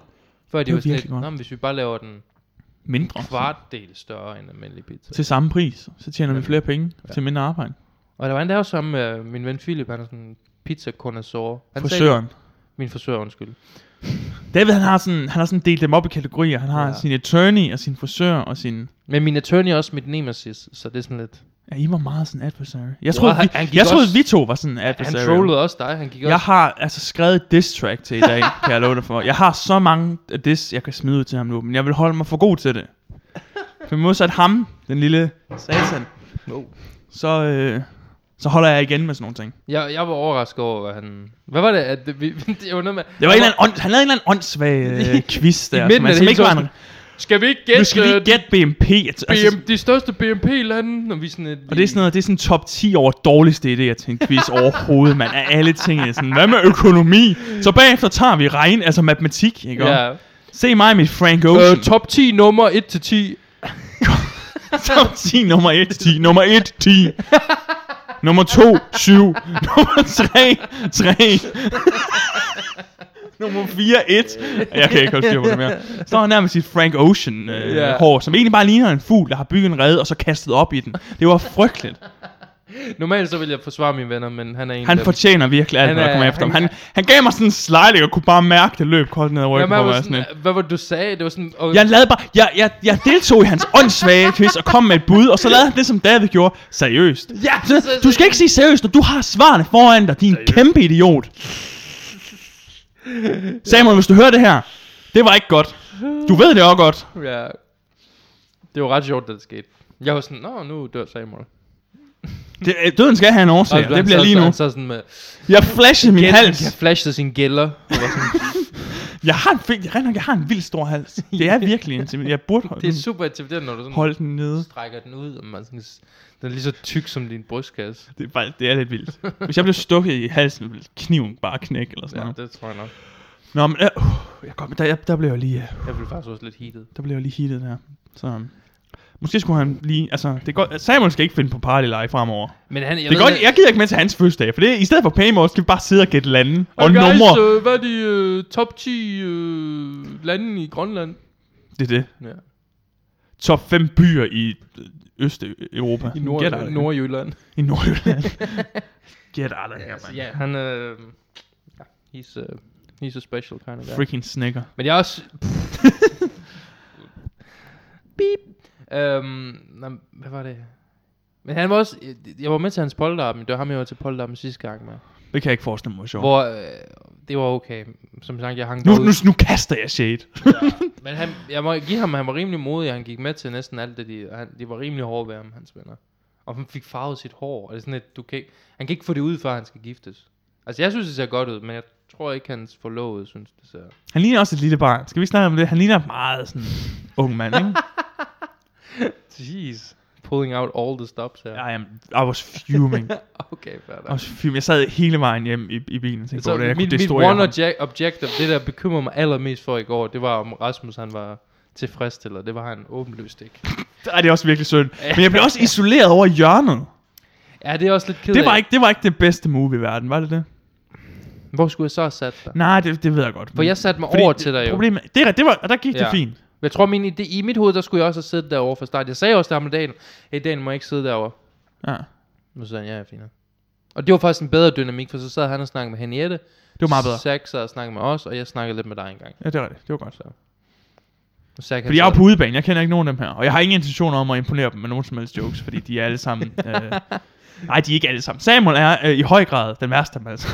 Speaker 1: før
Speaker 3: Det
Speaker 1: det
Speaker 3: var
Speaker 1: var sådan
Speaker 3: virkelig
Speaker 1: lidt,
Speaker 3: godt.
Speaker 1: "Nå, men hvis vi bare laver den
Speaker 3: Mindre.
Speaker 1: kvartdel større end en almindelig pizza.
Speaker 3: Til samme pris, så tjener vi
Speaker 1: Ja.
Speaker 3: flere penge til mindre arbejde.
Speaker 1: Og der var en der også sammen med min ven Philip, han er sådan en pizza connoisseur. Han sagde-
Speaker 3: Frisøren.
Speaker 1: Min frisør, undskyld.
Speaker 3: David, han har, sådan, han har sådan delt dem op i kategorier. Han har
Speaker 1: Ja.
Speaker 3: sin attorney og sin frisør og sin...
Speaker 1: Men min attorney er også mit nemesis, så det er sådan lidt...
Speaker 3: Ja, I var meget sådan adversary. Jeg
Speaker 1: Wow,
Speaker 3: troede,
Speaker 1: han-
Speaker 3: vi,
Speaker 1: han gik
Speaker 3: jeg troede
Speaker 1: også-
Speaker 3: vi to var sådan adversary.
Speaker 1: Han trollede også dig, han gik
Speaker 3: Jeg
Speaker 1: også...
Speaker 3: har altså skrevet et diss track til i
Speaker 1: [laughs]
Speaker 3: dag, kan jeg love dig for. Jeg har så mange af diss, jeg kan smide ud til ham nu, men jeg vil holde mig for god til det. For modsat ham, den lille satan,
Speaker 1: No.
Speaker 3: så, øh, så holder jeg igen med sådan nogle ting.
Speaker 1: Jeg, jeg var overrasket over, hvad han... Hvad var det, at det- vi... [laughs] det var noget med...
Speaker 3: Det var en eller anden, ånd- han lavede en eller anden åndssvag
Speaker 1: [laughs]
Speaker 3: øh, quiz der,
Speaker 1: midten
Speaker 3: som,
Speaker 1: af
Speaker 3: altså,
Speaker 1: det
Speaker 3: ikke
Speaker 1: hele
Speaker 3: var
Speaker 1: så
Speaker 3: en,
Speaker 1: Skal vi ikke
Speaker 3: nu
Speaker 1: gætte
Speaker 3: skal vi ikke
Speaker 1: gætte
Speaker 3: gætte BMP. Altså,
Speaker 1: BM, de største BMP-lande, når vi sådan... Et,
Speaker 3: og det er sådan noget, det er sådan top 10 over dårligste idéer til en quiz overhovedet, mand. Af alle ting, sådan, hvad med økonomi? Så bagefter tager vi regn, altså matematik, ikke? Ja.
Speaker 1: Ja.
Speaker 3: Se mig med Frank Ocean.
Speaker 1: Øh, top 10 nummer 1 til 10.
Speaker 3: [laughs] Top 10, nummer 1, 10, nummer 1, 10. Nummer 2, 7. [laughs] Nummer 3, 3. [laughs] nummer 4, 1. Jeg kan ikke holde styr på det mere. Så har nærmest sit Frank Ocean øh,
Speaker 1: Ja.
Speaker 3: hår, som egentlig bare ligner en fugl, der har bygget en rede og så kastet op i den. Det var frygteligt.
Speaker 1: Normalt så vil jeg forsvare mine venner, men han er en
Speaker 3: Han
Speaker 1: af dem.
Speaker 3: fortjener virkelig alt,
Speaker 1: Han
Speaker 3: hvad der
Speaker 1: er-
Speaker 3: kommer efter ham.
Speaker 1: han-
Speaker 3: Han, han gav mig sådan en slide, jeg kunne bare mærke det løb koldt ned ad
Speaker 1: Jamen,
Speaker 3: ryggen.
Speaker 1: han
Speaker 3: på mig,
Speaker 1: var
Speaker 3: og sådan lidt.
Speaker 1: sådan, hvad var det, du sagde? Det var sådan... Og,
Speaker 3: Jeg, lavede bare, jeg, jeg, jeg deltog i hans åndssvage quiz og kom med et bud, og så lavede han det, som David gjorde, seriøst.
Speaker 1: ja,
Speaker 3: Så, du skal ikke sige seriøst, når du har svarene foran dig, din kæmpe idiot. Samuel, hvis du hører det her, det var ikke godt. Du ved det også godt.
Speaker 1: Ja. Det var ret sjovt, da det skete. Jeg var sådan, nå, nu dør Samuel.
Speaker 3: Det, øh, døden skal
Speaker 1: Altså,
Speaker 3: have en årsag, og det
Speaker 1: han
Speaker 3: bliver
Speaker 1: sad-
Speaker 3: lige
Speaker 1: så-
Speaker 3: nu.
Speaker 1: Han sad sådan med...
Speaker 3: Jeg flashede min
Speaker 1: Jeg
Speaker 3: hals.
Speaker 1: flashede sin
Speaker 3: [laughs]
Speaker 1: gælder. Og var sådan,
Speaker 3: Jeg har en, fed- jeg, rent nok, jeg har en vild stor hals. Det er virkelig intimiderende. Jeg burde holde,
Speaker 1: det er
Speaker 3: den,
Speaker 1: super intimiderende, når du sådan
Speaker 3: holde den nede.
Speaker 1: strækker den ud, og man sådan, s- den er lige så tyk som din brystkasse.
Speaker 3: Det er, bare, det er lidt vildt. Hvis jeg blev stukket i halsen, ville kniven bare knække eller sådan
Speaker 1: Ja,
Speaker 3: noget.
Speaker 1: det tror jeg nok.
Speaker 3: Nå, men øh, uh, jeg kom, der, jeg, der blev jeg lige... øh,
Speaker 1: Jeg blev faktisk også lidt heated.
Speaker 3: Der blev jeg lige hittet der. Så um, måske skulle han lige... Altså, det er godt, Samuel skal ikke finde på party live fremover. Jeg
Speaker 1: Men han, jeg
Speaker 3: det er godt, jeg gider ikke med til hans fødselsdag, for det, i stedet for Paymore skal vi bare sidde og gætte lande og
Speaker 1: guys,
Speaker 3: numre.
Speaker 1: Øh, hvad er de øh, top 10 øh, lande i Grønland?
Speaker 3: Det er det.
Speaker 1: Ja.
Speaker 3: Top 5 byer i øh, Østeuropa.
Speaker 1: I Nord-
Speaker 3: Get out of here.
Speaker 1: Nordjylland.
Speaker 3: I
Speaker 1: [laughs]
Speaker 3: Nordjylland. Get out of here,
Speaker 1: Altså,
Speaker 3: man.
Speaker 1: ja, han øh, ja, he's, uh, he's a special kind of guy.
Speaker 3: Freaking snicker.
Speaker 1: Men jeg er
Speaker 3: [laughs]
Speaker 1: også... Beep. Øhm, nå, hvad var det? Men han var også... jeg- Jeg var med til hans polterappen. Det var ham, jeg var til polterappen sidste gang med.
Speaker 3: Det kan jeg ikke forestille mig, hvor sjovt.
Speaker 1: Hvor øh, det var okay. Som sagt, jeg hang
Speaker 3: Nu,
Speaker 1: derude.
Speaker 3: nu, nu kaster jeg shade.
Speaker 1: Men han, jeg må give ham, han var rimelig modig. Han gik med til næsten alt det. De, og han, de var rimelig hårde ved ham, hans venner. Og han fik farvet sit hår. Og det er sådan lidt, du kan ikke, han kan ikke få det ud, før han skal giftes. Altså, jeg synes, det ser godt ud, men jeg tror ikke, hans forlovede synes, det ser...
Speaker 3: Han ligner også et lille barn. Skal vi ikke snakke om det? Han ligner meget sådan ung mand, ikke?
Speaker 1: [laughs] Jeez. Pulling out all the stops her.
Speaker 3: I, am, I was fuming.
Speaker 1: [laughs] Okay, fair nok.
Speaker 3: Og så film, jeg sad hele vejen hjem i, i bilen og tænkte
Speaker 1: Så
Speaker 3: på, hvordan jeg
Speaker 1: mit,
Speaker 3: kunne
Speaker 1: mit
Speaker 3: destruere
Speaker 1: one
Speaker 3: ham.
Speaker 1: obje- objective, det der bekymrer mig allermest for i går, det var om Rasmus han var tilfredsstillet. Det var han åbenlyst ikke.
Speaker 3: Ej, det er også virkelig synd. Men jeg blev også isoleret over hjørnet.
Speaker 1: Ja, det er også lidt kedeligt.
Speaker 3: Det var, ikke, det var ikke det bedste movie i verden, var det det?
Speaker 1: Hvor skulle jeg så have sat dig?
Speaker 3: Nej, det, det ved jeg godt.
Speaker 1: For jeg satte mig over til dig jo.
Speaker 3: Problemet, det, er- det var, og der gik ja. det
Speaker 1: Ja.
Speaker 3: fint.
Speaker 1: Men Jeg tror, min idé, i mit hoved, der skulle jeg også have siddet derovre fra start. Jeg sagde også til ham i dagen, hey, Daniel må jeg ikke sidde derovre.
Speaker 3: Ja.
Speaker 1: Nu sagde han, ja, jeg finder. Og det var faktisk en bedre dynamik, for så sad han og snakkede med Henriette.
Speaker 3: Det var meget bedre.
Speaker 1: Zach sad og snakkede med os, og jeg snakkede lidt med dig engang.
Speaker 3: Ja, det var det. Det var godt.
Speaker 1: Og Zach, han
Speaker 3: Fordi jeg
Speaker 1: sad-
Speaker 3: er på udebane, jeg kender ikke nogen af dem her. Og jeg har ingen intention om at imponere dem med nogen som helst jokes, fordi de er alle [laughs] sammen... Øh, nej, de er ikke alle sammen. Samuel er øh, i høj grad den værste af dem altså.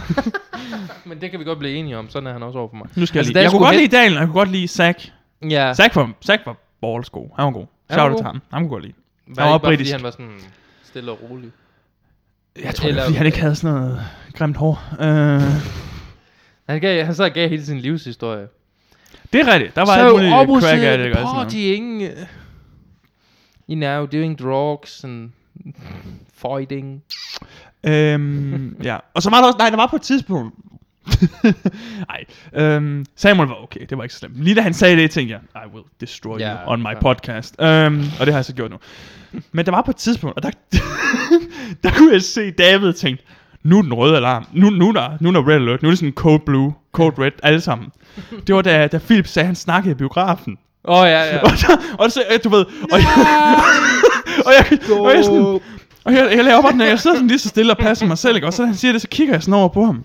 Speaker 1: Men det kan vi godt blive enige om, sådan er han også over for mig.
Speaker 3: Nu skal
Speaker 1: Altså,
Speaker 3: altså, jeg
Speaker 1: da
Speaker 3: lige.
Speaker 1: jeg skulle hen-
Speaker 3: Jeg kunne godt lide Daniel, og jeg kunne godt lide Zach.
Speaker 1: Ja.
Speaker 3: Zach var, Zach var balls god. Han var god.
Speaker 1: var
Speaker 3: Shout out
Speaker 1: god.
Speaker 3: til ham. Han kunne godt lide.
Speaker 1: Var det
Speaker 3: var
Speaker 1: ikke bare,
Speaker 3: britisk.
Speaker 1: Fordi han var sådan, Stille og roligt.
Speaker 3: Jeg tror,
Speaker 1: Eller-
Speaker 3: Eller... det er, fordi han ikke havde sådan noget grimt hår. Øh,
Speaker 1: Han, gav, han så gav hele sin livshistorie.
Speaker 3: det er rigtigt. Der var
Speaker 1: so
Speaker 3: alt muligt
Speaker 1: I was
Speaker 3: crack af
Speaker 1: uh,
Speaker 3: det. ikke? Og sådan noget.
Speaker 1: partying. uh, You know, doing drugs and fighting.
Speaker 3: Øhm, ja. Og så var der også, nej, der var på et tidspunkt, [laughs] nej, øhm, Samuel var okay, det var ikke så slemt. Lige da han sagde det, tænkte jeg, I will destroy
Speaker 1: Ja,
Speaker 3: you on my
Speaker 1: ja.
Speaker 3: podcast. Øhm, og det har jeg så gjort nu. Men der var på et tidspunkt, og der, [laughs] der kunne jeg se David tænke, nu er den røde alarm, nu, nu, er der, nu er der red alert, nu er det sådan cold blue, cold red, alle sammen. Det var da, da Philip sagde, at han snakkede i biografen. [laughs]
Speaker 1: Åh, oh, ja, ja.
Speaker 3: Og, så, og så, øh, du ved, og og jeg, og jeg, er sådan, og jeg, jeg laver bare den her, jeg sidder sådan lige så stille og passer mig selv, ikke? og så da han siger det, så kigger jeg sådan over på ham.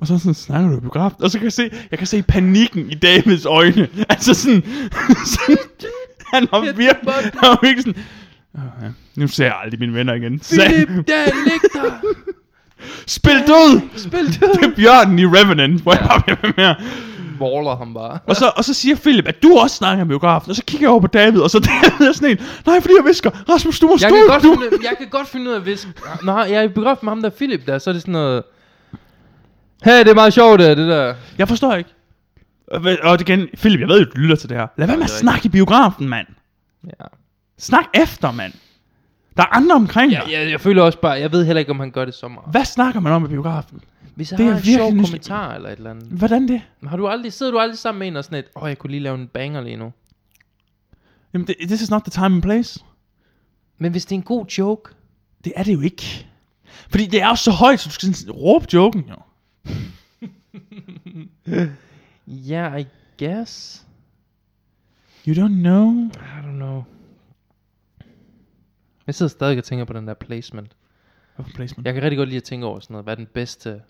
Speaker 3: Og så er han sådan, snakker du i biografen? Og så kan jeg se, jeg kan se panikken i Davids øjne. [laughs] Altså sådan, sådan han var
Speaker 1: Jeg
Speaker 3: virkelig,
Speaker 1: tror
Speaker 3: [laughs] han var virkelig sådan, "Åh, ja, nu ser jeg aldrig mine venner igen. Så,
Speaker 1: Philip, der ligger der.
Speaker 3: spil død!
Speaker 1: Spil
Speaker 3: Det er
Speaker 1: det.
Speaker 3: bjørnen i Revenant, hvor jeg bare bliver ved med at-
Speaker 1: Baller ham bare.
Speaker 3: Og så, og så siger Philip, at du også snakker om biografen. Og så kigger jeg over på David, og så [laughs] David er sådan en, nej, fordi jeg visker, Rasmus, du må
Speaker 1: Jeg
Speaker 3: stå,
Speaker 1: kan, godt
Speaker 3: du,
Speaker 1: finde, jeg kan godt finde ud af, hvis... Når jeg er i begravet med ham der Philip der, så er det sådan noget... Hey, det er meget sjovt, det der.
Speaker 3: Jeg forstår ikke. Og, hvad- og igen, Philip, jeg ved jo, du lytter til det her. Lad være med at
Speaker 1: det er
Speaker 3: snakke i biografen, mand.
Speaker 1: Ja.
Speaker 3: Snak efter, mand. Der er andre omkring dig.
Speaker 1: Jeg, jeg, jeg føler også bare, jeg ved heller ikke, om han gør det så meget.
Speaker 3: Hvad snakker man om i biografen?
Speaker 1: Hvis jeg
Speaker 3: Det er
Speaker 1: har en
Speaker 3: virkelig
Speaker 1: sjov
Speaker 3: nysgerrig.
Speaker 1: kommentar eller et eller andet.
Speaker 3: Hvordan det?
Speaker 1: Har du aldrig, sidder du aldrig sammen med en og sådan et, åh, oh, jeg kunne lige lave en banger lige nu.
Speaker 3: Jamen, det, this is not the time and place.
Speaker 1: Men hvis det er en god joke,
Speaker 3: Det er det jo ikke. Fordi det er også så højt, så du skal sådan råbe joken, jo.
Speaker 1: ja, yeah, I guess.
Speaker 3: You don't know.
Speaker 1: I don't know. Jeg sidder stadig og tænker på den der placement.
Speaker 3: Hvorfor placement?
Speaker 1: Jeg kan rigtig godt lide at tænke over sådan noget. Hvad er den bedste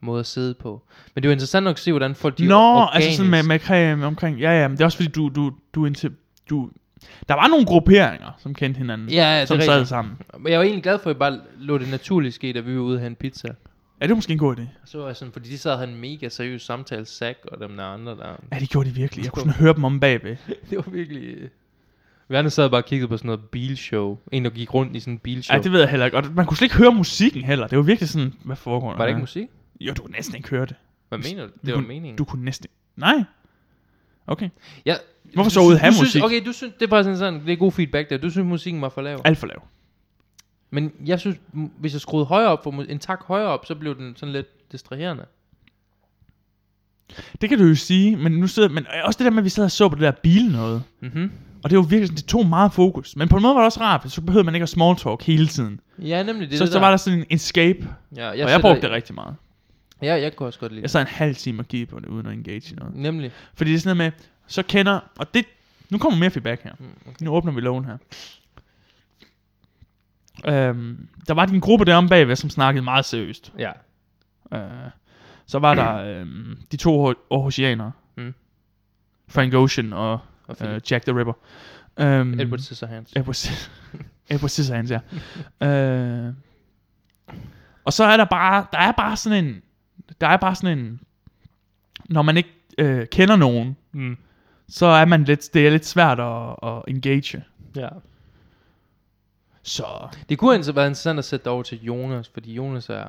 Speaker 1: måde at sidde på? Men det er jo interessant nok at se, hvordan folk de
Speaker 3: Nå,
Speaker 1: organisk...
Speaker 3: altså sådan med, med creme omkring. Ja, ja, men det er også fordi, du, du, du, indtil, du... Der var nogle grupperinger, som kendte hinanden.
Speaker 1: Ja, ja, det er
Speaker 3: som sad
Speaker 1: rigtigt.
Speaker 3: sammen.
Speaker 1: Men jeg var egentlig glad for, at jeg bare lå det naturligt ske, da vi var ude og have en pizza.
Speaker 3: Ja, det var måske en god idé.
Speaker 1: Og så var jeg sådan, fordi de sad og havde en mega seriøs samtale, Zack og dem der andre [laughs] der.
Speaker 3: Ja, det gjorde de virkelig. Jeg kunne sådan høre dem om bagved.
Speaker 1: det var virkelig... øh, Vi andre sad bare og kiggede på sådan noget bilshow. En, der gik rundt i sådan en bilshow.
Speaker 3: Ja, det ved jeg heller ikke. Og man kunne slet ikke høre musikken heller. Det var virkelig sådan, hvad foregår der?
Speaker 1: Var det
Speaker 3: her?
Speaker 1: ikke musik?
Speaker 3: Jo, du kunne næsten ikke høre det.
Speaker 1: Hvad
Speaker 3: Hvis-
Speaker 1: mener du?
Speaker 3: du
Speaker 1: Det var
Speaker 3: kunne-
Speaker 1: meningen.
Speaker 3: Du kunne næsten Nej. Okay.
Speaker 1: ja,
Speaker 3: Hvorfor
Speaker 1: du
Speaker 3: så
Speaker 1: sy-
Speaker 3: ude have
Speaker 1: du synes-
Speaker 3: musik?
Speaker 1: Okay, du synes, det er bare sådan, sådan det er god feedback der. Du synes, musikken var for lav.
Speaker 3: Alt for lav.
Speaker 1: Men jeg synes, m- hvis jeg skruede højere op, for mu- en tak højere op, så blev den sådan lidt distraherende.
Speaker 3: Det kan du jo sige, men nu sidder... Men øh, også det der med, at vi sad og så på det der bil noget.
Speaker 1: Mhm.
Speaker 3: Og det var virkelig sådan, det tog meget fokus. Men på en måde var det også rart, for så behøvede man ikke at small talk hele tiden.
Speaker 1: Ja, nemlig det,
Speaker 3: så,
Speaker 1: det
Speaker 3: så var der sådan en escape,
Speaker 1: Ja, jeg
Speaker 3: jeg og jeg
Speaker 1: sætter-
Speaker 3: brugte det rigtig meget.
Speaker 1: Ja, jeg kunne også godt lide
Speaker 3: Jeg
Speaker 1: det.
Speaker 3: sad en halv time og kiggede på det, uden at engage i noget.
Speaker 1: Nemlig.
Speaker 3: Fordi det er sådan noget med, så kender, og det, nu kommer mere feedback her.
Speaker 1: Mm,
Speaker 3: Okay. Nu åbner vi loven her. Øhm, der var din gruppe derom bagved, som snakkede meget seriøst.
Speaker 1: Ja.
Speaker 3: Øh, så
Speaker 1: [clears throat]
Speaker 3: var der øhm, de to Aar- Aarhusianere.
Speaker 1: Mm.
Speaker 3: Frank Ocean og
Speaker 1: Og fint.
Speaker 3: øh, Jack the Ripper. Øhm,
Speaker 1: Edward Scissorhands.
Speaker 3: Edward,
Speaker 1: [laughs]
Speaker 3: Cis- Edward Scissorhands, ja. øh, og så er der bare, der er bare sådan en, der er bare sådan en, når man ikke øh, kender nogen,
Speaker 1: Mm.
Speaker 3: så er man lidt, det er lidt svært at, at engage.
Speaker 1: Ja.
Speaker 3: Så
Speaker 1: Det kunne altså være interessant at sætte dig over til Jonas, fordi Jonas er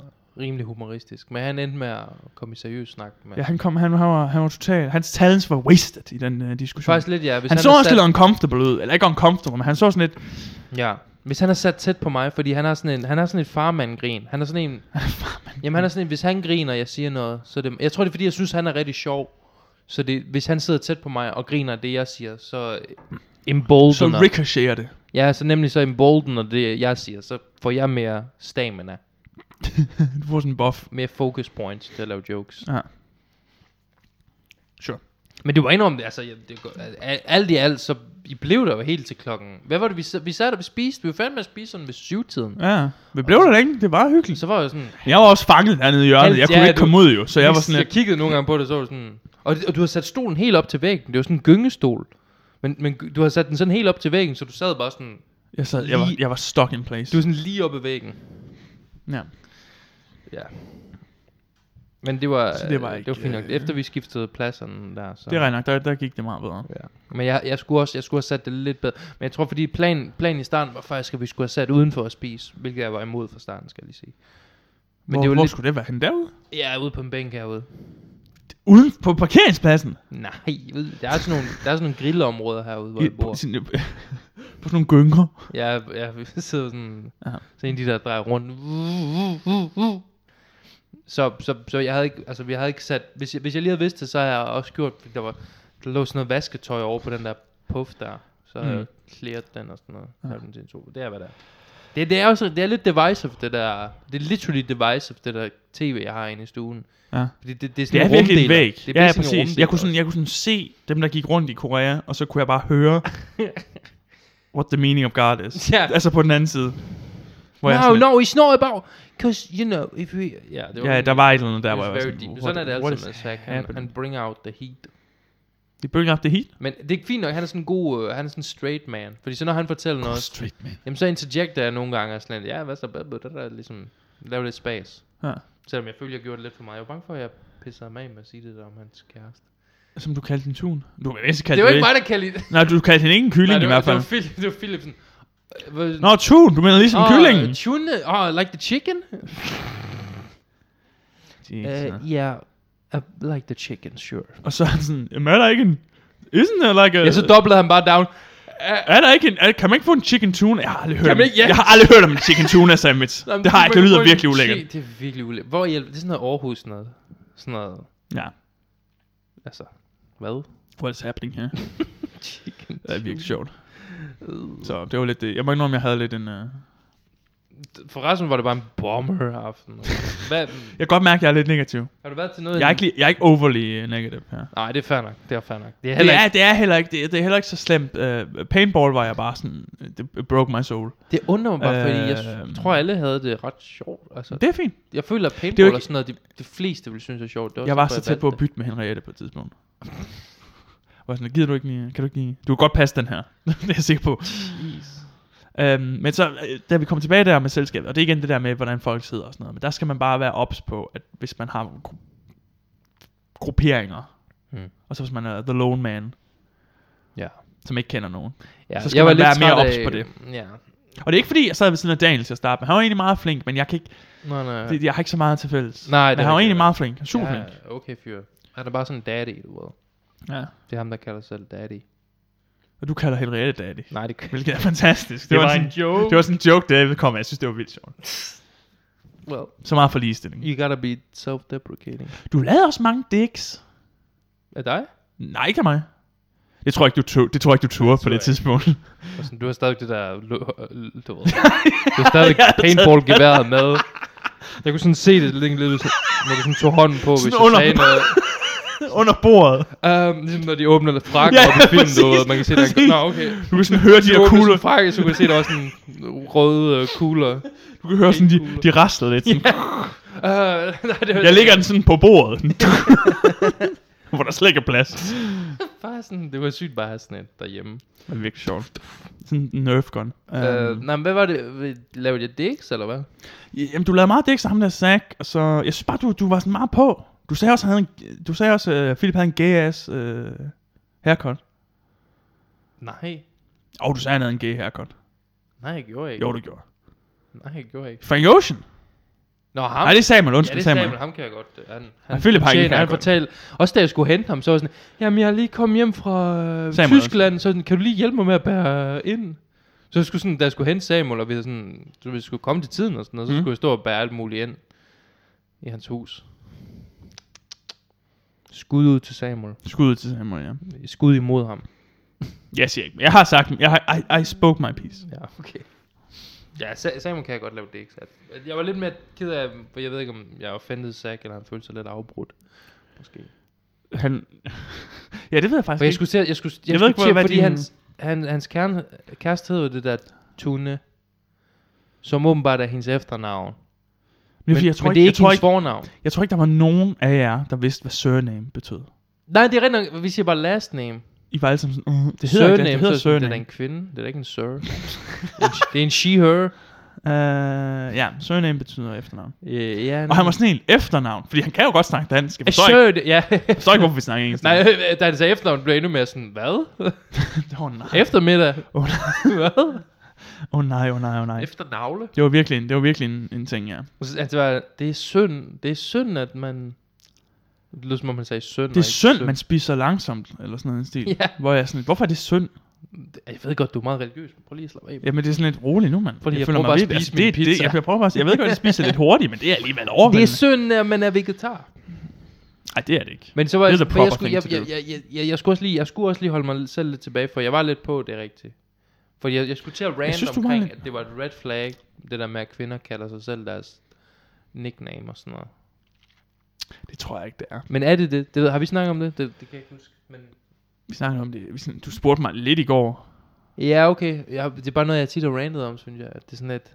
Speaker 1: øh, rimelig humoristisk. Men han endte med at komme i seriøs snak med.
Speaker 3: Ja, han kom, han, han var, han var total, hans talents var wasted i den uh, diskussion.
Speaker 1: Faktisk lidt, ja. Hvis
Speaker 3: han,
Speaker 1: han,
Speaker 3: så
Speaker 1: er
Speaker 3: også
Speaker 1: sat,
Speaker 3: lidt uncomfortable ud, eller ikke uncomfortable, men han så sådan lidt,
Speaker 1: Ja. Hvis han er sat tæt på mig, fordi han har sådan en, han har sådan et farmand-grin. Han er sådan en, jamen han er sådan en, hvis han griner, og jeg siger noget, så er det, jeg tror det er fordi, jeg synes, han er rigtig sjov. Så det, hvis han sidder tæt på mig og griner af det, jeg siger, så øh, emboldener.
Speaker 3: så ricocheter det. [laughs]
Speaker 1: Ja, så nemlig så emboldener det, jeg siger, så får jeg mere stamina,
Speaker 3: Du får sådan en buff.
Speaker 1: mere focus points til at lave jokes.
Speaker 3: Ja. Sure.
Speaker 1: Men det var enormt, altså, jeg, det, går- al- alt i alt, så I blev der jo helt til klokken. Hvad var det, vi, sad- vi sad og vi spiste? Vi var færdige med at spise sådan ved syvtiden.
Speaker 3: Ja, vi blev der længe, det var hyggeligt.
Speaker 1: Så var jeg sådan,
Speaker 3: Jeg var også fanget dernede i hjørnet,
Speaker 1: Halvt-
Speaker 3: jeg kunne
Speaker 1: ja,
Speaker 3: ikke
Speaker 1: du-
Speaker 3: komme ud jo, så jeg var sådan
Speaker 1: jeg
Speaker 3: lidt,
Speaker 1: kiggede nogle gange på det, så var det sådan... Og, det- og du har sat stolen helt op til væggen. Det var sådan en gyngestol. Men, men gy- du har sat den sådan helt op til væggen, så du sad bare sådan...
Speaker 3: jeg, sad, jeg, var, jeg var stuck in place.
Speaker 1: Du var sådan lige oppe ad væggen.
Speaker 3: ja.
Speaker 1: Ja. Men det var,
Speaker 3: Så
Speaker 1: så
Speaker 3: det
Speaker 1: det
Speaker 3: var
Speaker 1: var,
Speaker 3: ikke,
Speaker 1: det var fint nok.
Speaker 3: øh,
Speaker 1: Efter vi skiftede pladserne der, så...
Speaker 3: Det er rigtigt nok, der, der gik det meget bedre.
Speaker 1: Ja. Men jeg, jeg, skulle også, jeg skulle have sat det lidt bedre. Men jeg tror, fordi planen plan i starten var faktisk, at vi skulle have sat udenfor at spise, hvilket jeg var imod fra starten, skal jeg lige sige. Men
Speaker 3: hvor,
Speaker 1: det var
Speaker 3: hvor
Speaker 1: lidt...
Speaker 3: skulle det være henne derude?
Speaker 1: Jeg er ude på en bænk herude.
Speaker 3: Uden på parkeringspladsen?
Speaker 1: Nej, ude- der er sådan nogle, der er sådan nogle grillområder herude, hvor
Speaker 3: I,
Speaker 1: jeg
Speaker 3: på,
Speaker 1: bor.
Speaker 3: sådan, [laughs] på sådan nogle gynger.
Speaker 1: Jeg, jeg [laughs] sidder sådan,
Speaker 3: Ja.
Speaker 1: ja. sådan en af de der drejer rundt. Så, så, så jeg havde ikke, altså vi havde ikke sat, hvis jeg, hvis jeg lige havde vidst det, så havde jeg også gjort, fordi der var, der lå sådan noget vasketøj over på den der puff der, så havde mm.
Speaker 3: Mm.
Speaker 1: jeg klæret den og sådan noget, ja. den til en sofa. Det er hvad det er. Det, det er også, det er lidt divisive det der, det er literally divisive det der tv, jeg har inde i stuen.
Speaker 3: Ja.
Speaker 1: Fordi det, det er
Speaker 3: Det
Speaker 1: sådan
Speaker 3: er virkelig en
Speaker 1: rumdeler.
Speaker 3: væg.
Speaker 1: Det er
Speaker 3: ja, ja,
Speaker 1: basically en
Speaker 3: præcis.
Speaker 1: rumdeler
Speaker 3: Jeg kunne, sådan, jeg kunne sådan se dem, der gik rundt i Korea, og så kunne jeg bare
Speaker 1: [laughs]
Speaker 3: høre, what the meaning of God is.
Speaker 1: Ja.
Speaker 3: Altså på den anden side. Hvor jeg er
Speaker 1: No,
Speaker 3: sådan,
Speaker 1: no, it's not about, cause you know, if we, ja, det var
Speaker 3: Ja,
Speaker 1: sådan-
Speaker 3: der var et eller andet der,
Speaker 1: Det
Speaker 3: hvor
Speaker 1: var
Speaker 3: jeg var
Speaker 1: very
Speaker 3: sådan,
Speaker 1: deep.
Speaker 3: what-
Speaker 1: Sådan er det
Speaker 3: what
Speaker 1: altid med
Speaker 3: is
Speaker 1: Zack. Han, han
Speaker 3: happening?
Speaker 1: bring out the heat.
Speaker 3: Det bølger op det helt.
Speaker 1: Men det er fint nok, han er sådan en god, øh, han er sådan en straight man. Fordi så når han fortæller noget,
Speaker 3: Straight man.
Speaker 1: jamen så interjecter jeg nogle gange og sådan lidt, ja, hvad så, det der ligesom, laver lidt spas.
Speaker 3: Ja.
Speaker 1: Selvom jeg følte, jeg gjorde det lidt for meget. Jeg var bange for, at jeg pissede mig af med at sige det der om hans kæreste.
Speaker 3: Som du kaldte din tun. Du kan næsten
Speaker 1: Det,
Speaker 3: kalde
Speaker 1: var
Speaker 3: det.
Speaker 1: ikke mig, der kaldte det.
Speaker 3: Nej, du kaldte hende ikke en
Speaker 1: Nej,
Speaker 3: kylling
Speaker 1: det
Speaker 3: i
Speaker 1: var,
Speaker 3: hvert
Speaker 1: det
Speaker 3: fald.
Speaker 1: var, Phil, det var Philipsen. Øh, hvad-
Speaker 3: Nå, tun. Du mener ligesom
Speaker 1: Åh,
Speaker 3: kyllingen.
Speaker 1: Tune, oh, like the chicken?
Speaker 3: Jesus.
Speaker 1: Uh, yeah, uh, like the chicken, sure.
Speaker 3: Og så er han sådan, jamen er der ikke en... Isn't there like a...
Speaker 1: Ja, så doblede han bare down.
Speaker 3: er der ikke en... Er, kan man ikke få en chicken tuna? Jeg har aldrig hørt
Speaker 1: Kan
Speaker 3: om,
Speaker 1: man ikke- ja.
Speaker 3: jeg har aldrig hørt om en chicken tuna sandwich.
Speaker 1: Jamen,
Speaker 3: det har jeg ikke. Det
Speaker 1: man
Speaker 3: lyder
Speaker 1: kan få
Speaker 3: virkelig
Speaker 1: en
Speaker 3: ulækkert.
Speaker 1: chi- Det er virkelig ulækkert. Hvor hjælp? Det er sådan noget Aarhus sådan noget. Sådan noget.
Speaker 3: Ja.
Speaker 1: Altså, hvad?
Speaker 3: What's happening her?
Speaker 1: [laughs] Chicken.
Speaker 3: Det er virkelig sjovt. Så det var lidt det. Jeg må ikke om jeg havde lidt en... Uh...
Speaker 1: For resten var det bare en bomber aften. Hvad,
Speaker 3: Jeg kan godt mærke, at jeg er lidt negativ.
Speaker 1: har du været til noget?
Speaker 3: Jeg er ikke, li- jeg er ikke overly øh, negative her.
Speaker 1: Nej, det er fair nok. Det er fair nok. Det er
Speaker 3: Det
Speaker 1: heller
Speaker 3: er,
Speaker 1: ikke.
Speaker 3: det er heller ikke, det er, det er heller ikke så slemt. Uh, paintball var jeg bare sådan, øh, det it broke my soul.
Speaker 1: Det undrer mig bare, fordi jeg s-
Speaker 3: Øhm.
Speaker 1: tror, alle havde det ret sjovt. Altså,
Speaker 3: Det er fint.
Speaker 1: jeg føler, at
Speaker 3: Det er jo
Speaker 1: paintball
Speaker 3: ikke-
Speaker 1: og sådan noget, de, de fleste ville synes er sjovt. Det
Speaker 3: Jeg var
Speaker 1: derfor,
Speaker 3: så tæt
Speaker 1: valgte
Speaker 3: på at
Speaker 1: det.
Speaker 3: bytte med Henriette på et tidspunkt. Var sådan, gider du ikke lige, kan du ikke lige, du kan godt passe den her. [laughs] det er jeg sikker på. Øhm, men så, øh, da vi kom tilbage der med selskabet, og det er igen det der med, hvordan folk sidder og sådan noget, men der skal man bare være ops på, at hvis man har gru- grupperinger,
Speaker 1: Mm.
Speaker 3: og så hvis man er the lone man,
Speaker 1: Ja.
Speaker 3: som ikke kender nogen.
Speaker 1: ja.
Speaker 3: Så skal man være mere
Speaker 1: træt
Speaker 3: ops
Speaker 1: af-
Speaker 3: på det.
Speaker 1: Ja.
Speaker 3: Og det er ikke fordi, jeg sad ved siden af Daniel til at starte med. Han var egentlig meget flink, men jeg, kan ikke,
Speaker 1: Nå, nej.
Speaker 3: det, jeg har ikke så meget til fælles.
Speaker 1: Nej, det
Speaker 3: men
Speaker 1: er
Speaker 3: han var
Speaker 1: rigtigt.
Speaker 3: egentlig meget flink. Super flink.
Speaker 1: Ja, okay fyr. Han er bare sådan en daddy, du ved.
Speaker 3: Ja.
Speaker 1: Det er ham, der kalder sig selv daddy.
Speaker 3: Og du kalder Henriette daddy.
Speaker 1: Nej, det, det,
Speaker 3: Hvilket er fantastisk. Det, var, sådan,
Speaker 1: joke.
Speaker 3: det var sådan en joke, David kom med. Jeg synes, det var vildt sjovt.
Speaker 1: Well,
Speaker 3: Så meget for ligestilling.
Speaker 1: you gotta be self-deprecating.
Speaker 3: Du lavede også mange dicks.
Speaker 1: Er dig?
Speaker 3: Nej, ikke af mig. Det tror jeg ikke, du tog, det tror jeg ikke, du turde på
Speaker 1: tror
Speaker 3: det
Speaker 1: jeg
Speaker 3: tidspunkt.
Speaker 1: Og sådan, du har stadig det der... lo- øh, Du,
Speaker 3: [laughs]
Speaker 1: ved. du har stadig paintball-geværet med. Jeg kunne sådan se det lidt, lidt så- når du sådan tog hånden på, hvis
Speaker 3: Sådan
Speaker 1: jeg
Speaker 3: under-
Speaker 1: sagde noget.
Speaker 3: [laughs] Under bordet.
Speaker 1: Um, ligesom når de åbner lidt frakker
Speaker 3: Ja,
Speaker 1: ja, op i filmen, du
Speaker 3: præcis,
Speaker 1: ved, man kan se der...
Speaker 3: præcis.
Speaker 1: Nå, okay.
Speaker 3: Du kan sådan høre de
Speaker 1: De
Speaker 3: der
Speaker 1: åbner
Speaker 3: kugler.
Speaker 1: sådan frakke, så du kan se, der var sådan røde øh, kugler.
Speaker 3: Du kan høre sådan, de,
Speaker 1: kugler.
Speaker 3: de rasler lidt. Sådan.
Speaker 1: Uh, [laughs] nej, det var
Speaker 3: Jeg ligger den sådan på [laughs] bordet. Hvor der slet ikke er plads.
Speaker 1: bare sådan, det var sygt bare at have sådan et derhjemme.
Speaker 3: Det er virkelig sjovt. Sådan en nerf gun. Um,
Speaker 1: Uh, nej, men hvad var det? Lavede jeg dicks, eller hvad?
Speaker 3: Jamen, du lavede meget dæk sammen der Zack, og så... Jeg synes bare, du, du var sådan meget på. Du sagde også, han havde en, du sagde også uh, Philip havde en gay-ass uh, haircut.
Speaker 1: Nej.
Speaker 3: Og oh, du sagde, han havde en gay haircut.
Speaker 1: Nej, jeg gjorde ikke.
Speaker 3: Jo, du gjorde.
Speaker 1: Nej, jeg gjorde ikke.
Speaker 3: Frank Ocean?
Speaker 1: Nå, ham?
Speaker 3: Nej, det sagde man. Undskyld,
Speaker 1: ja, det
Speaker 3: sagde
Speaker 1: sagde
Speaker 3: man.
Speaker 1: man. Ham kan jeg godt. øh, Han,
Speaker 3: Ja, Philip har ikke-
Speaker 1: tjener, han
Speaker 3: kan jeg
Speaker 1: fortalte, også da jeg skulle hente ham, så var jeg sådan, jamen jeg er lige kommet hjem fra øh,
Speaker 3: Samuel
Speaker 1: Tyskland, så sådan, kan du lige hjælpe mig med at bære øh, ind? Så jeg skulle sådan, da jeg skulle hente Samuel, og vi, havde sådan, så vi skulle komme til tiden og sådan noget, så
Speaker 3: Mm.
Speaker 1: skulle jeg stå og bære alt muligt ind i hans hus. Skud ud til Samuel.
Speaker 3: Skud til Samuel, ja.
Speaker 1: Skud imod ham.
Speaker 3: Jeg siger ikke. Jeg har sagt, jeg har, I, I spoke my piece.
Speaker 1: Ja, okay. Ja, Sa- Samuel kan jeg godt lave det, ikke sandt? Jeg var lidt mere ked af, for jeg ved ikke, om jeg offendede Zach, eller han følte sig lidt afbrudt. Måske.
Speaker 3: Han... [laughs] ja, det ved jeg faktisk
Speaker 1: For jeg
Speaker 3: ikke.
Speaker 1: skulle til, at- jeg skulle, jeg,
Speaker 3: Altså, Jeg ved
Speaker 1: jeg skulle
Speaker 3: ikke,
Speaker 1: til,
Speaker 3: hvad
Speaker 1: at- fordi
Speaker 3: din-
Speaker 1: hans, han, hans kerne, kæreste hedder jo det der Tune, som åbenbart er hendes efternavn.
Speaker 3: Men,
Speaker 1: Men,
Speaker 3: men, jeg, tror
Speaker 1: men det er
Speaker 3: ikke,
Speaker 1: ikke
Speaker 3: jeg, tror
Speaker 1: hendes
Speaker 3: ikke,
Speaker 1: fornavn.
Speaker 3: jeg tror ikke, der var nogen af jer, der vidste, hvad surname betød.
Speaker 1: Nej, det er rigtig nok, vi siger bare last name.
Speaker 3: I var alle sammen sådan, uh, det hedder
Speaker 1: surname,
Speaker 3: ikke det, det hedder
Speaker 1: så er det sådan, det er da
Speaker 3: surname.
Speaker 1: en kvinde, det er da ikke en sir. det er en she-her.
Speaker 3: Uh, ja, surname betyder efternavn.
Speaker 1: Øh, ja,
Speaker 3: Og han var sådan en efternavn, fordi han kan jo godt snakke dansk. Jeg
Speaker 1: Jeg
Speaker 3: forstår,
Speaker 1: så
Speaker 3: ikke,
Speaker 1: det, ja.
Speaker 3: jeg forstår ikke, hvorfor vi snakker engelsk.
Speaker 1: Nej, øh, da han sagde efternavn, blev jeg endnu mere sådan, hvad?
Speaker 3: Åh oh, nej,
Speaker 1: Eftermiddag?
Speaker 3: Åh,
Speaker 1: hvad?
Speaker 3: åh oh, nej, åh oh, nej, åh oh, nej.
Speaker 1: Efternavle?
Speaker 3: Det var virkelig, en, det var virkelig en, en ting, ja.
Speaker 1: Og så- Altså, det var- det er synd, det er synd, at man... Det lyder som om, man sagde synd.
Speaker 3: Det er synd, man spiser langsomt, eller sådan noget i den [laughs] stil.
Speaker 1: Ja.
Speaker 3: Hvor jeg er sådan lidt, hvorfor er det synd?
Speaker 1: Jeg ved godt, du er meget religiøs, men prøv lige at slappe af.
Speaker 3: Jamen det er sådan lidt roligt nu, mand.
Speaker 1: Fordi jeg prøver bare at
Speaker 3: vildt-
Speaker 1: spise min
Speaker 3: altså, det,
Speaker 1: pizza.
Speaker 3: Det, jeg, jeg prøver bare, at- jeg ved godt, jeg spiser lidt hurtigt, men det er alligevel
Speaker 1: Det er
Speaker 3: overvældende.
Speaker 1: synd, at man er vegetar.
Speaker 3: Nej, det er det ikke.
Speaker 1: Men så var
Speaker 3: Det er
Speaker 1: jeg,
Speaker 3: the
Speaker 1: for jeg,
Speaker 3: proper
Speaker 1: skulle,
Speaker 3: thing
Speaker 1: jeg,
Speaker 3: to
Speaker 1: jeg,
Speaker 3: do.
Speaker 1: jeg, jeg, jeg, jeg, skulle også lige, jeg skulle også lige holde mig selv lidt tilbage, for jeg var lidt på, det er rigtigt. For jeg, jeg skulle til at rant
Speaker 3: synes, du var
Speaker 1: omkring,
Speaker 3: lidt-
Speaker 1: at det var et red flag, det der med, at kvinder kalder sig selv deres nickname og sådan noget.
Speaker 3: Det tror jeg ikke, det er.
Speaker 1: Men er det det? det ved, har vi snakket om det? det? Det kan jeg ikke huske. Men
Speaker 3: Vi snakkede om det. Vi sådan, du spurgte mig lidt i går.
Speaker 1: Ja, okay. Jeg, det er bare noget, jeg tit har rantet om, synes jeg. At det er sådan lidt...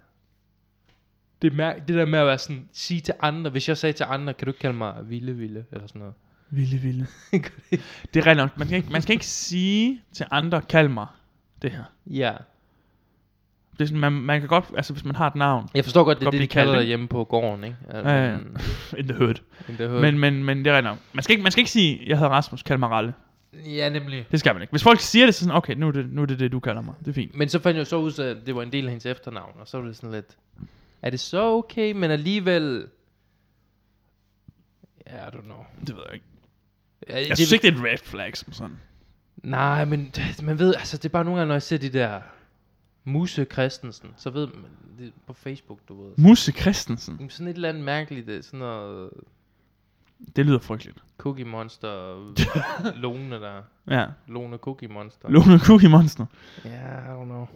Speaker 1: Det, mær- det der med at være sådan, sige til andre, hvis jeg sagde til andre, kan du ikke kalde mig Ville Ville, eller sådan noget. [laughs]
Speaker 3: Ville, ville. Det er rigtigt nok. Man skal, ikke, man skal ikke sige til andre, kald mig det her.
Speaker 1: ja.
Speaker 3: Det er sådan, man, man kan godt, altså hvis man har et navn,
Speaker 1: Jeg forstår godt, det er
Speaker 3: Godt
Speaker 1: det, de
Speaker 3: blive kaldt,
Speaker 1: kalder dig
Speaker 3: ikke?
Speaker 1: hjemme på gården, ikke? Altså,
Speaker 3: Ja, ja.
Speaker 1: mm,
Speaker 3: in the hood.
Speaker 1: men det hører-
Speaker 3: Men, men, men det er rigtigt nok. Man skal ikke, man skal ikke sige, jeg hedder Rasmus, kald mig Ralle.
Speaker 1: Ja, nemlig.
Speaker 3: Det skal man ikke. Hvis folk siger det, så sådan, okay, nu er det nu er det, det, du kalder mig. Det er fint.
Speaker 1: Men så fandt jeg så ud, at det var en del af hendes efternavn, og så var det sådan lidt... Er det så okay, men alligevel... Ja, I don't know.
Speaker 3: Det ved jeg ikke.
Speaker 1: Ja,
Speaker 3: Jeg synes ikke, det er et red flag som sådan.
Speaker 1: Nej, men det- man ved, altså det er bare nogle gange, når jeg ser de der Muse Christensen, så ved man, det er på Facebook, du ved.
Speaker 3: Musse Christensen.
Speaker 1: Jamen, Sådan et eller andet mærkeligt, det er sådan noget
Speaker 3: Det lyder frygteligt.
Speaker 1: Cookie
Speaker 3: [laughs]
Speaker 1: Monster, Lone der,
Speaker 3: Ja.
Speaker 1: Lone Cookie Monster.
Speaker 3: Lone Cookie Monster.
Speaker 1: Ja, I don't know.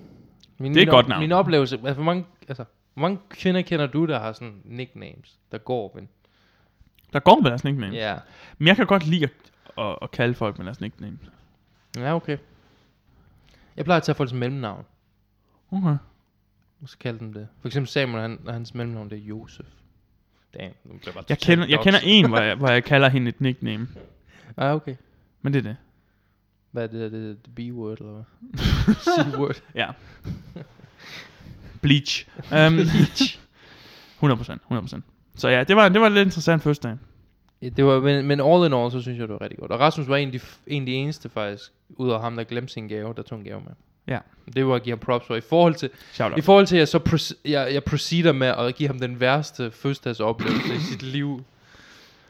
Speaker 1: Min,
Speaker 3: Det er et
Speaker 1: min
Speaker 3: godt navn.
Speaker 1: Min oplevelse, altså, hvor mange, altså, hvor mange kvinder kender du, der har sådan nicknames, der går men
Speaker 3: Der går med deres nickname.
Speaker 1: Ja.
Speaker 3: Men jeg kan godt lide at, at, at kalde folk med deres nickname.
Speaker 1: Ja, okay. Jeg plejer at tage folks mellemnavn,
Speaker 3: Okay.
Speaker 1: og så kalde dem det. For eksempel Samuel, han, hans mellemnavn, det er Josef. Damn, nu bliver jeg bare
Speaker 3: Jeg
Speaker 1: totalt
Speaker 3: kender, jeg
Speaker 1: doxet.
Speaker 3: kender en, hvor jeg, hvor jeg kalder hende et nickname.
Speaker 1: Ah, okay.
Speaker 3: Men det er det.
Speaker 1: Hvad er det der? Det er the B-word, eller hvad? [laughs] C-word.
Speaker 3: Ja.
Speaker 1: [laughs]
Speaker 3: Bleach. Um, 100%, 100%. Så ja, det var, det var lidt interessant første dag.
Speaker 1: Ja, det var, men, men all in all, så synes jeg, det var rigtig godt. Og Rasmus var en af de, f- en af de eneste, faktisk, ud af ham, der glemte sin gave, der tog en gave med.
Speaker 3: Ja.
Speaker 1: Det var at give ham props for. I forhold til,
Speaker 3: Shout out.
Speaker 1: i forhold til at jeg så proce- jeg, jeg proceder med at give ham den værste fødselsdagsoplevelse i sit liv.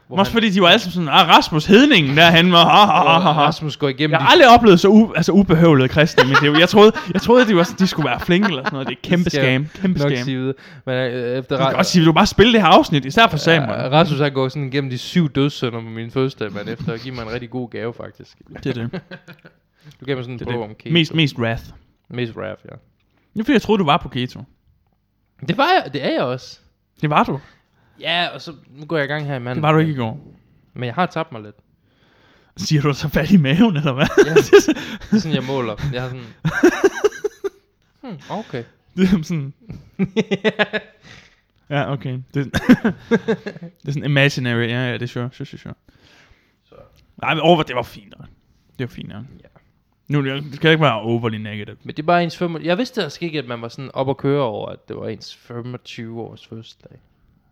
Speaker 1: Hvor
Speaker 3: Også fordi de var alle sammen sådan, ah, Rasmus Hedningen, der han var, ah, ah, ah,
Speaker 1: hvor
Speaker 3: ah, ah.
Speaker 1: Rasmus går igennem
Speaker 3: Jeg har aldrig oplevet så u, altså ubehøvlet kristne i mit liv. Jeg troede, jeg troede at de, var, sådan- de skulle være flinke eller sådan noget. Det er kæmpe
Speaker 1: Skal jeg
Speaker 3: scam. Kæmpe
Speaker 1: de nok
Speaker 3: scam.
Speaker 1: sige videre. Men øh, efter
Speaker 3: Du kan
Speaker 1: Ra-
Speaker 3: også sige, vil du bare spille det her afsnit, især for Samuel.
Speaker 1: Ja, Rasmus han går sådan igennem de syv dødssynder på min fødselsdag, men efter at give mig en rigtig god gave, faktisk.
Speaker 3: Det er det.
Speaker 1: Du gav mig sådan en
Speaker 3: Det
Speaker 1: bog
Speaker 3: er
Speaker 1: om
Speaker 3: det.
Speaker 1: kage.
Speaker 3: Mest, mest wrath.
Speaker 1: Mest rap, ja.
Speaker 3: Nu fordi jeg troede, du var på keto.
Speaker 1: Det var jeg, det er jeg også.
Speaker 3: Det var du.
Speaker 1: Ja, og så nu går jeg i gang her i manden.
Speaker 3: Det var du ikke i går.
Speaker 1: Men jeg har tabt mig lidt.
Speaker 3: Siger du så fat i maven, eller hvad?
Speaker 1: Ja. Det er sådan, jeg måler. Jeg har sådan... Hmm,
Speaker 3: [laughs]
Speaker 1: okay.
Speaker 3: [laughs] Det er sådan... ja, okay. Det, er- [laughs] det er sådan imaginary. Ja, ja, det er sure, sure, sure, sure.
Speaker 1: Så.
Speaker 3: Nej, men over, det var fint nok. Det var fint nok.
Speaker 1: Ja.
Speaker 3: Nu det det skal ikke være overly negative.
Speaker 1: Men det er bare ens 25... Jeg vidste altså ikke, at man var sådan op og køre over, at det var ens 25 års fødselsdag.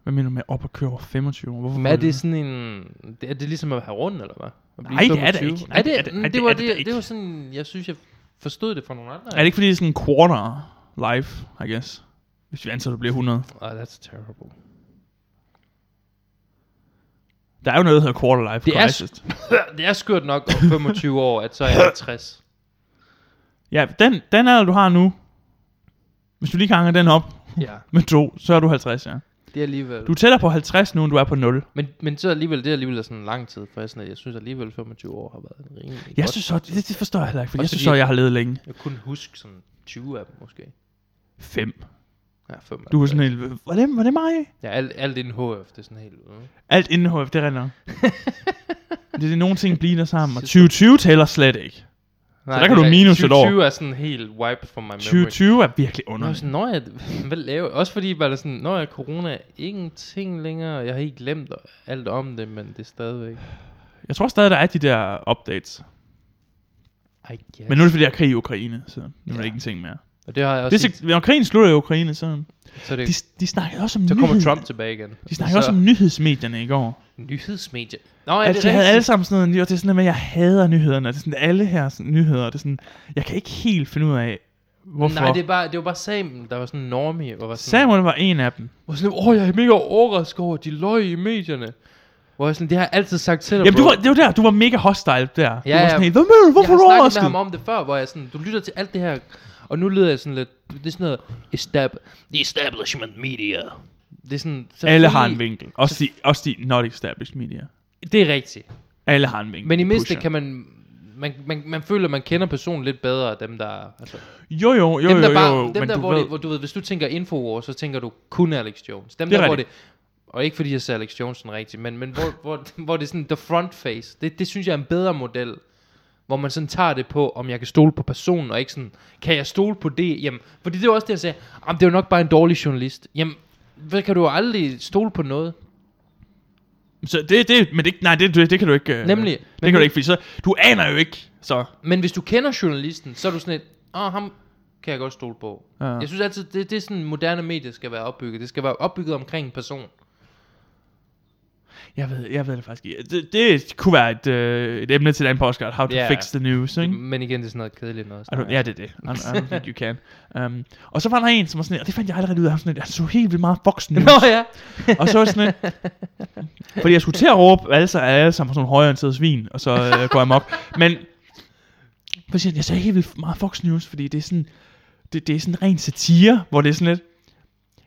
Speaker 3: Hvad mener du med op og køre over 25 år? Hvorfor
Speaker 1: Men er det sådan en... det- Er det ligesom at have rundt, eller hvad? At blive
Speaker 3: Nej, det er det
Speaker 1: 25?
Speaker 3: ikke.
Speaker 1: Er det,
Speaker 3: Er det- er
Speaker 1: det,
Speaker 3: det-
Speaker 1: var
Speaker 3: er det da
Speaker 1: det,
Speaker 3: ikke.
Speaker 1: det var sådan... Jeg synes, jeg forstod det fra nogle andre.
Speaker 3: er det ikke fordi, det er sådan en quarter life, I guess? Hvis vi antager, du bliver 100.
Speaker 1: Oh, that's terrible. [laughs]
Speaker 3: Der er jo noget, der hedder quarter life
Speaker 1: Det er
Speaker 3: crisis.
Speaker 1: det er skørt nok om 25 år, at så er jeg
Speaker 3: [laughs]
Speaker 1: 50.
Speaker 3: Ja, den, den alder, du har nu, hvis du lige ganger den op
Speaker 1: Ja,
Speaker 3: med to, så er du 50, ja.
Speaker 1: det er alligevel...
Speaker 3: Du er tættere på 50 nu, end du er på 0.
Speaker 1: Men, men så alligevel, det er alligevel sådan lang tid, for jeg, sådan, at jeg synes alligevel 25 år har været en rimelig
Speaker 3: Jeg
Speaker 1: godt.
Speaker 3: synes så, det, det forstår jeg heller ikke, for
Speaker 1: Også
Speaker 3: jeg synes
Speaker 1: fordi-
Speaker 3: så, jeg har levet længe.
Speaker 1: Jeg kunne huske sådan 20 af dem måske.
Speaker 3: 5.
Speaker 1: Ja, 5
Speaker 3: Du er sådan helt, var det, var det mig?
Speaker 1: Ja, alt, alt inden HF, det er sådan helt... Øh.
Speaker 3: Alt inden HF,
Speaker 1: [laughs]
Speaker 3: det render. det er nogle ting bliner sammen, og 2020 tæller slet ikke.
Speaker 1: Nej,
Speaker 3: der kan
Speaker 1: det
Speaker 3: du
Speaker 1: er-
Speaker 3: minus et år.
Speaker 1: 2020 er sådan helt wiped from my memory.
Speaker 3: 2020 er virkelig
Speaker 1: Nå,
Speaker 3: under.
Speaker 1: sådan, når jeg, hvad laver Også fordi, bare sådan, når jeg corona, ingenting længere, jeg har helt glemt alt om det, men det er stadigvæk...
Speaker 3: Jeg tror stadig, der er de der updates.
Speaker 1: I guess.
Speaker 3: Men nu er det, fordi der er krig i Ukraine, så nu er der
Speaker 1: Ja.
Speaker 3: ikke en ting mere.
Speaker 1: Og det har jeg også
Speaker 3: Det er så, når krigen slutter i Ukraine, så...
Speaker 1: set, så, det,
Speaker 3: De, de snakkede også om
Speaker 1: så kommer
Speaker 3: nyhed-
Speaker 1: Trump tilbage igen.
Speaker 3: De snakkede også om nyhedsmedierne i går.
Speaker 1: Nyhedsmedie. Nå, ja,
Speaker 3: Ja,
Speaker 1: det
Speaker 3: altså,
Speaker 1: er
Speaker 3: jeg havde alle
Speaker 1: rigtigt.
Speaker 3: sammen sådan noget, og det er sådan noget med, at jeg hader nyhederne. Det er sådan, alle her sådan, nyheder, det er sådan, jeg kan ikke helt finde ud af, hvorfor.
Speaker 1: Nej, det, er bare, det var bare Samuel, der var sådan en normie. Og var sådan,
Speaker 3: Samuel var en af dem.
Speaker 1: Og sådan, åh, jeg er mega overrasket over, at de løg i medierne. Hvor jeg sådan, det har jeg altid sagt til dig,
Speaker 3: Jamen,
Speaker 1: bro.
Speaker 3: du var, det var der, du var mega hostile der. Ja, du
Speaker 1: Ja,
Speaker 3: var
Speaker 1: ja.
Speaker 3: sådan helt, hvad mener du, hvorfor
Speaker 1: jeg har snakket
Speaker 3: overrasket?
Speaker 1: med ham om det før, hvor jeg sådan, du lytter til alt det her, og nu lyder jeg sådan lidt, det er sådan noget, estab the establishment media. Det er sådan, så
Speaker 3: Alle har
Speaker 1: fordi-
Speaker 3: en vinkel. Også de, også de not established media.
Speaker 1: Det er rigtigt.
Speaker 3: Alle har en vinkel.
Speaker 1: Men i
Speaker 3: de
Speaker 1: mindste
Speaker 3: pusher.
Speaker 1: kan man, man, man, man føler, man kender personen lidt bedre, af dem der, altså,
Speaker 3: Jo, jo, jo,
Speaker 1: dem,
Speaker 3: jo,
Speaker 1: der
Speaker 3: jo,
Speaker 1: bare,
Speaker 3: jo,
Speaker 1: dem
Speaker 3: men
Speaker 1: der,
Speaker 3: du
Speaker 1: hvor,
Speaker 3: ved...
Speaker 1: det, hvor du ved, hvis du tænker Infowars, så tænker du kun Alex Jones. Dem
Speaker 3: Det er
Speaker 1: der, hvor det,
Speaker 3: rigtigt.
Speaker 1: og ikke fordi jeg ser Alex Jones sådan rigtigt, men, men hvor, [laughs] hvor, hvor det er sådan the front face, det, det synes jeg er en bedre model, hvor man sådan tager det på, om jeg kan stole på personen, og ikke sådan, kan jeg stole på det? Jamen, fordi det er jo også det, jeg sagde, jamen, det er jo nok bare en dårlig journalist. Jamen, hvad kan du jo aldrig stole på noget?
Speaker 3: Så det, det, men det, nej, det, det, det kan du ikke... øh,
Speaker 1: Nemlig.
Speaker 3: Det
Speaker 1: Men
Speaker 3: kan du
Speaker 1: nu-
Speaker 3: ikke, fordi så, du aner jo ikke, så...
Speaker 1: Men hvis du kender journalisten, så er du sådan et, åh, ham kan jeg godt stole på.
Speaker 3: Ja.
Speaker 1: Ja. Jeg synes altid, det, det er sådan, moderne medier skal være opbygget. Det skal være opbygget omkring en person.
Speaker 3: Jeg ved, jeg ved det faktisk ikke. Det, det kunne være et, øh, et emne til den podcast, how to
Speaker 1: Ja.
Speaker 3: yeah. fix the news, ikke?
Speaker 1: Men igen, det er sådan noget kedeligt noget.
Speaker 3: I don't, ja, det er det. I don't, I don't think you can. Um, og så var der en, som var sådan, og det fandt jeg aldrig ud af, han, var sådan, han så helt vildt meget Fox News.
Speaker 1: Nå ja.
Speaker 3: og så var jeg sådan, lidt- fordi jeg skulle til at råbe, altså er alle sammen sådan nogle højorienterede svin, og så øh, går jeg mig op. Men så siger han, jeg sagde helt vildt meget Fox News, fordi det er sådan, det, det er sådan ren satire, hvor det er sådan lidt,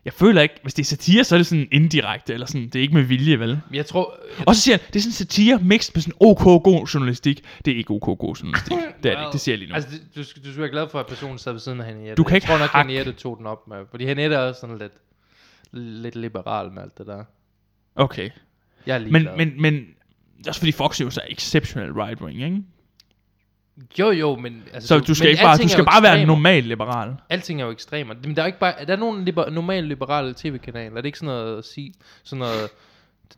Speaker 3: jeg føler ikke, hvis det er satire, så er det sådan indirekte, eller sådan, det er ikke med vilje, vel?
Speaker 1: Jeg tror...
Speaker 3: Og så siger han, det er sådan satire mixed med sådan ok god journalistik. Det er ikke ok god
Speaker 1: [laughs]
Speaker 3: journalistik. Det er det ikke, det siger jeg lige nu.
Speaker 1: Altså, det- du, skal- du skal være glad for, at personen sad ved siden af Henriette.
Speaker 3: Du kan
Speaker 1: jeg
Speaker 3: ikke
Speaker 1: tror nok,
Speaker 3: hakke-
Speaker 1: Henriette tog den op med. Fordi Henriette er også sådan lidt, lidt liberal med alt det der.
Speaker 3: Okay.
Speaker 1: Jeg er ligeglad.
Speaker 3: Men, men, men, det er også fordi Fox News er exceptional right wing, ikke?
Speaker 1: jo, jo, men... Altså,
Speaker 3: Så du skal,
Speaker 1: men
Speaker 3: ikke bare,
Speaker 1: alting er
Speaker 3: du skal
Speaker 1: jo
Speaker 3: bare være
Speaker 1: ekstremer.
Speaker 3: normal liberal.
Speaker 1: Alting er jo ekstremer. Men der er, jo ikke bare, der er nogle liber, normale liberale tv-kanaler. Er det ikke sådan noget at sige? Sådan noget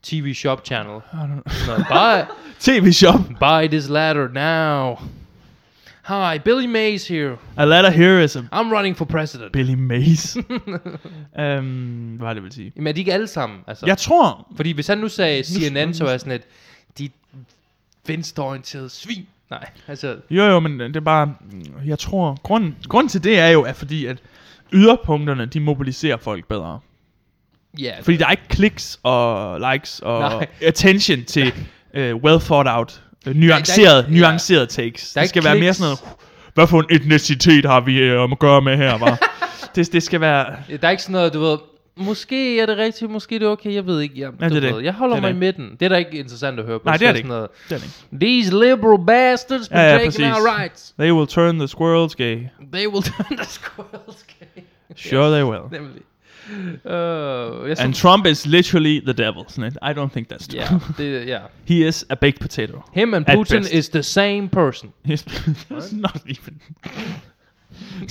Speaker 1: TV Shop Channel. Sådan noget, buy,
Speaker 3: TV-shop.
Speaker 1: buy this ladder now. Hi, Billy Mays here.
Speaker 3: A letter here is a
Speaker 1: I'm running for president.
Speaker 3: Billy
Speaker 1: [laughs]
Speaker 3: Mays. um, hvad har det vil sige?
Speaker 1: Jamen er de ikke alle sammen? Altså?
Speaker 3: Jeg tror,
Speaker 1: Fordi hvis han nu sagde CNN,
Speaker 3: nu-
Speaker 1: så var jeg sådan et, de venstreorienterede svin. Nej, altså,
Speaker 3: jo jo, men det er bare, jeg tror, grund, grund til det er jo, at fordi at yderpunkterne, de mobiliserer folk bedre.
Speaker 1: ja.
Speaker 3: Fordi der er ikke kliks og likes og
Speaker 1: Nej.
Speaker 3: attention til uh, well thought out, uh, nuanceret,
Speaker 1: ikke- ja.
Speaker 3: nuanceret takes.
Speaker 1: Der er
Speaker 3: det
Speaker 1: ikke
Speaker 3: skal være mere
Speaker 1: kliks.
Speaker 3: sådan noget, hvad for en etnicitet har vi øh, om at gøre med
Speaker 1: [laughs]
Speaker 3: her, var? det, det skal være...
Speaker 1: Der er ikke sådan noget, du ved, måske er det rigtigt, måske er det okay, jeg ved ikke. Jeg,
Speaker 3: Ja, det er
Speaker 1: du
Speaker 3: det.
Speaker 1: Ved, jeg holder
Speaker 3: Det
Speaker 1: mig
Speaker 3: er
Speaker 1: i
Speaker 3: det.
Speaker 1: midten. Det er da ikke interessant at høre på.
Speaker 3: Nej,
Speaker 1: Så
Speaker 3: det er
Speaker 1: sådan
Speaker 3: det ikke.
Speaker 1: Noget,
Speaker 3: Det er det ikke.
Speaker 1: These liberal bastards been
Speaker 3: Ja, ja,
Speaker 1: taking
Speaker 3: præcis.
Speaker 1: our rights.
Speaker 3: They will turn the squirrels gay.
Speaker 1: They will turn the squirrels gay. [laughs]
Speaker 3: Sure they will.
Speaker 1: Nemlig. Uh, jeg så,
Speaker 3: And Trump is literally the devil. Sådan et. I don't think that's true.
Speaker 1: ja, det, ja.
Speaker 3: [laughs] He is a baked potato. [laughs]
Speaker 1: Him and
Speaker 3: At
Speaker 1: Putin
Speaker 3: best.
Speaker 1: is the same person.
Speaker 3: He's that's not even...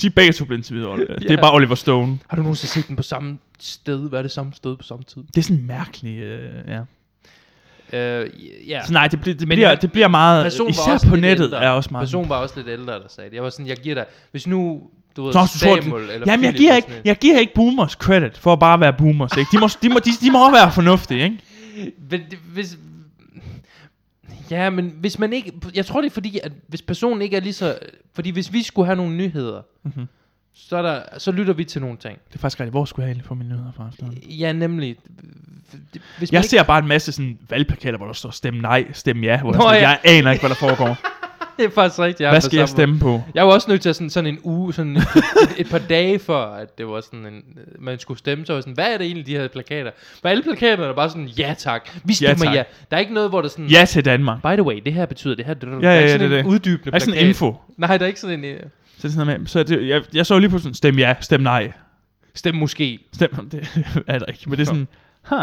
Speaker 3: De er begge to blevet
Speaker 1: [laughs]
Speaker 3: interviewet. Yeah. Det er bare Oliver Stone.
Speaker 1: Har du nogensinde set dem på samme sted? Hvad er det samme sted på samme tid?
Speaker 3: Det er sådan mærkeligt, øh, ja.
Speaker 1: Uh, ja.
Speaker 3: Så nej, det, bl- det,
Speaker 1: Men
Speaker 3: bliver,
Speaker 1: han-
Speaker 3: det bliver meget...
Speaker 1: Personen var også
Speaker 3: især på
Speaker 1: lidt
Speaker 3: nettet
Speaker 1: ældre.
Speaker 3: er også meget...
Speaker 1: Personen var også lidt ældre, der sagde det. Jeg var sådan, jeg giver dig... Hvis nu, du ved,
Speaker 3: Nå, så tror,
Speaker 1: Samuel
Speaker 3: du,
Speaker 1: eller
Speaker 3: jamen, jeg
Speaker 1: Philip
Speaker 3: giver,
Speaker 1: var
Speaker 3: ikke,
Speaker 1: sådan
Speaker 3: jeg giver ikke boomers credit for at bare være boomers. Ikke? De, må, de, må, de, de må også være fornuftige, ikke?
Speaker 1: et- Men det- hvis... Ja, men hvis man ikke... Jeg tror, det er fordi, at hvis personen ikke er lige så... Fordi hvis vi skulle have nogle nyheder,
Speaker 3: Mhm.
Speaker 1: mm-hmm. så, er der, så lytter vi til nogle ting.
Speaker 3: Det er faktisk rigtigt. Hvor skulle jeg egentlig få mine nyheder fra? Sådan.
Speaker 1: Ja, nemlig... Hvis man
Speaker 3: Jeg
Speaker 1: ikke-
Speaker 3: ser bare en masse sådan valgplakater, hvor der står stem nej, stem ja. Hvor Nå,
Speaker 1: Nå,
Speaker 3: sådan,
Speaker 1: ja.
Speaker 3: Jeg aner ikke, hvad der
Speaker 1: [laughs]
Speaker 3: foregår.
Speaker 1: Det er faktisk rigtigt. er
Speaker 3: Hvad
Speaker 1: på
Speaker 3: skal jeg
Speaker 1: samme måde.
Speaker 3: stemme på?
Speaker 1: Jeg var også nødt til at sådan, sådan en uge, sådan et, et, et par dage før, at det var sådan en, man skulle stemme, så var jeg sådan, hvad er det egentlig, de her plakater? For alle plakaterne er bare sådan, ja tak, vi
Speaker 3: Ja,
Speaker 1: stemmer
Speaker 3: tak.
Speaker 1: ja. Der er ikke noget, hvor der sådan,
Speaker 3: Ja til Danmark.
Speaker 1: by the way, det her betyder det her. Ja, der
Speaker 3: Ja,
Speaker 1: er
Speaker 3: ja,
Speaker 1: ikke
Speaker 3: ja,
Speaker 1: sådan
Speaker 3: det er
Speaker 1: en
Speaker 3: det.
Speaker 1: uddybende
Speaker 3: Der er sådan en
Speaker 1: plakat.
Speaker 3: info.
Speaker 1: Nej, der er ikke sådan en, øh,
Speaker 3: Så, det er sådan noget med, så det, jeg, jeg så lige pludselig, stem ja, stem nej.
Speaker 1: stem måske.
Speaker 3: Stem, det [laughs] er der ikke, men det er sådan, huh.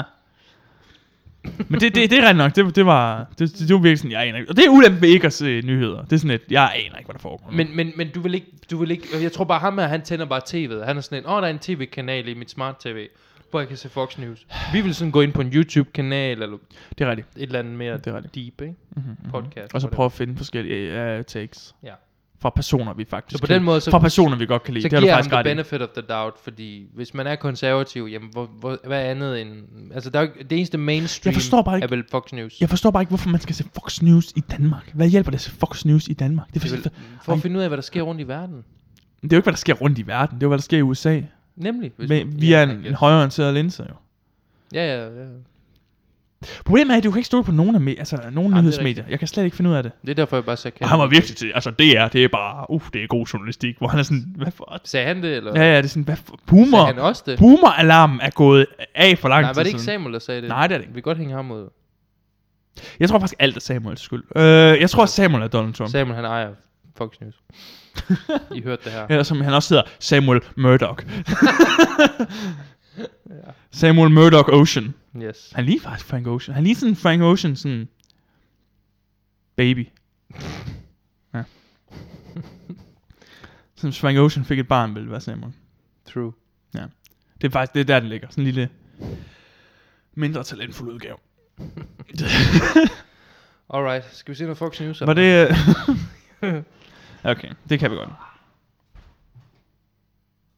Speaker 3: Men det, det, det er rent nok, det, det var, det, det, det var virkelig sådan, jeg aner ikke. Og det er ulempe ved ikke at se nyheder. Det er sådan et, jeg aner ikke, hvad der foregår.
Speaker 1: Men, men, men du, vil ikke, du vil ikke, jeg tror bare ham her, han tænder bare tv'et. Han er sådan en, åh, oh, der er en tv-kanal i mit smart tv, hvor jeg kan se Fox News. Vi vil sådan gå ind på en YouTube-kanal, eller et
Speaker 3: det er rigtigt.
Speaker 1: eller andet mere
Speaker 3: Det er rigtigt.
Speaker 1: deep, ikke?
Speaker 3: Mm-hmm.
Speaker 1: Podcast.
Speaker 3: Og så
Speaker 1: whatever.
Speaker 3: prøve at finde forskellige uh, øh, takes
Speaker 1: Ja.
Speaker 3: fra personer, vi faktisk
Speaker 1: Så på den
Speaker 3: kan-
Speaker 1: måde, så-
Speaker 3: fra personer, vi godt kan lide.
Speaker 1: Så
Speaker 3: det har du
Speaker 1: giver ham
Speaker 3: faktisk
Speaker 1: the
Speaker 3: ret i.
Speaker 1: benefit of the doubt, fordi hvis man er konservativ, jamen hvor, hvor, hvad andet end... Altså der er jo, ikke- det eneste mainstream
Speaker 3: Jeg forstår bare ikke-
Speaker 1: er vel Fox News.
Speaker 3: Jeg forstår bare ikke, hvorfor man skal se Fox News i Danmark. Hvad hjælper det at se Fox News i Danmark? Det er,
Speaker 1: Det er
Speaker 3: for,
Speaker 1: vel, for at finde ud af, hvad der sker rundt i verden.
Speaker 3: det er jo ikke, hvad der sker rundt i verden. Det er jo, hvad der sker i USA.
Speaker 1: Nemlig. hvis
Speaker 3: Men
Speaker 1: man-
Speaker 3: vi er
Speaker 1: ja, I
Speaker 3: en, en
Speaker 1: guess.
Speaker 3: højreorienteret linse, jo.
Speaker 1: Ja, ja, ja.
Speaker 3: Problemet er, at du kan ikke stole på nogen, af me- altså, nogen
Speaker 1: er
Speaker 3: nyhedsmedier. Jeg kan slet ikke finde ud af det.
Speaker 1: Det er derfor, jeg bare sagde,
Speaker 3: Og han var virkelig til, altså DR, det er bare, uff, det er god journalistik, hvor han er sådan, hvad for?
Speaker 1: Sagde han det, eller
Speaker 3: Ja, ja, det er sådan, hvad for?
Speaker 1: sagde han
Speaker 3: Boomer,
Speaker 1: også det?
Speaker 3: boomer-alarmen er gået af for lang
Speaker 1: Nej, var det
Speaker 3: tid
Speaker 1: ikke
Speaker 3: siden.
Speaker 1: Samuel, der sagde det?
Speaker 3: Nej, det er det
Speaker 1: Vi
Speaker 3: ikke.
Speaker 1: kan godt hænge ham ud.
Speaker 3: Jeg tror faktisk alt er Samuels skyld. Øh, jeg tror Samuel er Donald Trump.
Speaker 1: Samuel, han ejer Fox
Speaker 3: [laughs]
Speaker 1: News. I hørte det her.
Speaker 3: Eller som han også hedder, Samuel Murdoch. [laughs] Samuel Murdoch Ocean.
Speaker 1: Yes.
Speaker 3: Han ligner faktisk Frank Ocean. Han ligner sådan Frank Ocean, sådan... Baby. Ja. Som hvis Frank Ocean fik et barn, ville det være Samuel.
Speaker 1: True.
Speaker 3: Det er faktisk, det er der, den ligger. Sådan en lille, mindre talentfuld udgave.
Speaker 1: Alright, skal vi se noget Fox News?
Speaker 3: Var det... øh, [laughs] okay, det kan vi godt.